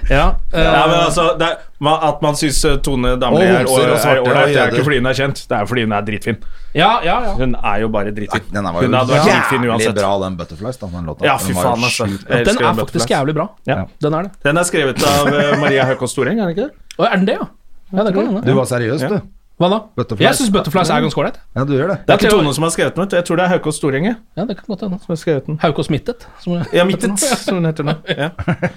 Speaker 3: ja, eh,
Speaker 1: Ja, men altså, det er, ma- at man syns Tone Damli
Speaker 2: Og
Speaker 1: er
Speaker 2: homser og
Speaker 1: ålreit,
Speaker 2: svarte
Speaker 1: er,
Speaker 2: og
Speaker 1: ålreit, det er
Speaker 2: jøder.
Speaker 1: ikke fordi hun er kjent, det er fordi hun er dritfin.
Speaker 3: ja, ja, ja.
Speaker 1: Hun er jo bare dritfin.
Speaker 2: Den her var
Speaker 1: Hun
Speaker 2: jo
Speaker 1: hadde vært dritfin
Speaker 2: jævlig
Speaker 1: uansett.
Speaker 2: bra, den Butterflies, da, den låta.
Speaker 1: Ja,
Speaker 2: Den
Speaker 1: fy
Speaker 2: var jo
Speaker 1: faen, altså.
Speaker 2: sjukt bra.
Speaker 1: Jeg elsker
Speaker 3: Den er
Speaker 1: Butterflies.
Speaker 3: faktisk jævlig bra.
Speaker 1: Ja.
Speaker 3: Den er det.
Speaker 1: Den er skrevet av eh, Maria Høkås Storeng, er den ikke det?
Speaker 3: Å, er den det, ja? Ja, det kan
Speaker 2: Du
Speaker 3: hende.
Speaker 2: var seriøs, du.
Speaker 3: Hva da?
Speaker 2: Butterflies.
Speaker 3: Jeg syns Butterflies er ganske ålreit.
Speaker 2: Ja, du gjør det.
Speaker 1: Det er ikke Tone som har skrevet den, vet du. Jeg tror det er Høkås Storeng jeg,
Speaker 3: Ja, det kan godt hende.
Speaker 1: som har skrevet den.
Speaker 3: Haukås Mittet. som-
Speaker 1: Ja, Mittet, som hun heter nå. Ja,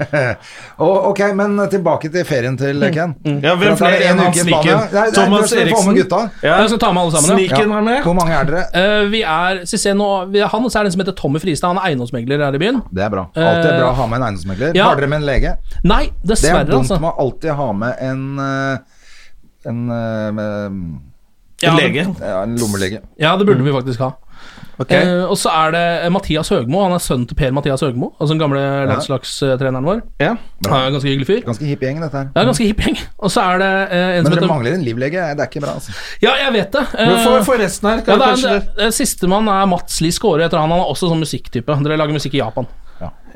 Speaker 2: Og, ok, men tilbake til ferien til Ken.
Speaker 1: Mm. ja hvem
Speaker 2: For at det
Speaker 1: flere
Speaker 2: er en
Speaker 1: enn han
Speaker 2: uke i Spania. Nei, nei,
Speaker 1: sniken?
Speaker 2: nå
Speaker 1: Thomas
Speaker 2: skal vi få med gutta. sånn
Speaker 1: Eriksen. Ja.
Speaker 3: Jeg skal ta med alle sammen, ja.
Speaker 1: Sniken er med.
Speaker 2: Hvor mange er dere?
Speaker 3: Eh, vi er Ciceno, vi er han, og så er det en som heter Tommy Fristad. Han er eiendomsmegler her i byen.
Speaker 2: Det er bra. Alltid
Speaker 3: Eh,
Speaker 2: bra å ha med en eiendomsmegler.
Speaker 3: ja.
Speaker 2: Har dere med en lege?
Speaker 3: Nei,
Speaker 2: Det
Speaker 3: dessverre,
Speaker 2: er dumt
Speaker 3: altså.
Speaker 2: med å alltid ha med en eh, en, eh, med-
Speaker 3: Ja, det-
Speaker 1: Lege.
Speaker 2: ja, en lommelege.
Speaker 3: Ja, det burde
Speaker 2: Mm.
Speaker 3: vi faktisk ha. Eh, og så er det Mathias Høgmo. Han er sønnen til Per Mathias Høgmo, altså den gamle landslagstreneren vår.
Speaker 1: Ja.
Speaker 3: Han er en ganske hyggelig fyr.
Speaker 2: Ganske hipp gjeng, dette her.
Speaker 3: Ja, ganske hipp gjeng. Og så er det eh,
Speaker 2: Men
Speaker 3: en som
Speaker 2: dere
Speaker 3: heter
Speaker 2: mangler en livlege. Det er ikke bra, altså.
Speaker 3: Ja, jeg vet det. Eh,
Speaker 1: Men for, for resten her
Speaker 3: ja,
Speaker 1: kan
Speaker 3: det
Speaker 1: kanskje
Speaker 3: er, det- Sistemann er Mats Lie Skåre. Heter han. han er også sånn musikktype. Dere lager musikk i Japan.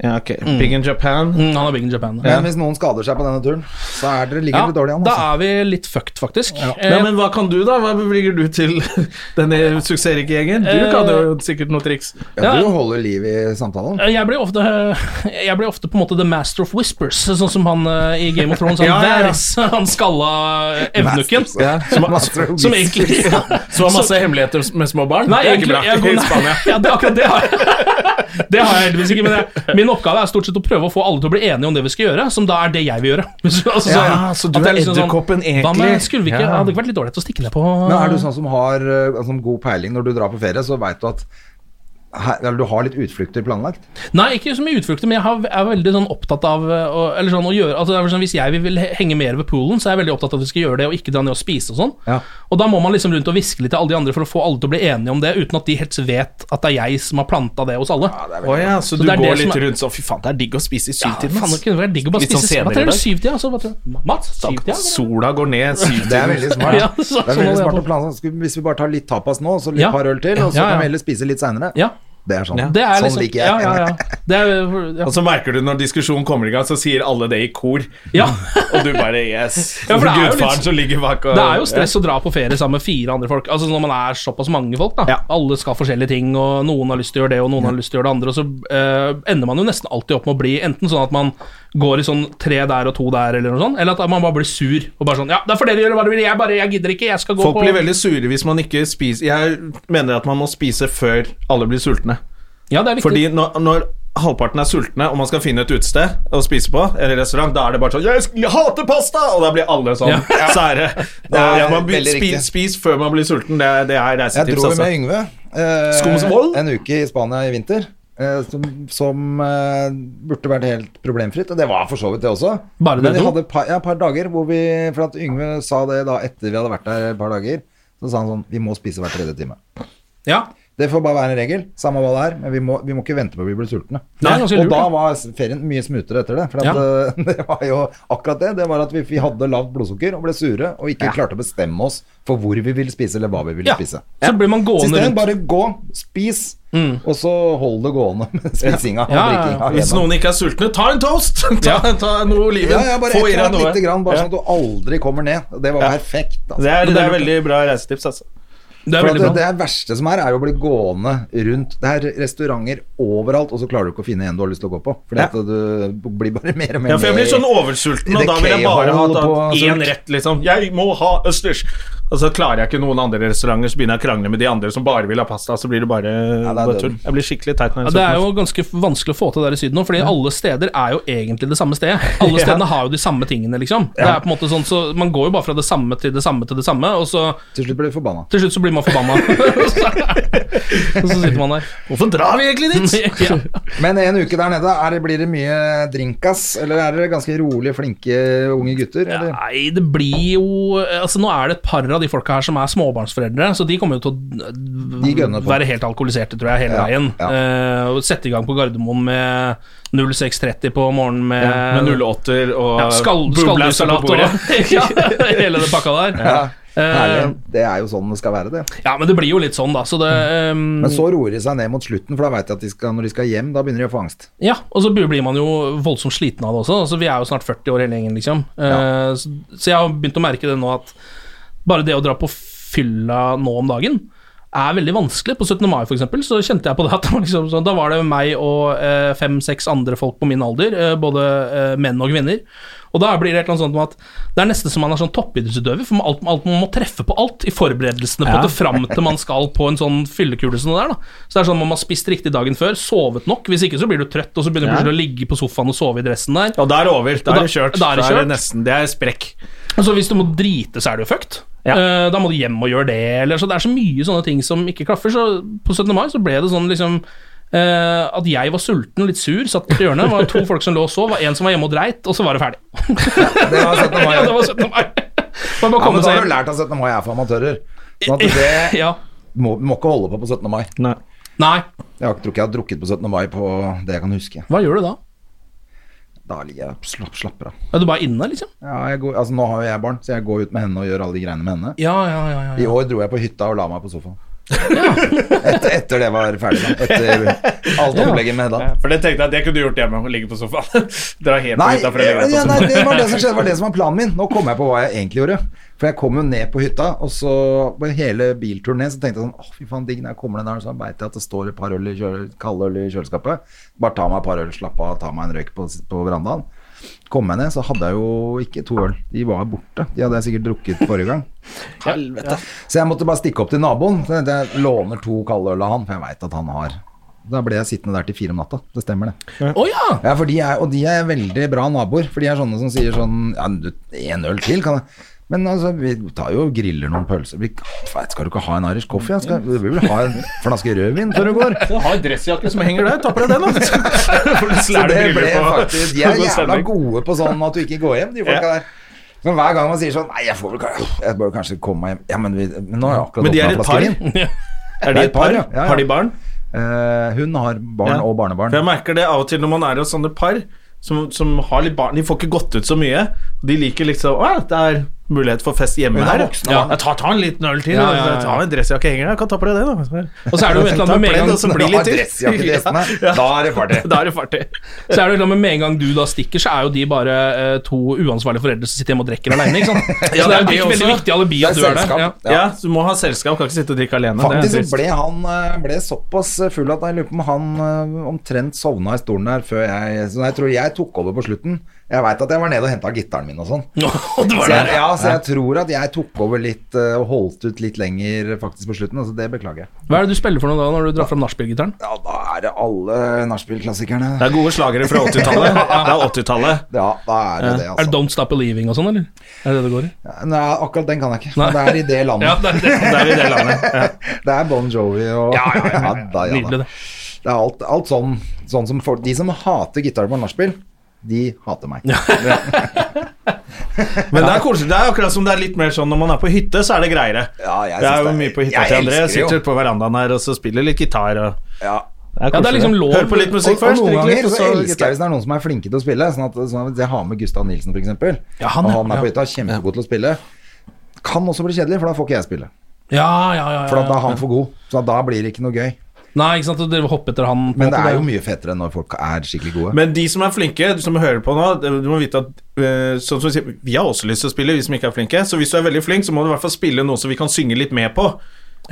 Speaker 1: Ja, ok. Big in Japan.
Speaker 3: Mm, han er big in Japan.
Speaker 2: Men hvis noen skader seg på denne turen, så er dere ligger
Speaker 3: Ja,
Speaker 2: dere dårlig an.
Speaker 3: da
Speaker 2: Altså.
Speaker 3: er vi litt fucked, faktisk. Eh,
Speaker 1: Nei, men hva kan du, da? Hva bevilger du til denne suksessrike gjengen? Du
Speaker 3: Eh,
Speaker 1: kan jo sikkert noen triks.
Speaker 2: Ja,
Speaker 3: ja.
Speaker 2: du holder liv i samtalen.
Speaker 3: Eh, Jeg blir, ofte, jeg blir ofte på en måte The Master of Whispers, sånn som han eh, i Game of Thrones. Han,
Speaker 1: Ja, ja, ja.
Speaker 3: Varys, han skalla evnukken.
Speaker 2: Ja. Master of
Speaker 3: Som
Speaker 2: Beast.
Speaker 3: egentlig
Speaker 1: Som har masse hemmeligheter med små barn?
Speaker 3: Nei,
Speaker 1: det er
Speaker 3: egentlig-
Speaker 1: ikke bra
Speaker 3: jeg-
Speaker 1: i Spania.
Speaker 3: Ja, det, akkurat det har jeg. Det har jeg heldigvis ikke, men jeg, min oppgave er stort sett å prøve å få alle til å bli enige om det vi skal gjøre, som da er det jeg vil gjøre. Hvis du- altså,
Speaker 1: Ja, så du
Speaker 3: at det
Speaker 1: er
Speaker 3: liksom sånn,
Speaker 1: edderkoppen
Speaker 3: Hva med,
Speaker 1: egentlig?
Speaker 3: skulle vi ikke,
Speaker 1: Ja.
Speaker 3: Hadde ikke vært litt ålreit å stikke ned på
Speaker 2: Men er du sånn som har eh, altså, god peiling når du drar på ferie, så veit du at her, eller du har litt utflukter planlagt?
Speaker 3: Nei, ikke så mye utflukter, men jeg har, er veldig sånn opptatt av eh, å, eller sånn, å gjøre, altså, det er vel sånn, Hvis jeg vil- vil henge mer ved poolen, så er jeg veldig opptatt av at vi skal gjøre det, og ikke dra ned og spise og sånn.
Speaker 2: Ja.
Speaker 3: Og da må man liksom rundt og hviske litt til alle de andre for å få alle til å bli enige om det, uten at de helt vet at det er jeg som har planta det hos alle. Ja,
Speaker 1: Å ja, så,
Speaker 3: Så
Speaker 1: du
Speaker 3: det er
Speaker 1: går
Speaker 3: det som
Speaker 1: litt
Speaker 3: er-
Speaker 1: rundt sånn Fy faen, det er digg å spise i syvtiden.
Speaker 3: faen, det
Speaker 1: ass.
Speaker 3: kunne vært digg å bare
Speaker 1: Litt sånn
Speaker 3: spise
Speaker 1: senere
Speaker 3: Hva
Speaker 1: i
Speaker 3: trenger
Speaker 1: dag.
Speaker 3: du syvtida? Altså, hva trenger du? Mats? Syvtida? eller?
Speaker 1: Sola går ned syvtiden.
Speaker 2: Det er veldig smart.
Speaker 3: Ja,
Speaker 2: det er
Speaker 3: så- sånn
Speaker 2: veldig
Speaker 3: hadde jeg
Speaker 2: smart å
Speaker 3: på.
Speaker 2: planlegge. Skal- Hvis vi bare tar litt tapas nå, så litt
Speaker 3: Ja.
Speaker 2: par øl til, og så
Speaker 3: Ja, ja.
Speaker 2: kan vi heller spise litt seinere.
Speaker 3: Ja.
Speaker 2: Det er sånn.
Speaker 3: Det er
Speaker 2: sånn
Speaker 3: liksom
Speaker 2: liker jeg.
Speaker 3: Ja, ja, ja. Det er, ja.
Speaker 1: Og så merker du når diskusjonen kommer i gang, så sier alle det i kor.
Speaker 3: Ja.
Speaker 1: Og du bare yes.
Speaker 3: Ja, for det er jo litt-
Speaker 1: Gudfaren som ligger bak og
Speaker 3: Det er jo stress å dra på ferie sammen med fire andre folk. Altså Når man er såpass mange folk, da.
Speaker 1: Ja.
Speaker 3: Alle skal forskjellige ting, og noen har lyst til å gjøre det, og noen har lyst til å gjøre det andre. Og så eh, ender man jo nesten alltid opp med å bli enten sånn at man går i sånn tre der og to der, eller noe sånt, eller at man bare blir sur og bare sånn Ja, da får dere gjøre hva dere vil, jeg bare Jeg gidder ikke, jeg skal gå
Speaker 1: Folk
Speaker 3: på
Speaker 1: blir veldig sure hvis man ikke spiser Jeg mener at man må spise før alle blir sultne.
Speaker 3: Ja, det er viktig.
Speaker 1: Fordi når, når halvparten er sultne, og man skal finne et utested å spise på, eller restaurant, da er det bare sånn 'Jeg sk- hater pasta!' Og da blir alle sånn
Speaker 3: Ja.
Speaker 1: sære.
Speaker 2: Det er
Speaker 1: Ja, man blir-
Speaker 2: veldig
Speaker 1: spis,
Speaker 2: riktig.
Speaker 1: spis før man blir sulten. Det, er- det er
Speaker 2: Jeg
Speaker 1: reisetips,
Speaker 2: dro jo med
Speaker 1: altså.
Speaker 2: Yngve
Speaker 1: Skomsvold?
Speaker 2: eh, en uke i Spania i vinter. eh, Som, som eh, burde vært helt problemfritt, og det var for så vidt det også.
Speaker 3: Bare
Speaker 2: Men
Speaker 3: dere
Speaker 2: vi
Speaker 3: to?
Speaker 2: hadde et par, ja, et par dager hvor vi For at Yngve sa det da etter vi hadde vært der et par dager. Så sa han sånn Vi må spise hver tredje time.
Speaker 3: Ja.
Speaker 2: Det får bare være en regel, samme hva det er, men vi må, vi må ikke vente på at vi blir sultne.
Speaker 3: Det er ganske
Speaker 2: og
Speaker 3: lurt,
Speaker 2: da
Speaker 3: da.
Speaker 2: var ferien mye smutere etter det. For at, eh, det var jo akkurat det. Det var at vi, vi hadde lavt blodsukker og ble sure og ikke klarte å bestemme oss for hvor vi ville spise eller hva vi ville
Speaker 3: ja.
Speaker 2: spise.
Speaker 3: Så blir man gående
Speaker 2: System,
Speaker 3: rundt.
Speaker 2: bare gå, spis,
Speaker 1: Mm.
Speaker 2: og så hold det gående med spisinga og
Speaker 3: Ja, ja, ja.
Speaker 2: drikkinga.
Speaker 1: Hvis
Speaker 2: gjennom.
Speaker 1: noen ikke er sultne, ta en toast! Ta, ta noe oliven.
Speaker 2: ja, ja, bare
Speaker 1: Få i
Speaker 2: et
Speaker 1: deg
Speaker 2: eller
Speaker 1: noe.
Speaker 2: annet lite grann, bare
Speaker 1: Ja.
Speaker 2: sånn at du aldri kommer ned. Det var perfekt. Altså.
Speaker 1: Det er,
Speaker 3: Men
Speaker 1: det
Speaker 3: det er
Speaker 1: er veldig bra reisetips, altså.
Speaker 3: Det er
Speaker 2: For at
Speaker 3: veldig
Speaker 2: det,
Speaker 3: bra.
Speaker 2: det er verste som er, er jo å bli gående rundt Det er restauranter overalt, og så klarer du ikke å finne en du har lyst til å gå på. Fordi
Speaker 1: Ja.
Speaker 2: at du blir bare mer og mer
Speaker 1: Ja, for jeg blir
Speaker 2: med i-
Speaker 1: sånn oversulten,
Speaker 2: i
Speaker 1: og
Speaker 2: det
Speaker 1: da vil jeg bare ha
Speaker 2: K-hole
Speaker 1: tatt
Speaker 2: på altså.
Speaker 1: én
Speaker 2: sult.
Speaker 1: rett, liksom. Jeg må ha østers! Og så klarer jeg ikke noen andre restauranter, så begynner jeg å krangle med de andre som bare vil ha pasta, så blir det bare,
Speaker 2: det er
Speaker 1: bare tull.
Speaker 2: døden.
Speaker 1: Jeg blir skikkelig teit når
Speaker 3: Ja,
Speaker 1: jeg
Speaker 3: det er
Speaker 1: er sulten.
Speaker 3: jo ganske vanskelig å få til der i Syden nå, fordi alle steder er jo egentlig det samme stedet. Alle stedene har jo de samme tingene, liksom. Det er på en måte sånn, så Man går jo bare fra det samme til det samme til det samme, og så
Speaker 2: Til slutt blir du forbanna.
Speaker 3: til slutt så blir man forbanna. og så og så sitter man der.
Speaker 1: Hvorfor drar vi egentlig dit?
Speaker 3: Ja.
Speaker 2: Men en uke der nede, er det, blir det mye drinkas? Eller er dere ganske rolige, flinke unge gutter? Eller?
Speaker 3: Nei, det blir jo Altså Nå er det et par av de folka her som er småbarnsforeldre, så de kommer jo til å øh,
Speaker 2: De gønner på.
Speaker 3: være helt alkoholiserte, tror jeg, hele
Speaker 2: Ja,
Speaker 3: veien.
Speaker 2: ja.
Speaker 3: Eh, og sette i gang på Gardermoen med 06.30 på morgenen med
Speaker 1: Med 08-er og
Speaker 3: ja, skal,
Speaker 1: bubblausa på
Speaker 3: skalldyrssalat
Speaker 1: bordet.
Speaker 3: og ja, hele den pakka der.
Speaker 2: Ja.
Speaker 3: Eh,
Speaker 2: Herlig. Det er jo sånn det skal være, det.
Speaker 3: ja, men det blir jo litt sånn, da. Så det, ehm,
Speaker 2: Men så roer de seg ned mot slutten, for da veit de at de skal, når de skal hjem, da begynner de å få angst.
Speaker 3: ja, og så blir man jo voldsomt sliten av det også. Altså, vi er jo snart 40 år hele gjengen, liksom. Eh, så, så jeg har begynt å merke det nå at bare det å dra på fylla nå om dagen er veldig vanskelig. På 17. mai, for eksempel, så kjente jeg på det at det var liksom sånn, da var det meg og eh, fem-seks andre folk på min alder, eh, både eh, menn og kvinner. Og da blir det et eller annet sånt med at det er nesten som man er sånn toppidrettsutøver, for man, alt, alt, man må treffe på alt i forberedelsene på det fram til man skal på en sånn fyllekule som det der. da. Så det er sånn man har spist riktig dagen før, sovet nok, hvis ikke så blir du trøtt, og så begynner du plutselig å ligge på sofaen og sove i dressen der.
Speaker 1: Og da er det over. Da
Speaker 3: Og
Speaker 1: er
Speaker 3: da-
Speaker 1: det kjørt.
Speaker 3: da er
Speaker 1: Da er
Speaker 3: det kjørt.
Speaker 1: det nesten Det er sprekk.
Speaker 3: Altså Hvis du må drite, så er du fucked.
Speaker 1: Ja.
Speaker 3: Eh, da må du hjem og gjøre det. Eller, så Det er så mye sånne ting som ikke klaffer. Så På 17. mai så ble det sånn liksom eh, at jeg var sulten, litt sur, satt borti hjørnet. Det var to folk som lå og sov, var en som var hjemme og dreit, og så var det ferdig.
Speaker 2: Det var 17. mai.
Speaker 3: ja, det var 17. mai. Man må
Speaker 2: Ja, men
Speaker 3: komme
Speaker 2: da
Speaker 3: seg
Speaker 2: har du
Speaker 3: hjem.
Speaker 2: lært at 17. mai er for amatører. Sånn at det
Speaker 3: Ja.
Speaker 2: må, må ikke holde på på 17. mai.
Speaker 3: Nei,
Speaker 2: Jeg har- tror ikke jeg har drukket på 17. mai på det jeg kan huske.
Speaker 3: hva gjør du da?
Speaker 2: Da ligger jeg og slapp, slapper av.
Speaker 3: Er du bare inne, liksom?
Speaker 2: Ja, jeg går, altså Nå har jo jeg barn, så jeg går ut med henne og gjør alle de greiene med henne.
Speaker 3: Ja, ja, ja. ja,
Speaker 2: I
Speaker 3: ja.
Speaker 2: år dro jeg på hytta og la meg på sofaen. etter, etter det var ferdig. da. Etter alt opplegget med Hedda.
Speaker 1: For det tenkte jeg at det kunne du gjort hjemme. Å ligge på sofaen. Dra helt på
Speaker 2: Nei,
Speaker 1: hytta for å legge deg
Speaker 2: ja,
Speaker 1: på
Speaker 2: nei,
Speaker 1: sofaen.
Speaker 2: det var det som skjedde, det var det som var planen min. Nå kom jeg på hva jeg egentlig gjorde. For jeg kom jo ned på hytta, og så på hele bilturen ned så tenkte jeg sånn Å, fy faen, digg når jeg kommer ned der, så veit jeg at det står et par øl i kjøle, kalde øl i kjøleskapet. Bare ta meg et par øl, slapp av, ta meg en røyk på, på verandaen. Kom jeg ned, så hadde jeg jo ikke to øl. De var borte. De hadde jeg sikkert drukket forrige gang. Så jeg måtte bare stikke opp til naboen. Så tenkte Jeg låner to kalde øl av han, for jeg veit at han har Da ble jeg sittende der til fire om natta. Det stemmer, det.
Speaker 3: Å ja!
Speaker 2: Ja, for de er, og de er veldig bra naboer. For de er sånne som sier sånn Ja, du, en øl til, kan jeg Men altså, vi tar jo og griller noen pølser. Vi, Feit, skal du ikke ha en Irish coffee? ja? Skal, du vil vel ha en flaske rødvin før du går?
Speaker 1: Du har en dressjakke
Speaker 3: liksom.
Speaker 1: som henger der. Ta på deg den, da. For du
Speaker 2: Så
Speaker 1: slår
Speaker 2: det
Speaker 1: briller
Speaker 2: ble
Speaker 1: på-
Speaker 2: faktisk De er
Speaker 1: på
Speaker 2: jævla
Speaker 1: stemning.
Speaker 2: gode på sånn at du ikke går hjem, de folka der. Men hver gang man sier sånn Nei, jeg, får vel, ka- jeg bør kanskje komme meg hjem. Ja, men, vi, men nå har jeg akkurat
Speaker 1: Men de er
Speaker 2: åpnet
Speaker 1: et
Speaker 2: en
Speaker 1: par?
Speaker 2: flaske vin.
Speaker 1: Er de et par?
Speaker 2: ja. Ja, ja.
Speaker 1: Har de barn?
Speaker 2: Eh, hun har barn
Speaker 1: Ja.
Speaker 2: og barnebarn.
Speaker 1: For jeg merker det av og til når man er hos sånne par som, som har litt barn De får ikke gått ut så mye. De liker liksom Å, det er mulighet for fest hjemme
Speaker 2: Hun er
Speaker 1: her.
Speaker 2: voksen,
Speaker 1: Ja,
Speaker 2: da.
Speaker 1: jeg tar, tar en liten øl til.
Speaker 3: Ja, ja, ja.
Speaker 1: Jeg tar en dressjakke henger der. Jeg kan ta på deg det, da.
Speaker 3: Og så er det jo et eller annet
Speaker 1: Ta
Speaker 3: med en
Speaker 1: pledd, og
Speaker 3: gang
Speaker 1: så altså, blir
Speaker 2: Når
Speaker 1: det
Speaker 2: du har
Speaker 1: litt til.
Speaker 2: sånn. dressjakke til gjestene,
Speaker 1: Ja.
Speaker 2: da er det party.
Speaker 1: Da er det farty.
Speaker 3: Så er det jo et eller annet med en gang du da stikker, så er jo de bare eh, to uansvarlige foreldre som sitter hjemme og drikker alene. Ikke sant? Så det er
Speaker 1: det
Speaker 3: jo
Speaker 1: er
Speaker 3: et veldig
Speaker 1: også-
Speaker 3: viktig alibi
Speaker 2: Det
Speaker 3: at
Speaker 2: er
Speaker 3: du er der.
Speaker 2: selskap.
Speaker 3: Ja.
Speaker 1: Ja. så du må ha selskap. Kan ikke sitte og drikke alene.
Speaker 2: Faktisk
Speaker 1: det
Speaker 2: så
Speaker 1: er trist.
Speaker 2: ble han eh, ble såpass full at jeg lurer på om han eh, omtrent sovna i stolen der før jeg Så jeg tror jeg tok over på slutten. Jeg veit at jeg var nede og henta gitaren min og sånn.
Speaker 3: Og det
Speaker 2: Så
Speaker 3: var
Speaker 2: jeg,
Speaker 3: det.
Speaker 2: ja, så jeg tror at jeg tok over litt eh, og holdt ut litt lenger faktisk på slutten. Altså det beklager jeg.
Speaker 3: Hva er det du spiller for noe da, når du drar fram nachspiel-gitaren?
Speaker 2: Ja, da er det alle nachspiel-klassikerne.
Speaker 1: Det er gode slagere fra 80-tallet. Det er 80-tallet.
Speaker 2: Ja, da er det det,
Speaker 3: Er det
Speaker 2: altså.
Speaker 3: Don't Stop Believing og sånn, eller? Er det det det går i?
Speaker 2: Nei, akkurat den kan jeg ikke. Men det er i det landet.
Speaker 3: Ja, det er det.
Speaker 1: Det er i det landet. Ja.
Speaker 2: Det er Bon Jovi og ja, ja, ja, da, ja, da.
Speaker 3: Nydelig, det.
Speaker 2: Det er alt, alt sånn, sånn som folk De som hater gitar på nachspiel, de hater meg.
Speaker 1: Men det er koselig. Det er akkurat som det er litt mer sånn når man er på hytte, så er det greiere.
Speaker 2: Ja, jeg
Speaker 1: det
Speaker 2: synes
Speaker 1: er jo
Speaker 2: det-
Speaker 1: mye på hytta
Speaker 2: jeg
Speaker 1: til André.
Speaker 2: elsker
Speaker 1: Jeg
Speaker 2: det jo.
Speaker 1: sitter på verandaen her og så spiller litt gitar og
Speaker 2: Ja.
Speaker 1: det
Speaker 3: Ja, det er
Speaker 1: koselig,
Speaker 3: liksom lov-
Speaker 1: Hør på litt
Speaker 2: Og,
Speaker 1: musikk
Speaker 2: og
Speaker 1: først.
Speaker 2: noen
Speaker 1: drikke litt,
Speaker 2: ganger
Speaker 1: og
Speaker 2: så
Speaker 1: så
Speaker 2: elsker jeg hvis det er noen som er flinke til å spille. Sånn at, sånn at Jeg har med Gustav Nilsen, for eksempel.
Speaker 3: Ja, han,
Speaker 2: og
Speaker 3: ja,
Speaker 2: han er
Speaker 3: ja.
Speaker 2: på hytta, kjempegod til å spille. Kan også bli kjedelig, for da får ikke jeg spille.
Speaker 3: Ja, ja, ja,
Speaker 2: For at da
Speaker 3: ja,
Speaker 2: er han for god. Så da blir det ikke noe gøy.
Speaker 3: ja. Nei, ikke sant, og dere hopper etter han. på en
Speaker 2: Men det
Speaker 3: måte,
Speaker 2: er jo mye fetere når folk er skikkelig gode.
Speaker 1: Men de som er flinke, som hører på nå, du må vite at eh, sånn som vi, sier, vi har også lyst til å spille, vi som ikke er flinke. Så hvis du er veldig flink, så må du i hvert fall spille noe som vi kan synge litt med på.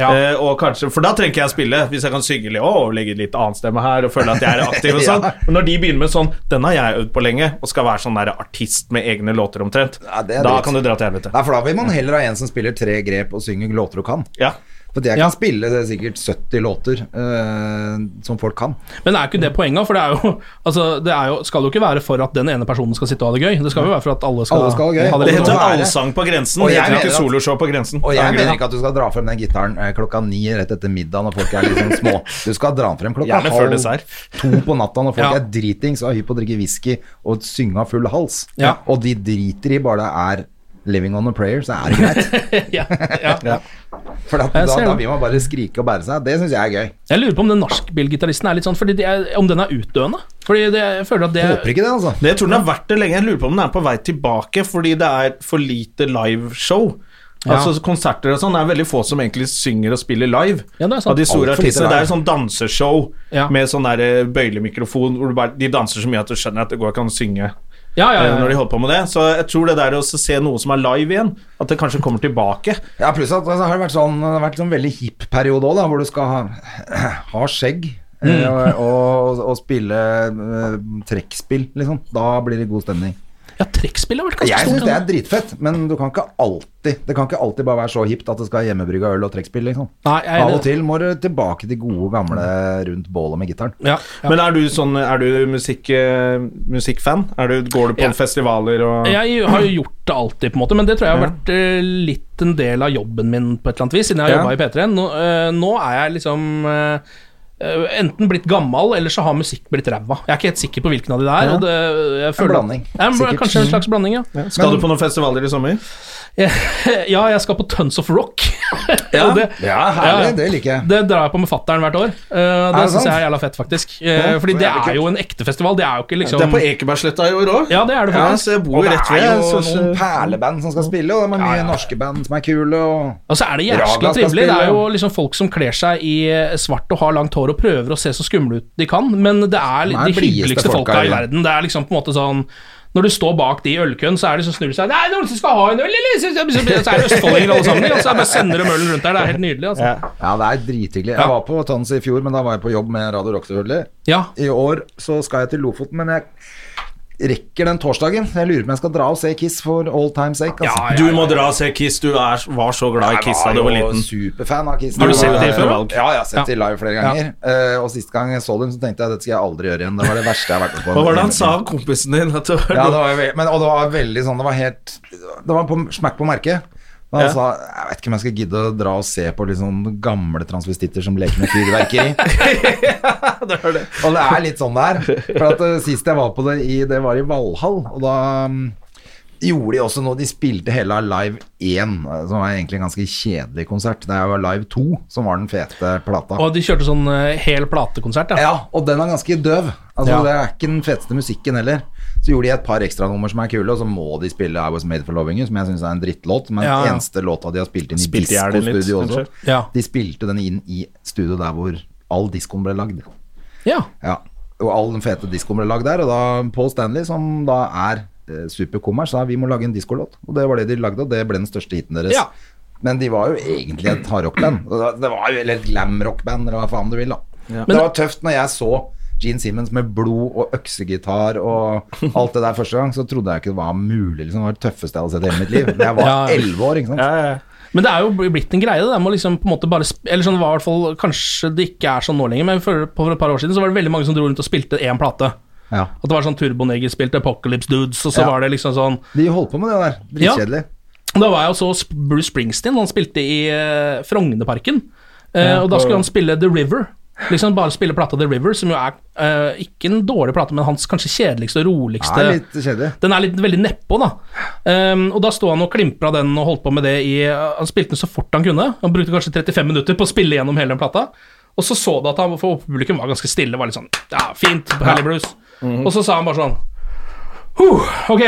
Speaker 3: Ja.
Speaker 1: Eh, og kanskje, for da trenger ikke jeg spille, hvis jeg kan synge litt og legge litt annen stemme her og føle at jeg er aktiv og sånn.
Speaker 2: Ja.
Speaker 1: Men når de begynner med sånn 'Den har jeg øvd på lenge', og skal være sånn der artist med egne låter omtrent,
Speaker 2: Ja, det er
Speaker 1: da
Speaker 2: dritt.
Speaker 1: kan du dra til helvete.
Speaker 2: Nei, for da vil man heller ha en som spiller tre grep og synger låter du kan.
Speaker 1: Ja.
Speaker 2: For jeg
Speaker 3: Ja.
Speaker 2: kan spille det er sikkert 70 låter eh, som folk kan.
Speaker 3: Men er ikke det poenget? For det er jo Altså, det er jo, skal jo ikke være for at den ene personen skal sitte og ha det gøy. Det skal jo være for at alle skal,
Speaker 2: Alle skal ha det gøy.
Speaker 3: Ha
Speaker 1: Det
Speaker 3: det
Speaker 2: må
Speaker 1: heter
Speaker 3: godt.
Speaker 2: være.
Speaker 1: Allsang på grensen,
Speaker 2: Og
Speaker 1: det
Speaker 2: jeg
Speaker 1: heter ikke
Speaker 2: mener at-
Speaker 1: soloshow på grensen.
Speaker 2: Og
Speaker 1: Av
Speaker 2: jeg
Speaker 1: en
Speaker 2: mener
Speaker 1: grunn.
Speaker 2: ikke at du skal dra frem den gitaren eh, klokka ni rett etter middag når folk er liksom små. Du skal dra den frem klokka
Speaker 1: Gjerne før dessert.
Speaker 2: to på natta når folk
Speaker 3: Ja.
Speaker 2: er dritings og er hypp på å drikke whisky og synge av full hals.
Speaker 3: Ja.
Speaker 2: Og de driter i bare det er Living on a prayer, så er det greit.
Speaker 3: ja, ja.
Speaker 2: For at, da,
Speaker 3: Jeg ser
Speaker 2: da
Speaker 3: det.
Speaker 2: vil man bare skrike og bære seg. Det syns jeg er gøy.
Speaker 3: Jeg lurer på om den nachspiel-gitaristen er litt sånn Fordi det er, om den er utdøende? Fordi det, jeg føler at det
Speaker 2: Håper ikke det, altså.
Speaker 1: Det jeg tror den har vært det lenge. Jeg lurer på om den er på vei tilbake fordi det er for lite liveshow. Altså Konserter og sånn. Det er veldig få som egentlig synger og spiller live.
Speaker 3: Ja, det er sant.
Speaker 1: Av de store
Speaker 2: Alt for lite
Speaker 1: artistene. Det
Speaker 2: live.
Speaker 1: er sånn danseshow
Speaker 3: Ja.
Speaker 1: med sånn der eh, bøylemikrofon hvor du bare, de danser så mye at du skjønner at det går ikke an å synge
Speaker 3: Ja, ja,
Speaker 1: eh,
Speaker 3: ja.
Speaker 1: når de holder på med det. Så jeg tror det der å se noe som er live igjen, at det kanskje kommer tilbake.
Speaker 2: Ja, pluss at altså, det har vært sånn, det har vært sånn veldig hipp periode òg, hvor du skal ha, ha skjegg. eh, Og, og, og spille eh, trekkspill, liksom. Da blir det god stemning.
Speaker 3: ja trekkspill har vært ganske
Speaker 2: Jeg
Speaker 3: stort.
Speaker 2: syns det
Speaker 3: ja.
Speaker 2: er dritfett, men du kan ikke alltid Det kan ikke alltid bare være så hipt at det skal hjemmebrygga øl og trekkspill, liksom.
Speaker 3: Nei, jeg er
Speaker 2: Av og
Speaker 3: enig.
Speaker 2: til må du tilbake til gode, gamle rundt bålet med gitaren.
Speaker 3: Ja, ja.
Speaker 1: Men er du sånn Er du musikk, eh, musikkfan? Er du, går du på
Speaker 3: Ja.
Speaker 1: festivaler og
Speaker 3: Jeg har jo gjort det alltid, på en måte, men det tror jeg har vært eh, litt en del av jobben min, på et eller annet vis, siden jeg har
Speaker 1: Ja.
Speaker 3: jobba i P3. Nå, eh, nå er jeg liksom eh, eh, enten blitt gammal, eller så har musikk blitt ræva. Jeg er ikke helt sikker på hvilken av de det er. Og det, jeg føler,
Speaker 2: blanding,
Speaker 3: Ja, men
Speaker 2: sikkert.
Speaker 3: Kanskje en slags blanding, ja.
Speaker 1: Skal du på noen festivaler i sommer?
Speaker 3: Ja, jeg skal på Tons of Rock. Og det,
Speaker 2: Ja, herlig, det liker jeg.
Speaker 3: Det drar jeg på med fattern hvert år. Eh, det
Speaker 2: det
Speaker 3: syns
Speaker 2: sant?
Speaker 3: jeg er jævla fett, faktisk. Eh, fordi
Speaker 2: så
Speaker 3: det
Speaker 2: jævlig
Speaker 3: er jo en ekte festival. Det er jo ikke liksom
Speaker 1: Det er på Ekebergsletta i år òg.
Speaker 3: Ja, det er det faktisk.
Speaker 1: så jeg bor jo rett ved.
Speaker 2: jo
Speaker 1: så-
Speaker 2: noen perleband som skal spille, og det er mye norske band som er kule, og
Speaker 3: Og så er det
Speaker 2: Raga
Speaker 3: jævla
Speaker 2: skal
Speaker 3: trivelig. Det
Speaker 2: spille.
Speaker 3: er jo liksom folk som kler seg i eh, svart og har langt hår og prøver å se så skumle ut de kan, men det er
Speaker 2: Nei,
Speaker 3: de
Speaker 2: blideste
Speaker 3: hyggeligste
Speaker 2: folka
Speaker 3: folka
Speaker 2: i
Speaker 3: i
Speaker 2: verden.
Speaker 3: verden. Det er liksom på en måte sånn når du står bak de i ølkøen, så er det som snur de seg Nei, noen som skal ha en øl, eller? Så så- så- så er det østfoldinger alle sammen. Og så bare sender de ølen rundt der. Det er helt nydelig, altså.
Speaker 2: Ja, det er drithyggelig. Jeg var på Tons i fjor, men da var jeg på jobb med Radio Rock, selvfølgelig.
Speaker 3: Ja.
Speaker 2: I år så skal jeg til Lofoten, men jeg rekker den torsdagen. Jeg lurer på om jeg skal dra og se Kiss for all time's sake. Altså.
Speaker 1: Ja, ja,
Speaker 4: Du må dra og se Kiss. Du er, var så glad i Kiss da du var
Speaker 2: Jeg var jo
Speaker 4: liten.
Speaker 2: superfan av Kiss.
Speaker 4: Har du
Speaker 2: Det
Speaker 4: sett
Speaker 2: var-
Speaker 4: det før valg?
Speaker 2: Ja, jeg har sett det live flere ganger. Eh, og siste gang jeg så dem, så tenkte jeg dette skal jeg aldri gjøre igjen. Det var det verste jeg har vært med på.
Speaker 4: Hva var det han sa, kompisen din? At det var noe-
Speaker 2: Ja, det var, jo ve- men, og det var veldig sånn Det var helt Det var på, smekk på merket. Da han
Speaker 4: Ja.
Speaker 2: sa jeg vet ikke om jeg skal gidde å dra og se på litt sånn gamle transvestitter som leker med fyrverkeri. Og det er litt sånn det er. For at eh, Sist jeg var på det, i, det var i Valhall, og da mm, gjorde de også noe De spilte hele av Live 1, eh, som var egentlig en ganske kjedelig konsert. Det var Live 2 som var den fete plata.
Speaker 3: Og de kjørte sånn eh, hel platekonsert, ja.
Speaker 2: Ja, og den er ganske døv. Altså,
Speaker 3: Ja.
Speaker 2: Det er ikke den feteste musikken heller. Så gjorde de et par ekstranummer som er kule, og så må de spille I Was Made for Loving You, som jeg syns er en drittlåt, men
Speaker 3: Ja, ja.
Speaker 2: eneste låta de har spilt inn i
Speaker 4: Spilte jeg den litt,
Speaker 2: diskostudio også.
Speaker 4: kanskje?
Speaker 3: Ja.
Speaker 2: De spilte den inn i studio der hvor all diskoen ble lagd.
Speaker 3: ja.
Speaker 2: Ja. Og all den fete diskoen ble lagd der, og da Paul Stanley, som da er eh, superkommers, sa vi må lage en diskolåt. Og det var det de lagde, og det ble den største hiten deres.
Speaker 3: Ja.
Speaker 2: Men de var jo egentlig et hardrockband. Og det- Det var jo eller et glamrockband, eller hva faen du vil, da.
Speaker 3: Men-
Speaker 2: det var tøft når jeg så Gene Simmons med blod og øksegitar og alt det der første gang, så trodde jeg ikke det var mulig. Liksom. Det var det tøffeste jeg hadde sett i hele mitt liv. Men jeg var
Speaker 3: Ja.
Speaker 2: elleve år, ikke sant.
Speaker 3: Men det er jo blitt en greie, det der med å liksom på en måte bare sp- Eller sånn det var i hvert fall Kanskje det ikke er sånn nå lenger, men for, for et par år siden så var det veldig mange som dro rundt og spilte én plate.
Speaker 2: Ja.
Speaker 3: At det var sånn Turboneger spilte Apocalypse Dudes, og så
Speaker 2: Ja.
Speaker 3: var det liksom sånn
Speaker 2: De holdt på med det der. Dritkjedelig.
Speaker 3: Da var jeg og så Sp- Bruce Springsteen, han spilte i eh, Frognerparken. Eh, og da skulle han spille The River. Liksom Bare spille plata The River, som jo er eh, ikke en dårlig plate, men hans kanskje kjedeligste og roligste
Speaker 2: Det er litt kjedelig.
Speaker 3: Den er litt veldig nedpå, da. Ehm, og da sto han og klimpra den og holdt på med det i eh, Han spilte den så fort han kunne. Han brukte kanskje 35 minutter på å spille gjennom hele den plata. Og så så du at han for publikum var ganske stille. Var litt sånn Ja, fint, herlig blues.
Speaker 2: Mhm.
Speaker 3: Og så sa han bare sånn Huh, ok.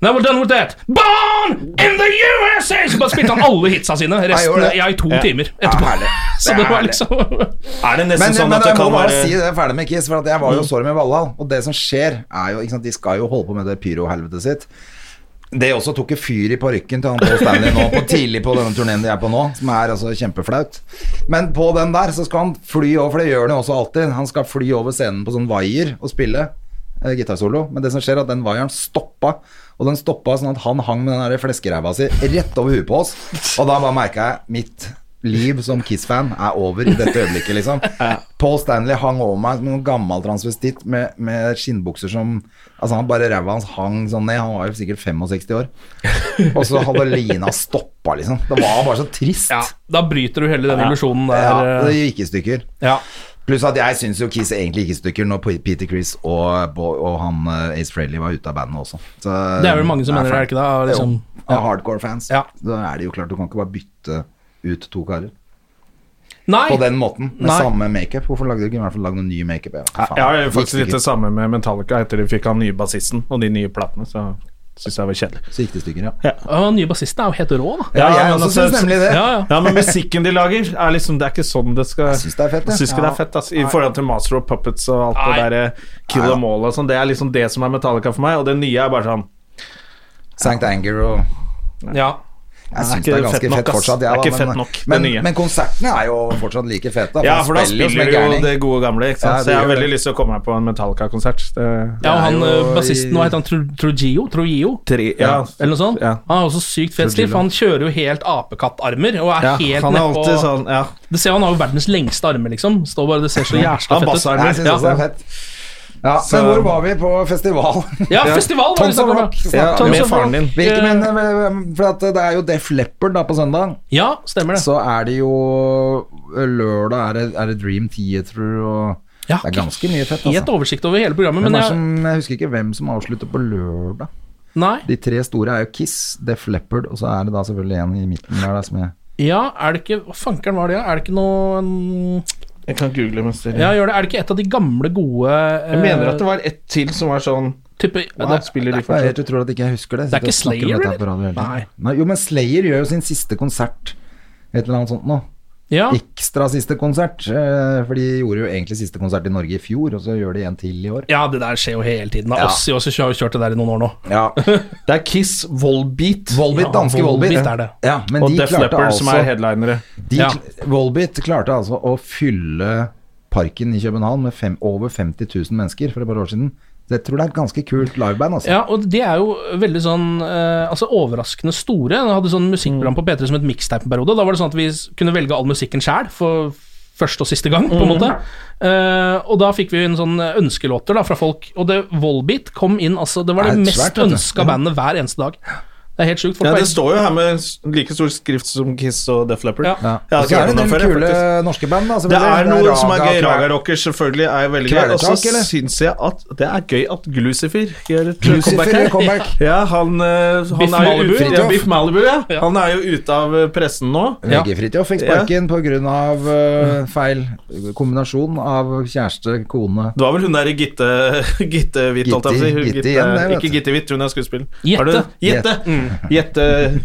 Speaker 3: Now we're done with that. Born in the USA! Så bare spilte han alle hitsa sine
Speaker 2: gjorde
Speaker 3: resten
Speaker 2: det.
Speaker 3: ja, i to timer etterpå.
Speaker 2: herlig.
Speaker 3: Så
Speaker 2: Det
Speaker 3: det
Speaker 2: er
Speaker 3: var
Speaker 2: herlig.
Speaker 3: liksom
Speaker 4: Er det nesten
Speaker 2: Men,
Speaker 4: sånn
Speaker 2: men
Speaker 4: at det
Speaker 2: jeg må
Speaker 4: kan
Speaker 2: bare
Speaker 4: være Mm.
Speaker 2: si det er ferdig med Kiss, for at jeg var jo så dem i Valhall. Og det som skjer, er jo ikke sant, De skal jo holde på med det pyrohelvetet sitt. Det også tok jo fyr i parykken til han Paul Stanley nå, på tidlig på denne turneen de er på nå, som er altså kjempeflaut. Men på den der så skal han fly over, for det gjør han jo også alltid. Han skal fly over scenen på sånn vaier og spille eh, gitarsolo. Men det som skjer, er at den vaieren stoppa, og den stoppa sånn at han hang med den der fleskeræva si rett over huet på oss. Og da bare merka jeg mitt liv som Kiss-fan er over i dette øyeblikket, liksom. Paul Stanley hang over meg som en gammel transvestitt med, med skinnbukser som Altså, han bare ræva hans hang sånn ned. Han var jo sikkert 65 år. Og så hadde lina stoppa, liksom. Det var bare så trist.
Speaker 3: Ja, da bryter du hele den illusjonen der.
Speaker 2: Ja, det
Speaker 3: eh,
Speaker 2: gikk i stykker.
Speaker 3: Ja.
Speaker 2: Pluss at jeg syns jo Kiss egentlig gikk i stykker når Peter Chris og, og han eh, Ace Frehley var ute av bandet også. Så,
Speaker 3: Det er vel mange som mener det, er det ikke det? Liksom,
Speaker 2: Jo, av hardcore-fans.
Speaker 3: Ja.
Speaker 2: Da er det jo klart, du kan ikke bare bytte ut to karer
Speaker 3: Nei,
Speaker 2: på den måten. Med
Speaker 3: Nei.
Speaker 2: samme makeup. Hvorfor lagde du ikke i hvert fall lagd noe ny makeup? Ja, faen.
Speaker 4: Jeg har faktisk
Speaker 2: Gikk
Speaker 4: litt
Speaker 2: det
Speaker 4: det samme med Metallica etter de fikk han nye bassisten og de nye platene. Så syns jeg var kjedelig.
Speaker 2: ikke- Så gikk det i stykker, ja.
Speaker 3: Å, nye bassisten er jo helt rå, da.
Speaker 2: Ja, jeg
Speaker 4: men
Speaker 2: også
Speaker 4: altså-
Speaker 2: syns nemlig det.
Speaker 3: Ja, ja.
Speaker 4: Ja, men musikken de lager, er liksom Det er ikke sånn det skal
Speaker 2: Jeg syns det er fett,
Speaker 4: Jeg syns ikke det er fett, ass. I forhold til Master of Puppets og alt det derre Kill Em All og sånn. Det er liksom det som er Metallica for meg, og det nye er bare sånn
Speaker 2: Sankt Anger og
Speaker 3: ja.
Speaker 2: Jeg syns
Speaker 4: ikke
Speaker 2: det er ganske
Speaker 4: fett
Speaker 2: fett,
Speaker 4: nok, ass.
Speaker 2: fortsatt, jeg,
Speaker 4: Det er
Speaker 2: da,
Speaker 4: ikke
Speaker 2: men-
Speaker 4: fett nok, det
Speaker 2: men,
Speaker 4: nye.
Speaker 2: Men konsertene er jo fortsatt like fete. da,
Speaker 4: Ja,
Speaker 2: han
Speaker 4: for da
Speaker 2: spiller som
Speaker 4: spiller
Speaker 2: en
Speaker 4: du jo
Speaker 2: gærning.
Speaker 4: det gode gamle, ikke sant.
Speaker 2: Ja,
Speaker 4: Så
Speaker 2: det
Speaker 4: jeg har
Speaker 2: gjør
Speaker 4: veldig
Speaker 2: det.
Speaker 4: lyst til å komme meg på en Metallica-konsert. Det-
Speaker 3: ja og han
Speaker 2: Det er jo
Speaker 3: eh, bassisten,
Speaker 2: i-
Speaker 3: hva heter han? Tru- Trujillo? Trujillo?
Speaker 4: Tre- Ja,
Speaker 3: Eller noe sånt?
Speaker 4: Ja.
Speaker 3: Han er også sykt fet stil, for han kjører jo helt apekattarmer og er
Speaker 4: Ja,
Speaker 3: helt
Speaker 4: han er
Speaker 3: nedpå.
Speaker 4: alltid sånn Ja.
Speaker 3: Det ser, han har jo verdens lengste armer, liksom. Står bare, det ser så jævla
Speaker 4: Han
Speaker 3: fett ut.
Speaker 4: bassarmer.
Speaker 2: Jeg syns
Speaker 4: Ja.
Speaker 2: også det er fett. Ja,
Speaker 4: Så-
Speaker 2: men hvor var vi på festival?
Speaker 3: Ja, festival var det
Speaker 2: Tons of
Speaker 3: snakk om,
Speaker 2: Rock.
Speaker 3: ja.
Speaker 2: snakket
Speaker 4: Ja,
Speaker 2: vi
Speaker 4: med
Speaker 2: om.
Speaker 4: faren din.
Speaker 2: Hvilke menn eh, For at det er jo Def Leppard da på søndag.
Speaker 3: Ja, stemmer det.
Speaker 2: Så er det jo eh, Lørdag er det, er det Dream Theater og
Speaker 3: Ja,
Speaker 2: Det er ganske mye fett,
Speaker 3: Helt
Speaker 2: altså.
Speaker 3: oversikt over hele programmet,
Speaker 2: Hvem
Speaker 3: men
Speaker 2: er
Speaker 3: jeg,
Speaker 2: som, jeg husker ikke hvem som avslutter på lørdag.
Speaker 3: Nei.
Speaker 2: De tre store er jo Kiss, Def Leppard, og så er det da selvfølgelig en i midten der da, som jeg
Speaker 3: Ja, er det ikke Hva fankeren var det, ja? Er det ikke noe mm,
Speaker 4: Jeg kan google mens dere
Speaker 3: Ja, gjør det. Er det ikke et av de gamle, gode eh,
Speaker 4: Jeg mener at det var ett til som var sånn
Speaker 3: type,
Speaker 4: Wow, spiller de
Speaker 2: Det er
Speaker 4: fortsatt?
Speaker 2: helt utrolig at ikke jeg husker det.
Speaker 3: Det er ikke
Speaker 2: Sitter og snakker
Speaker 3: Slayer,
Speaker 2: om dette her på radio hele tiden. Nei. Jo, men Slayer gjør jo sin siste konsert, et eller annet sånt nå.
Speaker 3: Ja,
Speaker 2: Ekstra siste konsert, eh, for de gjorde jo egentlig siste konsert i Norge i fjor, og så gjør de en til i år.
Speaker 3: ja, det der skjer jo hele tiden. da. Oss i oss har jo kjørt det der i noen år nå.
Speaker 2: Ja.
Speaker 4: Det er Kiss, Volbeat
Speaker 2: Volbit,
Speaker 3: Ja,
Speaker 2: danske Volbit.
Speaker 3: Volbeat er det.
Speaker 2: Ja, men
Speaker 4: og
Speaker 2: de
Speaker 4: Def
Speaker 2: klarte
Speaker 4: Leppard, som
Speaker 2: altså,
Speaker 4: er headlinere.
Speaker 2: de,
Speaker 3: Ja.
Speaker 2: kl- Volbeat klarte altså å fylle parken i København med fem, over 50 000 mennesker for et par år siden. Så jeg tror det er et ganske kult liveband, altså.
Speaker 3: Ja, og de er jo veldig sånn eh, Altså overraskende store. Jeg hadde sånn musikkprogram på P3 som et mixtape-periode. Da var det sånn at vi s- kunne velge all musikken sjæl for første og siste gang, på en måte. Eh, og da fikk vi inn sånne ønskelåter da fra folk, og det Volbeat kom inn altså Det var
Speaker 2: Det
Speaker 3: det,
Speaker 2: er
Speaker 3: mest
Speaker 2: svært, vet du.
Speaker 3: ønska bandet hver eneste dag. Det er helt sjukt. Folk
Speaker 1: Ja,
Speaker 3: bare-
Speaker 1: det står jo her med s- like stor skrift som Kiss og Def Leppard.
Speaker 3: Ja.
Speaker 2: Ja.
Speaker 1: Jeg har
Speaker 2: Og så er
Speaker 1: ikke
Speaker 2: det
Speaker 1: hørt om
Speaker 2: en
Speaker 1: det
Speaker 2: del
Speaker 1: før,
Speaker 2: kule
Speaker 1: faktisk.
Speaker 2: norske band. Altså,
Speaker 1: Det er noe som er gøy.
Speaker 2: Raga-
Speaker 1: Raga-rocker selvfølgelig er veldig gøy.
Speaker 2: Kvelertak,
Speaker 1: Og så
Speaker 2: eller?
Speaker 1: syns jeg at det er gøy at Glucifer gjør et
Speaker 2: Lucifer
Speaker 1: comeback
Speaker 2: gjør
Speaker 1: her.
Speaker 2: comeback.
Speaker 1: Ja, han, eh, han
Speaker 3: Biff
Speaker 1: er jo
Speaker 3: Malibu.
Speaker 1: ute- Ja,
Speaker 2: Fridtjof.
Speaker 1: Biff Malibu, ja.
Speaker 3: Ja.
Speaker 1: Han er jo ute av eh, pressen nå.
Speaker 3: Ja.
Speaker 2: VG Fridtjof fikk sparken pga. Uh, feil kombinasjon av kjæreste, kone
Speaker 1: Det var vel hun der Gitte Gitte Hvitt, holdt jeg på å si. Hun
Speaker 2: Gitte igjen,
Speaker 1: Gitte-
Speaker 2: det, vet
Speaker 1: Ikke
Speaker 2: du.
Speaker 1: Gitte Hvitt, hun er skuespiller.
Speaker 3: Jette.
Speaker 1: Har du- Jette!
Speaker 3: Mm.
Speaker 1: Jette.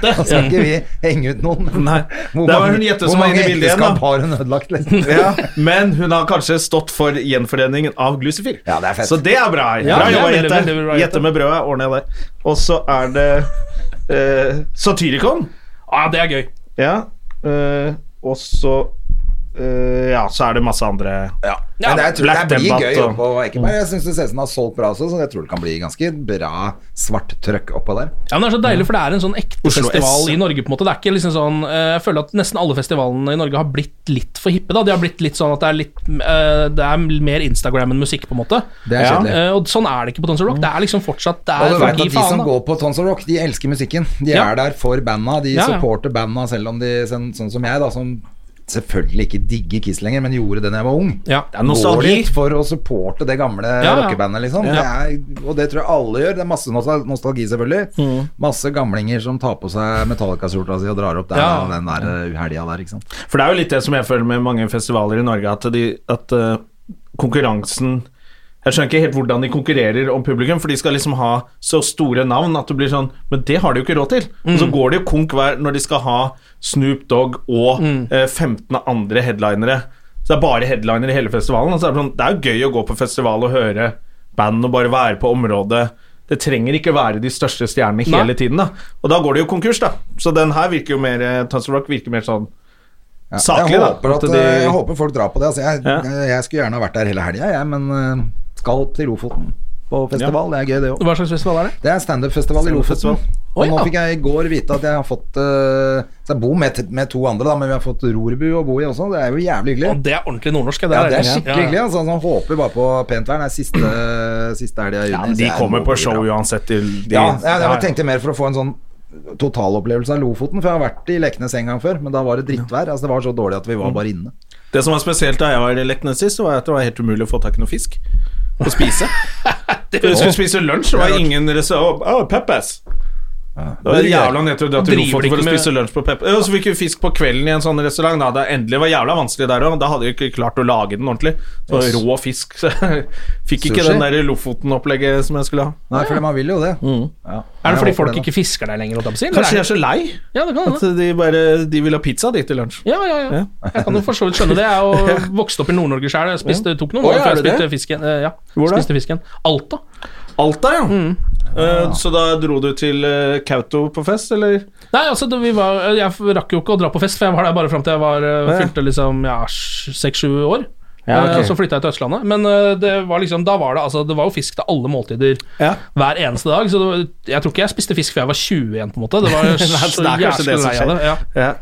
Speaker 2: Da skal ikke vi henge ut noen.
Speaker 1: Nei.
Speaker 2: Hvor
Speaker 1: Det var
Speaker 2: mange-
Speaker 1: hun Jette
Speaker 2: hvor
Speaker 1: som var inne i
Speaker 2: mange
Speaker 1: bildet igjen,
Speaker 2: ekteskap
Speaker 1: da.
Speaker 2: har hun ødelagt, liksom?
Speaker 1: Ja, men hun har kanskje stått for gjenforeningen av Glucifer.
Speaker 2: Ja, det er fett.
Speaker 1: Så det er bra.
Speaker 3: Ja,
Speaker 1: bra
Speaker 3: det er
Speaker 1: jobba,
Speaker 3: veldig,
Speaker 1: Jette.
Speaker 3: veldig bra, Jette.
Speaker 1: Jette med brødet ordner jeg det. Og så er det eh, Satyricon.
Speaker 3: ah, det er gøy.
Speaker 1: Ja. eh, og så eh, Ja, så er det masse andre
Speaker 2: Men jeg tror
Speaker 1: Black
Speaker 2: det blir
Speaker 1: Debate
Speaker 2: gøy
Speaker 1: og-
Speaker 2: oppå Ekeberg. Jeg syns CC-en har solgt bra også, så jeg tror det kan bli ganske bra svart trøkk oppå der.
Speaker 3: Ja, men Det er så deilig, for det er en sånn ekte
Speaker 1: Oslo
Speaker 3: festival
Speaker 1: S.
Speaker 3: i Norge. på en måte Det er ikke liksom sånn eh, Jeg føler at nesten alle festivalene i Norge har blitt litt for hippe. da De har blitt litt sånn at det er litt eh, Det er mer Instagram enn musikk, på en måte.
Speaker 2: Det er
Speaker 1: Ja.
Speaker 2: kjedelig.
Speaker 3: Eh, og Sånn er det ikke på Tons of Rock. Det er liksom fortsatt Det
Speaker 2: Og
Speaker 3: er
Speaker 2: du vet
Speaker 3: for
Speaker 2: at
Speaker 3: gi
Speaker 2: de som
Speaker 3: faen. da.
Speaker 2: går på Tons of Rock, de elsker musikken. De
Speaker 3: Ja.
Speaker 2: er der for banda, de
Speaker 3: Ja, ja.
Speaker 2: supporter banda, selv om de, sånn, sånn som jeg, da, som selvfølgelig ikke digger Kiss lenger, men gjorde det da jeg var ung.
Speaker 3: Ja.
Speaker 1: er nostalgi.
Speaker 2: Går dit for å supporte det gamle
Speaker 3: ja.
Speaker 2: rockebandet, liksom. Det er, og det tror jeg alle gjør. Det er masse nostal- nostalgi, selvfølgelig.
Speaker 3: Mm.
Speaker 2: Masse gamlinger som tar på seg Metallica-skjorta si og drar opp der,
Speaker 3: Ja.
Speaker 2: den der eh, helga der, ikke sant.
Speaker 1: For det er jo litt det som jeg føler med mange festivaler i Norge, at, de, at eh, konkurransen Jeg skjønner ikke helt hvordan de konkurrerer om publikum, for de skal liksom ha så store navn at du blir sånn Men det har de jo ikke råd til. Og så går det jo konk hver når de skal ha Snoop Dogg og eh, 15 andre headlinere. Så det er bare headlinere i hele festivalen. Og så er det, sånn, det er jo gøy å gå på festival og høre band og bare være på området. Det trenger ikke være de største stjernene
Speaker 3: Nei.
Speaker 1: hele tiden, da. Og da går det jo konkurs, da. Så den her virker jo mer eh, Tons of Rock virker mer sånn
Speaker 2: Ja.
Speaker 1: Saklig,
Speaker 2: jeg,
Speaker 1: da,
Speaker 2: håper at,
Speaker 1: at de-
Speaker 2: eh, jeg håper folk drar på det. Altså, jeg,
Speaker 1: Ja.
Speaker 2: jeg skulle gjerne ha vært der hele helga, jeg, men eh, skal til Lofoten på festival. Det er gøy, det òg.
Speaker 3: Hva slags festival er det?
Speaker 2: Det er standup-festival i Lofoten. Og
Speaker 3: Oi,
Speaker 2: nå
Speaker 3: ja.
Speaker 2: fikk jeg i går vite at jeg har fått eh, Så jeg bor med, med to andre, da, men vi har fått Rorbu og Boi også. Det er jo jævlig hyggelig.
Speaker 3: Og det er ordentlig nordnorsk.
Speaker 2: Ja, det er
Speaker 3: det.
Speaker 2: skikkelig hyggelig. Altså, han håper bare på pent vær. Det er siste, siste helga i juni.
Speaker 1: Ja, men
Speaker 2: så
Speaker 1: de
Speaker 2: jeg
Speaker 1: kommer
Speaker 2: må
Speaker 1: på
Speaker 2: bli
Speaker 1: show
Speaker 2: bra.
Speaker 1: uansett. til de-
Speaker 2: Ja, jeg, jeg tenkte mer for å få en sånn totalopplevelse av Lofoten. For jeg har vært i Leknes en gang før, men da var det drittvær. Altså, det var så dårlig at vi
Speaker 1: Mm.
Speaker 2: var bare inne.
Speaker 1: Det som var spesielt da jeg var i Leknes sist, var at det var helt umulig å få tak i noe fisk å spise. Du skulle spise lunsj, det var ingen restaurant Å, Peppes! Det var jævla nedtur å dra til
Speaker 3: Driver de
Speaker 1: Lofoten for å
Speaker 3: ikke med-
Speaker 1: spise lunsj på Peppes. Og så fikk vi fisk på kvelden i en sånn restaurant. Da. Det endelig var jævla vanskelig der òg. Da hadde vi ikke klart å lage den ordentlig. Så det var rå fisk. Så jeg fikk ikke
Speaker 2: Sushi?
Speaker 1: den der Lofoten-opplegget som jeg skulle ha.
Speaker 2: Nei, for man vil jo det. Ja.
Speaker 3: Er det
Speaker 2: Jeg
Speaker 3: fordi
Speaker 2: håper
Speaker 3: folk
Speaker 2: det, da.
Speaker 3: ikke fisker der lenger? holdt jeg på å si, eller
Speaker 1: Kanskje de
Speaker 3: er
Speaker 1: er så lei
Speaker 3: det- Ja, det kan
Speaker 1: at
Speaker 3: hende.
Speaker 1: de bare De vil ha pizza de til lunsj.
Speaker 3: Ja, ja, ja. Jeg kan jo for så vidt skjønne det. Jeg er jo vokst opp i Nord-Norge sjøl. Jeg spiste, tok noen
Speaker 1: Oi,
Speaker 3: år før
Speaker 1: er
Speaker 3: jeg
Speaker 1: det
Speaker 3: spiste fisken. eh, Ja,
Speaker 1: Hvor da?
Speaker 3: spiste fisken. Alta.
Speaker 1: Alta, ja.
Speaker 3: Mm.
Speaker 1: Eh, så da dro du til eh, Kautokeino på fest, eller?
Speaker 3: Nei, altså, det, vi var, jeg rakk jo ikke å dra på fest, for jeg var der bare fram til jeg var, eh, fylte liksom, ja, seks-sju år.
Speaker 1: Ja, ok.
Speaker 3: Eh, Så flytta jeg til Østlandet. Men eh, det var liksom, da var det altså, Det var jo fisk til alle måltider
Speaker 1: Ja.
Speaker 3: hver eneste dag. Så det var, jeg tror ikke jeg spiste fisk før jeg var 20 igjen, på en måte. Det var
Speaker 1: det er
Speaker 3: så
Speaker 1: kanskje
Speaker 3: jævlig
Speaker 1: det som
Speaker 3: lei av det. Ja.
Speaker 1: Ja.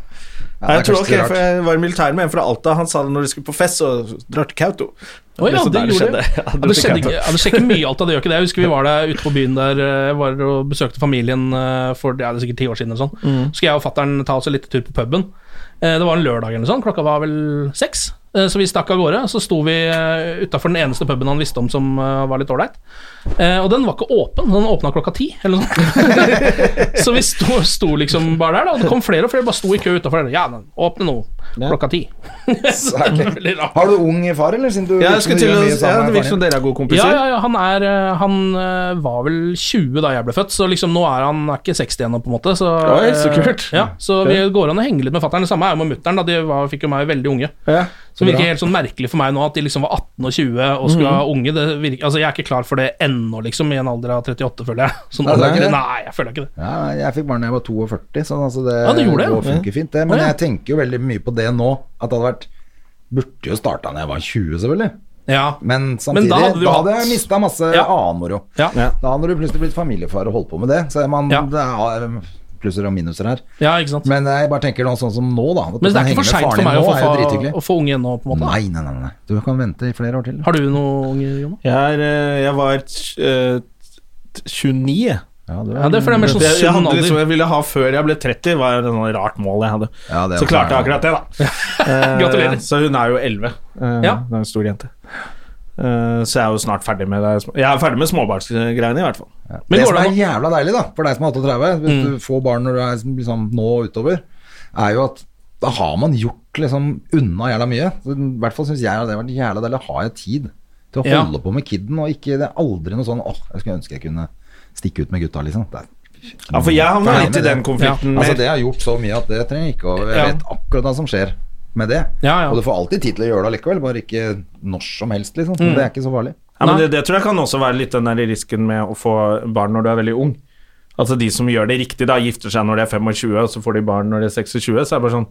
Speaker 2: det er
Speaker 1: jeg tror
Speaker 2: kanskje
Speaker 1: ok,
Speaker 2: litt
Speaker 1: for jeg var i militæret med en fra Alta. Han sa det når de skulle på fest, så drar til Kautokeino.
Speaker 3: Å ja,
Speaker 1: Så
Speaker 3: det
Speaker 1: der
Speaker 3: gjorde det.
Speaker 1: Ja,
Speaker 3: Ja,
Speaker 1: dro
Speaker 3: det
Speaker 1: til Kautokeino.
Speaker 3: skjedde ikke, ja, det skjer ikke mye i Alta, det gjør ikke det. Jeg husker vi var der ute på byen der eh, jeg var og besøkte familien eh, for ja, det er sikkert ti år siden. eller sånn Så skulle jeg og fattern ta oss en liten tur på puben. Eh, Det var en lørdag eller noe sånt, klokka var vel seks. Eh, Så vi stakk av gårde. Så sto vi eh, utafor den eneste puben han visste om som eh, var litt ålreit. Eh, Og den var ikke åpen, den åpna klokka ti eller noe sånt. Så vi sto, sto liksom bare der, da. Og det kom flere og flere, bare sto i kø utafor. Ja, men åpne nå. Klokka ti. Så det er veldig rart.
Speaker 2: Har du ung far, eller? Siden du
Speaker 1: Ja, jeg skulle
Speaker 2: du
Speaker 1: til
Speaker 2: gjør
Speaker 1: å
Speaker 2: mye
Speaker 1: ja,
Speaker 2: sammen
Speaker 1: Det
Speaker 2: med
Speaker 1: virker som
Speaker 2: faren din.
Speaker 1: dere er gode kompiser.
Speaker 3: Ja, ja, ja, han, er, eh, han eh, var vel 20 da jeg ble født, så liksom nå er han er ikke 60 ennå, på en måte. Så,
Speaker 1: Oi, så
Speaker 3: eh,
Speaker 1: kult.
Speaker 3: Ja, så vi går an å henge litt med fatter'n. Det samme er jo med mutter'n, da de var, fikk jo meg veldig unge.
Speaker 1: Ja.
Speaker 3: Så det virker helt sånn merkelig for meg nå at de liksom var 18 og 20 og skulle
Speaker 2: Mhm.
Speaker 3: ha unge. Det virker, altså, jeg er ikke klar for det ennå, liksom, i en alder av 38, føler jeg. Sånn,
Speaker 2: Nei, det er ikke
Speaker 3: ordentlig.
Speaker 2: det.
Speaker 3: nei, jeg føler ikke det.
Speaker 2: Ja, nei, jeg fikk barn da jeg var 42, så altså det,
Speaker 3: Ja, det gjorde det,
Speaker 2: går-
Speaker 3: ja.
Speaker 2: funker fint, det. Men
Speaker 3: Ja, ja.
Speaker 2: jeg tenker jo veldig mye på det nå, at det hadde vært Burde jo starta da jeg var 20, selvfølgelig.
Speaker 3: Ja.
Speaker 2: Men
Speaker 3: Men
Speaker 2: samtidig,
Speaker 3: da
Speaker 2: da
Speaker 3: hadde
Speaker 2: hadde,
Speaker 3: du hatt-
Speaker 2: jeg mista masse
Speaker 3: Ja.
Speaker 2: annen moro.
Speaker 3: Ja. Ja.
Speaker 2: Da hadde du plutselig blitt familiefar og holdt på med det. Så er man,
Speaker 3: Ja.
Speaker 2: det er plusser og minuser her.
Speaker 3: ja, ikke sant. Men,
Speaker 2: Men jeg bare tenker nå sånn som nå, da. At du
Speaker 3: det
Speaker 2: kan
Speaker 3: er ikke
Speaker 2: henge
Speaker 3: for
Speaker 2: med
Speaker 3: seint for
Speaker 2: faren din
Speaker 3: meg
Speaker 2: nå,
Speaker 3: å få,
Speaker 2: er jo drithyggelig.
Speaker 3: fa- å få unge ennå, på en måte.
Speaker 2: Nei, nei, nei, nei. Du kan vente i flere år til.
Speaker 3: Har du noen unge, Jonas?
Speaker 1: Jeg, er, eh, jeg var eh, t- 29. jeg.
Speaker 2: Ja, du er-
Speaker 3: Ja, det er for det er mer sånn
Speaker 1: Jeg, jeg,
Speaker 3: sunn
Speaker 1: hadde liksom,
Speaker 3: alder.
Speaker 1: jeg ville ha før jeg ble 30, var et sånt rart mål jeg hadde.
Speaker 2: Ja, det er for
Speaker 1: så klarte jeg
Speaker 2: meg.
Speaker 1: akkurat det, da. Eh,
Speaker 3: Gratulerer.
Speaker 1: Så hun er jo 11. eh,
Speaker 3: Ja.
Speaker 1: Hun er en stor jente. Eh, så jeg er jo snart ferdig med det. Jeg er ferdig med småbarnsgreiene, i hvert fall.
Speaker 3: Men
Speaker 2: det
Speaker 3: går
Speaker 2: som
Speaker 3: det
Speaker 2: er
Speaker 3: an å Mm.
Speaker 2: jævla deilig, da, for deg som er 38, hvis du får barn når du er liksom, nå og utover, er jo at da har man gjort liksom unna jævla mye. Så, I hvert fall syns jeg at det har vært jævla deilig. Har jeg tid til å
Speaker 3: Ja.
Speaker 2: holde på med kiden, og ikke, det er aldri noe sånn åh, jeg skulle ønske jeg kunne stikke ut med gutta, liksom. Det er
Speaker 1: Ja, for jeg havna
Speaker 2: Ferdig
Speaker 1: litt i
Speaker 2: med det.
Speaker 1: den konflikten.
Speaker 2: Altså
Speaker 1: mer.
Speaker 2: Det har gjort så mye at det trenger jeg ikke å Jeg
Speaker 3: Ja.
Speaker 2: vet akkurat hva som skjer med det.
Speaker 3: Ja, ja.
Speaker 2: Og du får alltid tid til å gjøre det allikevel, bare ikke når som helst, liksom.
Speaker 3: Mm.
Speaker 2: Men Det er ikke så farlig.
Speaker 1: Ja, men det, det tror jeg kan også være litt den der risken med å få barn når du er veldig ung. Altså de som gjør det riktig, da gifter seg når de er 25, og så får de barn når de er 26. Så er det bare sånn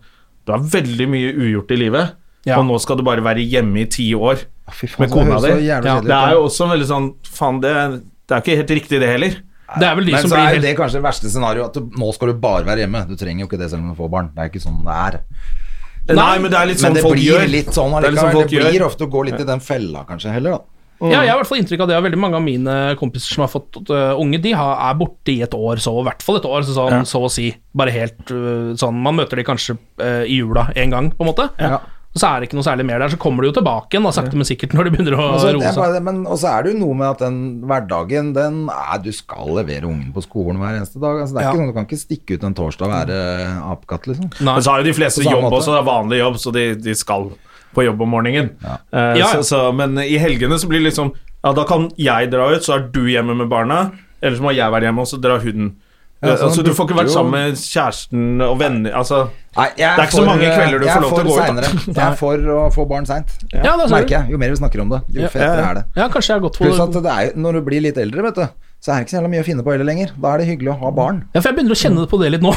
Speaker 1: Du har veldig mye ugjort i livet,
Speaker 3: Ja.
Speaker 1: og nå skal du bare være hjemme i ti år
Speaker 2: Fy faen,
Speaker 1: med
Speaker 2: så
Speaker 1: kona
Speaker 2: høres
Speaker 1: di.
Speaker 2: så jævlig
Speaker 1: Ja,
Speaker 2: kjedelig
Speaker 1: det
Speaker 2: ut,
Speaker 1: er
Speaker 2: da.
Speaker 1: jo også veldig sånn Faen, det, det er ikke helt riktig, det heller.
Speaker 3: Det er vel de
Speaker 2: Men
Speaker 3: som
Speaker 2: så
Speaker 3: blir
Speaker 2: er jo
Speaker 3: helt
Speaker 2: det kanskje det verste scenarioet, at du, nå skal du bare være hjemme. Du trenger jo ikke det selv om du får barn. Det er ikke sånn det er.
Speaker 1: Nei, men det er litt
Speaker 2: Men
Speaker 1: sånn
Speaker 2: det
Speaker 1: folk
Speaker 2: blir
Speaker 1: gjør.
Speaker 2: litt sånn
Speaker 1: det er litt sånn
Speaker 2: allikevel.
Speaker 1: folk
Speaker 2: Det blir
Speaker 1: gjør.
Speaker 2: ofte å gå litt i den fella, kanskje, heller, da.
Speaker 3: Ja, jeg har i hvert fall inntrykk av det. og Veldig mange av mine kompiser som har fått øh, unge, de har, er borte i et år, så i hvert fall et år, så, sånn, så å si. Bare helt øh, sånn Man møter de kanskje øh, i jula en gang, på en måte.
Speaker 2: Ja.
Speaker 3: Og så er det ikke noe særlig mer der. Så kommer de jo tilbake igjen, da, sakte, men sikkert, når de begynner
Speaker 2: Og
Speaker 3: å
Speaker 2: så
Speaker 3: roe
Speaker 2: jeg
Speaker 3: seg.
Speaker 2: Altså, bare- men- og så er det jo noe med at den hverdagen, den er Du skal levere ungen på skolen hver eneste dag. Altså, det er
Speaker 3: Ja.
Speaker 2: ikke sånn, Du kan ikke stikke ut en torsdag og være apekatt, liksom.
Speaker 3: Nei.
Speaker 1: Men så har jo de fleste
Speaker 2: På samme
Speaker 1: jobb
Speaker 2: måte.
Speaker 1: også, det er vanlig jobb, så de, de skal på jobb om morgenen. Eh,
Speaker 3: Ja, ja.
Speaker 1: Så, så, men i helgene så blir det liksom Ja, da kan jeg dra ut, så er du hjemme med barna. Eller så må jeg være hjemme, og så drar hun.
Speaker 2: Ja,
Speaker 1: Eh,
Speaker 2: så
Speaker 1: altså,
Speaker 2: man
Speaker 1: du får ikke
Speaker 2: burde
Speaker 1: vært
Speaker 2: jo-
Speaker 1: sammen med kjæresten og venner Altså,
Speaker 2: Nei, jeg
Speaker 1: Det er ikke så
Speaker 2: for-
Speaker 1: mange kvelder du
Speaker 2: jeg
Speaker 1: får lov
Speaker 2: er
Speaker 1: til å
Speaker 2: for
Speaker 1: gå ut, da.
Speaker 2: senere. Jeg er for å få barn seint.
Speaker 3: Ja, da ser du.
Speaker 2: Merker jeg. Jo mer vi snakker om det, jo fetere er det.
Speaker 3: Ja, kanskje jeg har gått for
Speaker 2: Pluss at det er, jo- når du blir litt eldre, vet du, så er det ikke så jævla mye å finne på heller lenger. Da er det hyggelig å ha barn.
Speaker 3: Ja, for jeg begynner å kjenne på det litt nå.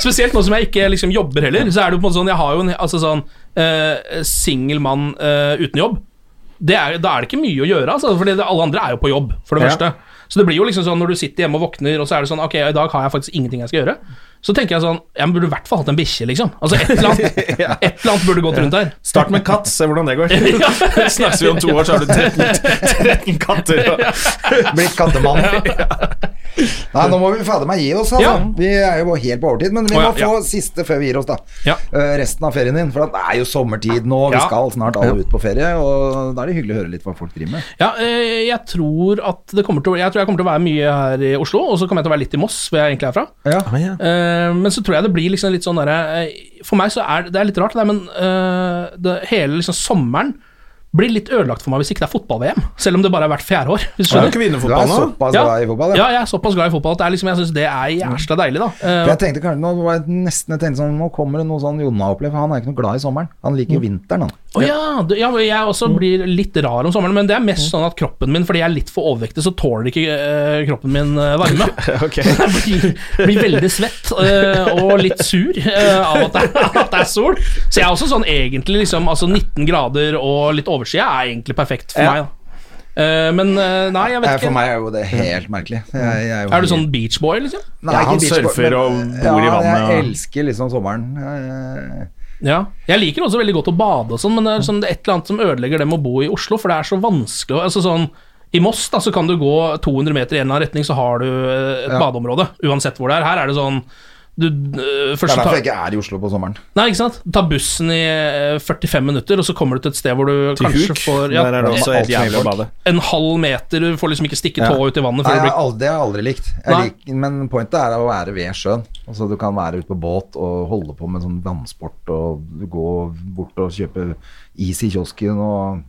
Speaker 3: Spesielt nå som jeg ikke liksom jobber heller. Så er det jo på en måte sånn Jeg har jo en altså sånn eh, singel mann eh, uten jobb. Det er, da er det ikke mye å gjøre, altså, for alle andre er jo på jobb, for det første. Så det blir jo liksom sånn når du sitter hjemme og våkner, og så er det sånn Ok, i dag har jeg faktisk ingenting jeg skal gjøre. Så tenker jeg sånn Jeg burde i hvert fall hatt en bikkje, liksom. Altså et eller annet, et eller annet burde gått rundt her.
Speaker 1: start med katt, se hvordan det går.
Speaker 3: Ja.
Speaker 1: Snakkes vi om to år, så har du 13, 13 katter. Og,
Speaker 2: Blitt kattemann. Nei, nå må vi fader meg gi oss, altså.
Speaker 3: Ja.
Speaker 2: Vi er jo helt på overtid, men vi
Speaker 3: Å, ja,
Speaker 2: må få siste før vi gir oss, da.
Speaker 3: Ja.
Speaker 2: Eh, resten av ferien din, for det er jo sommertid nå, vi
Speaker 3: Ja.
Speaker 2: skal snart alle ut på ferie, og da er det hyggelig å høre litt hva folk driver med.
Speaker 3: Ja, eh, jeg tror at det kommer til å Jeg tror jeg kommer til å være mye her i Oslo, og så kommer jeg til å være litt i Moss, hvor jeg egentlig er fra.
Speaker 2: Ja.
Speaker 3: Eh, men så tror jeg det blir liksom litt sånn derre eh, For meg så er det- det er litt rart, det, der, men eh, det, hele liksom sommeren blir litt ødelagt for meg hvis ikke det er fotball-VM. Selv om det bare er hvert fjerde år. Hvis du
Speaker 1: Du er jo
Speaker 3: skjønner.
Speaker 1: ikke
Speaker 2: Du er
Speaker 1: vinnerfotball nå.
Speaker 2: såpass
Speaker 3: Ja.
Speaker 2: glad i fotball,
Speaker 3: Ja, jeg er såpass glad i fotball at det er liksom, jeg syns det er jævla deilig, da. Eh,
Speaker 2: Jeg tenkte kanskje, nå var jeg nesten jeg tenkte sånn, nå kommer det noe sånn Jonna opplever, for han er ikke noe glad i sommeren. Han liker
Speaker 3: Mm.
Speaker 2: vinteren, han.
Speaker 3: Å ja, du- ja, jeg også
Speaker 2: Mm.
Speaker 3: blir litt rar om sommeren, men det er mest sånn at kroppen min, fordi jeg er litt for overvektig, så tåler ikke eh, kroppen min eh, varme. Jeg blir, blir veldig svett eh, og litt sur eh, av at det, er- at det er sol. Så jeg er også sånn egentlig liksom, altså 19 grader og litt overskya er egentlig perfekt for
Speaker 2: Ja.
Speaker 3: meg. Da. Eh, men eh, nei, jeg
Speaker 2: Eh,
Speaker 3: vet
Speaker 2: For
Speaker 3: ikke.
Speaker 2: meg er jo det helt merkelig. Jeg, jeg jo
Speaker 3: Er du
Speaker 2: helt-
Speaker 3: sånn beach boy, liksom?
Speaker 2: Nei,
Speaker 1: Ja,
Speaker 2: ikke
Speaker 1: han
Speaker 2: beachboy,
Speaker 1: surfer
Speaker 2: men-
Speaker 1: og bor i vannet,
Speaker 2: Ja, jeg
Speaker 1: og-
Speaker 2: elsker liksom sommeren. Jeg-
Speaker 3: Ja. Jeg liker også veldig godt å bade og sånn, men det er, sånn, det er et eller annet som ødelegger det med å bo i Oslo, for det er så vanskelig å- altså sånn, I Moss da, så kan du gå 200 meter i en eller annen retning, så har du eh, et badeområde, uansett hvor det er. Her er det sånn du, øh,
Speaker 2: Det
Speaker 3: først
Speaker 2: er
Speaker 3: så
Speaker 2: derfor
Speaker 3: tar,
Speaker 2: jeg ikke er i Oslo på sommeren.
Speaker 3: nei, ikke sant? Ta bussen i eh, 45 minutter, og så kommer du til et sted hvor du
Speaker 1: Til
Speaker 3: kanskje
Speaker 1: huk.
Speaker 3: får ja,
Speaker 1: Der er det også helt
Speaker 2: alt med
Speaker 1: jævlig å
Speaker 2: folk.
Speaker 1: bade.
Speaker 3: en halv meter, du får liksom ikke stikke tåa ut i
Speaker 2: Nei,
Speaker 3: vannet før
Speaker 2: jeg har
Speaker 3: du blir
Speaker 2: aldri, jeg har aldri likt. Jeg
Speaker 3: Nei.
Speaker 2: lik. Men pointet er å være ved sjøen. Altså, du kan være ute på båt og holde på med sånn vannsport og gå bort og kjøpe is i kiosken og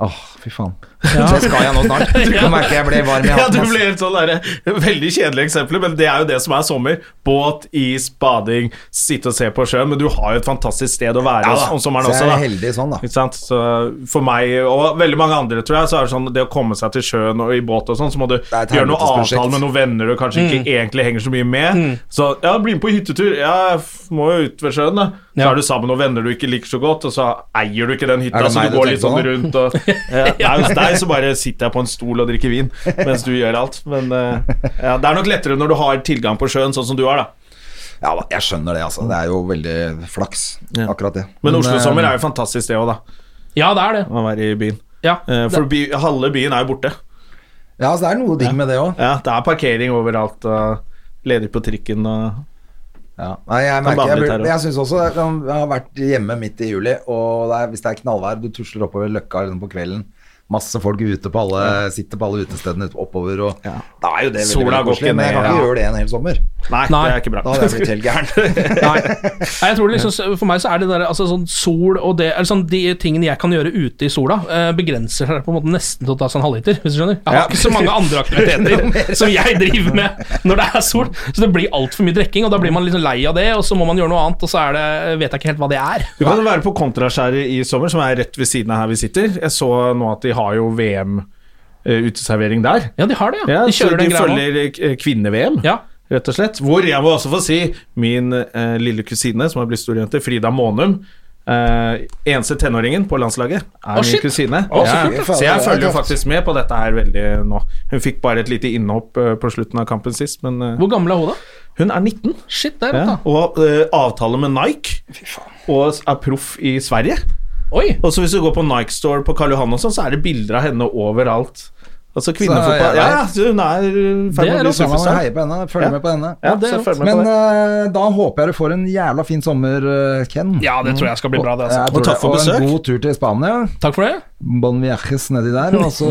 Speaker 2: Åh, fy faen. Det skal jeg nå snart. Nå merker jeg jeg ble varm i
Speaker 1: Ja, du
Speaker 2: hatten.
Speaker 1: blir helt sånn der, Veldig kjedelige eksempler, men det er jo det som er sommer. Båt, is, bading, sitte og se på sjøen. Men du har jo et fantastisk sted å være
Speaker 2: da.
Speaker 1: om sommeren
Speaker 2: Så jeg
Speaker 1: også.
Speaker 2: er
Speaker 1: Da.
Speaker 2: heldig sånn, da.
Speaker 1: Ikke sant? Så for meg og veldig mange andre, tror jeg, så er det sånn det å komme seg til sjøen og i båt og sånn, så må du
Speaker 2: er et
Speaker 1: gjøre noe
Speaker 2: helvetes prosjekt.
Speaker 1: avtale med noen venner du kanskje ikke egentlig henger så mye med. Så ja, bli med på hyttetur. Ja, jeg f- må jo ut ved sjøen, da. Så
Speaker 3: Ja.
Speaker 1: er du sammen med noen venner du ikke liker så godt, og så eier du ikke den hytta,
Speaker 2: Er det
Speaker 1: så
Speaker 2: meg
Speaker 1: du
Speaker 2: du
Speaker 1: går litt
Speaker 2: tenker
Speaker 1: sånn
Speaker 2: på
Speaker 1: rundt og ja, Nei, hos deg så bare sitter jeg på en stol og drikker vin mens du gjør alt. Men eh, ja, det er nok lettere når du har tilgang på sjøen, sånn som du har, da.
Speaker 2: Ja da, jeg skjønner det, altså. Det er jo veldig flaks, akkurat det.
Speaker 1: Men
Speaker 2: eh,
Speaker 1: Oslo-sommer er jo fantastisk, det òg, da.
Speaker 3: Ja, det er
Speaker 1: Å
Speaker 3: det.
Speaker 1: være i byen.
Speaker 3: Ja.
Speaker 1: Eh, For by, halve byen er jo borte.
Speaker 2: Ja, så det er noe digg med det òg.
Speaker 1: Ja, det er parkering overalt og ledig på trikken og
Speaker 2: Ja. Nei, jeg
Speaker 1: Kan
Speaker 2: merker,
Speaker 1: bable
Speaker 2: jeg,
Speaker 1: litt her
Speaker 2: burde- jeg synes også det kan- Jeg har vært hjemme midt i juli, og det er, hvis det er knallvær, du tusler oppover løkka liksom, på kvelden Masse folk ute på alle sitter på alle utestedene oppover, og da er jo det veldig,
Speaker 1: Sola
Speaker 2: veldig
Speaker 1: går ikke
Speaker 2: koselig. Men jeg kan
Speaker 1: ned,
Speaker 2: ikke
Speaker 1: ja.
Speaker 2: gjøre det en hel sommer.
Speaker 1: Nei,
Speaker 3: Nei.
Speaker 1: det er ikke
Speaker 2: Da
Speaker 1: bra.
Speaker 2: hadde jeg blitt helt gæren.
Speaker 3: Nei. Nei, jeg tror det liksom, for meg så er det der altså, sånn sol og det Eller sånn de tingene jeg kan gjøre ute i sola, eh, begrenser seg på en måte nesten til å ta seg en halvliter, hvis du skjønner. Jeg har
Speaker 2: Ja.
Speaker 3: ikke så mange andre aktiviteter som jeg driver med når det er sol, så det blir altfor mye drikking, og da blir man liksom lei av det, og så må man gjøre noe annet, og så er det, vet jeg ikke helt hva det er.
Speaker 1: Du kan jo være på Kontraskjæret i sommer, som er rett ved siden av her vi sitter. Jeg så nå at de har jo VM-uteservering der.
Speaker 3: Ja, de har det, ja.
Speaker 1: Ja,
Speaker 3: De
Speaker 1: så
Speaker 3: kjører
Speaker 1: de
Speaker 3: den greia nå.
Speaker 1: følger eh, kvinne-VM,
Speaker 3: Ja.
Speaker 1: rett og slett. Hvor jeg må også få si min eh, lille kusine, som har blitt stor jente, Frida Månum. eh, eneste tenåringen på landslaget er
Speaker 3: Å,
Speaker 1: min
Speaker 3: shit.
Speaker 1: kusine.
Speaker 3: Å, så
Speaker 1: Ja,
Speaker 2: kult, da.
Speaker 1: så jeg
Speaker 2: Det er
Speaker 1: følger jo
Speaker 2: tøft.
Speaker 1: faktisk med på dette her veldig nå. Hun fikk bare et lite innhopp eh, på slutten av kampen sist, men eh,
Speaker 3: Hvor gammel er hun, da?
Speaker 1: hun er 19.
Speaker 3: Shit, der,
Speaker 1: Ja,
Speaker 3: da.
Speaker 1: og eh, avtale med Nike, og er proff i Sverige.
Speaker 3: Oi!
Speaker 1: Og så hvis du går på Nike Store på Karl Johan og sånn, så er det bilder av henne overalt.
Speaker 2: Så,
Speaker 1: Altså
Speaker 2: ja,
Speaker 1: kvinnefotball Ja,
Speaker 2: ja.
Speaker 1: ja, så hun er i ferd med
Speaker 3: Det
Speaker 1: å
Speaker 3: er
Speaker 1: bli
Speaker 2: Så man
Speaker 1: superstar.
Speaker 2: heier på henne, følger med på henne.
Speaker 1: Ja, det er følg med
Speaker 2: Men
Speaker 1: på det.
Speaker 2: eh, da håper jeg du får en jævla fin sommer, eh, Ken.
Speaker 3: Ja, det tror jeg skal bli bra, det.
Speaker 2: Jeg
Speaker 3: Altså.
Speaker 2: tror
Speaker 1: Og takk for
Speaker 2: det. og en
Speaker 1: besøk.
Speaker 2: god tur til Spania.
Speaker 3: Takk for det.
Speaker 2: Bon viajes nedi der, og så,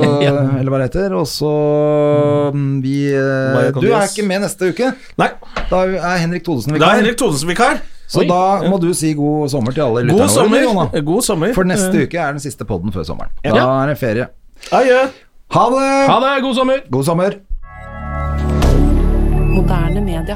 Speaker 2: eller hva det heter. Og så mm, vi eh,
Speaker 1: Maria
Speaker 2: Du er
Speaker 1: Condes.
Speaker 2: ikke med neste uke.
Speaker 1: Nei,
Speaker 2: Da er Henrik Thodesen
Speaker 1: det er
Speaker 2: vikar.
Speaker 1: Henrik Thodesen vikar.
Speaker 2: Så
Speaker 3: Oi.
Speaker 2: da må du si god sommer til alle
Speaker 1: God
Speaker 2: lytterne
Speaker 1: sommer. Eh,
Speaker 2: våre, Jonna.
Speaker 1: God sommer. Eh.
Speaker 2: For neste uke er den siste podden før sommeren. Da
Speaker 3: Ja.
Speaker 2: er det ferie.
Speaker 1: Adjø.
Speaker 2: Ha det!
Speaker 3: Ha det, god sommer!
Speaker 2: God sommer.
Speaker 5: Moderne media.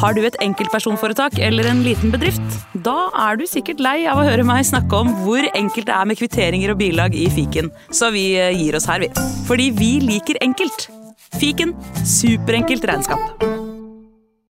Speaker 6: Har du et enkeltpersonforetak eller en liten bedrift? Da er du sikkert lei av å høre meg snakke om hvor enkelt det er med kvitteringer og bilag i fiken, så vi eh, gir oss her, vi. Fordi vi liker enkelt. Fiken superenkelt regnskap.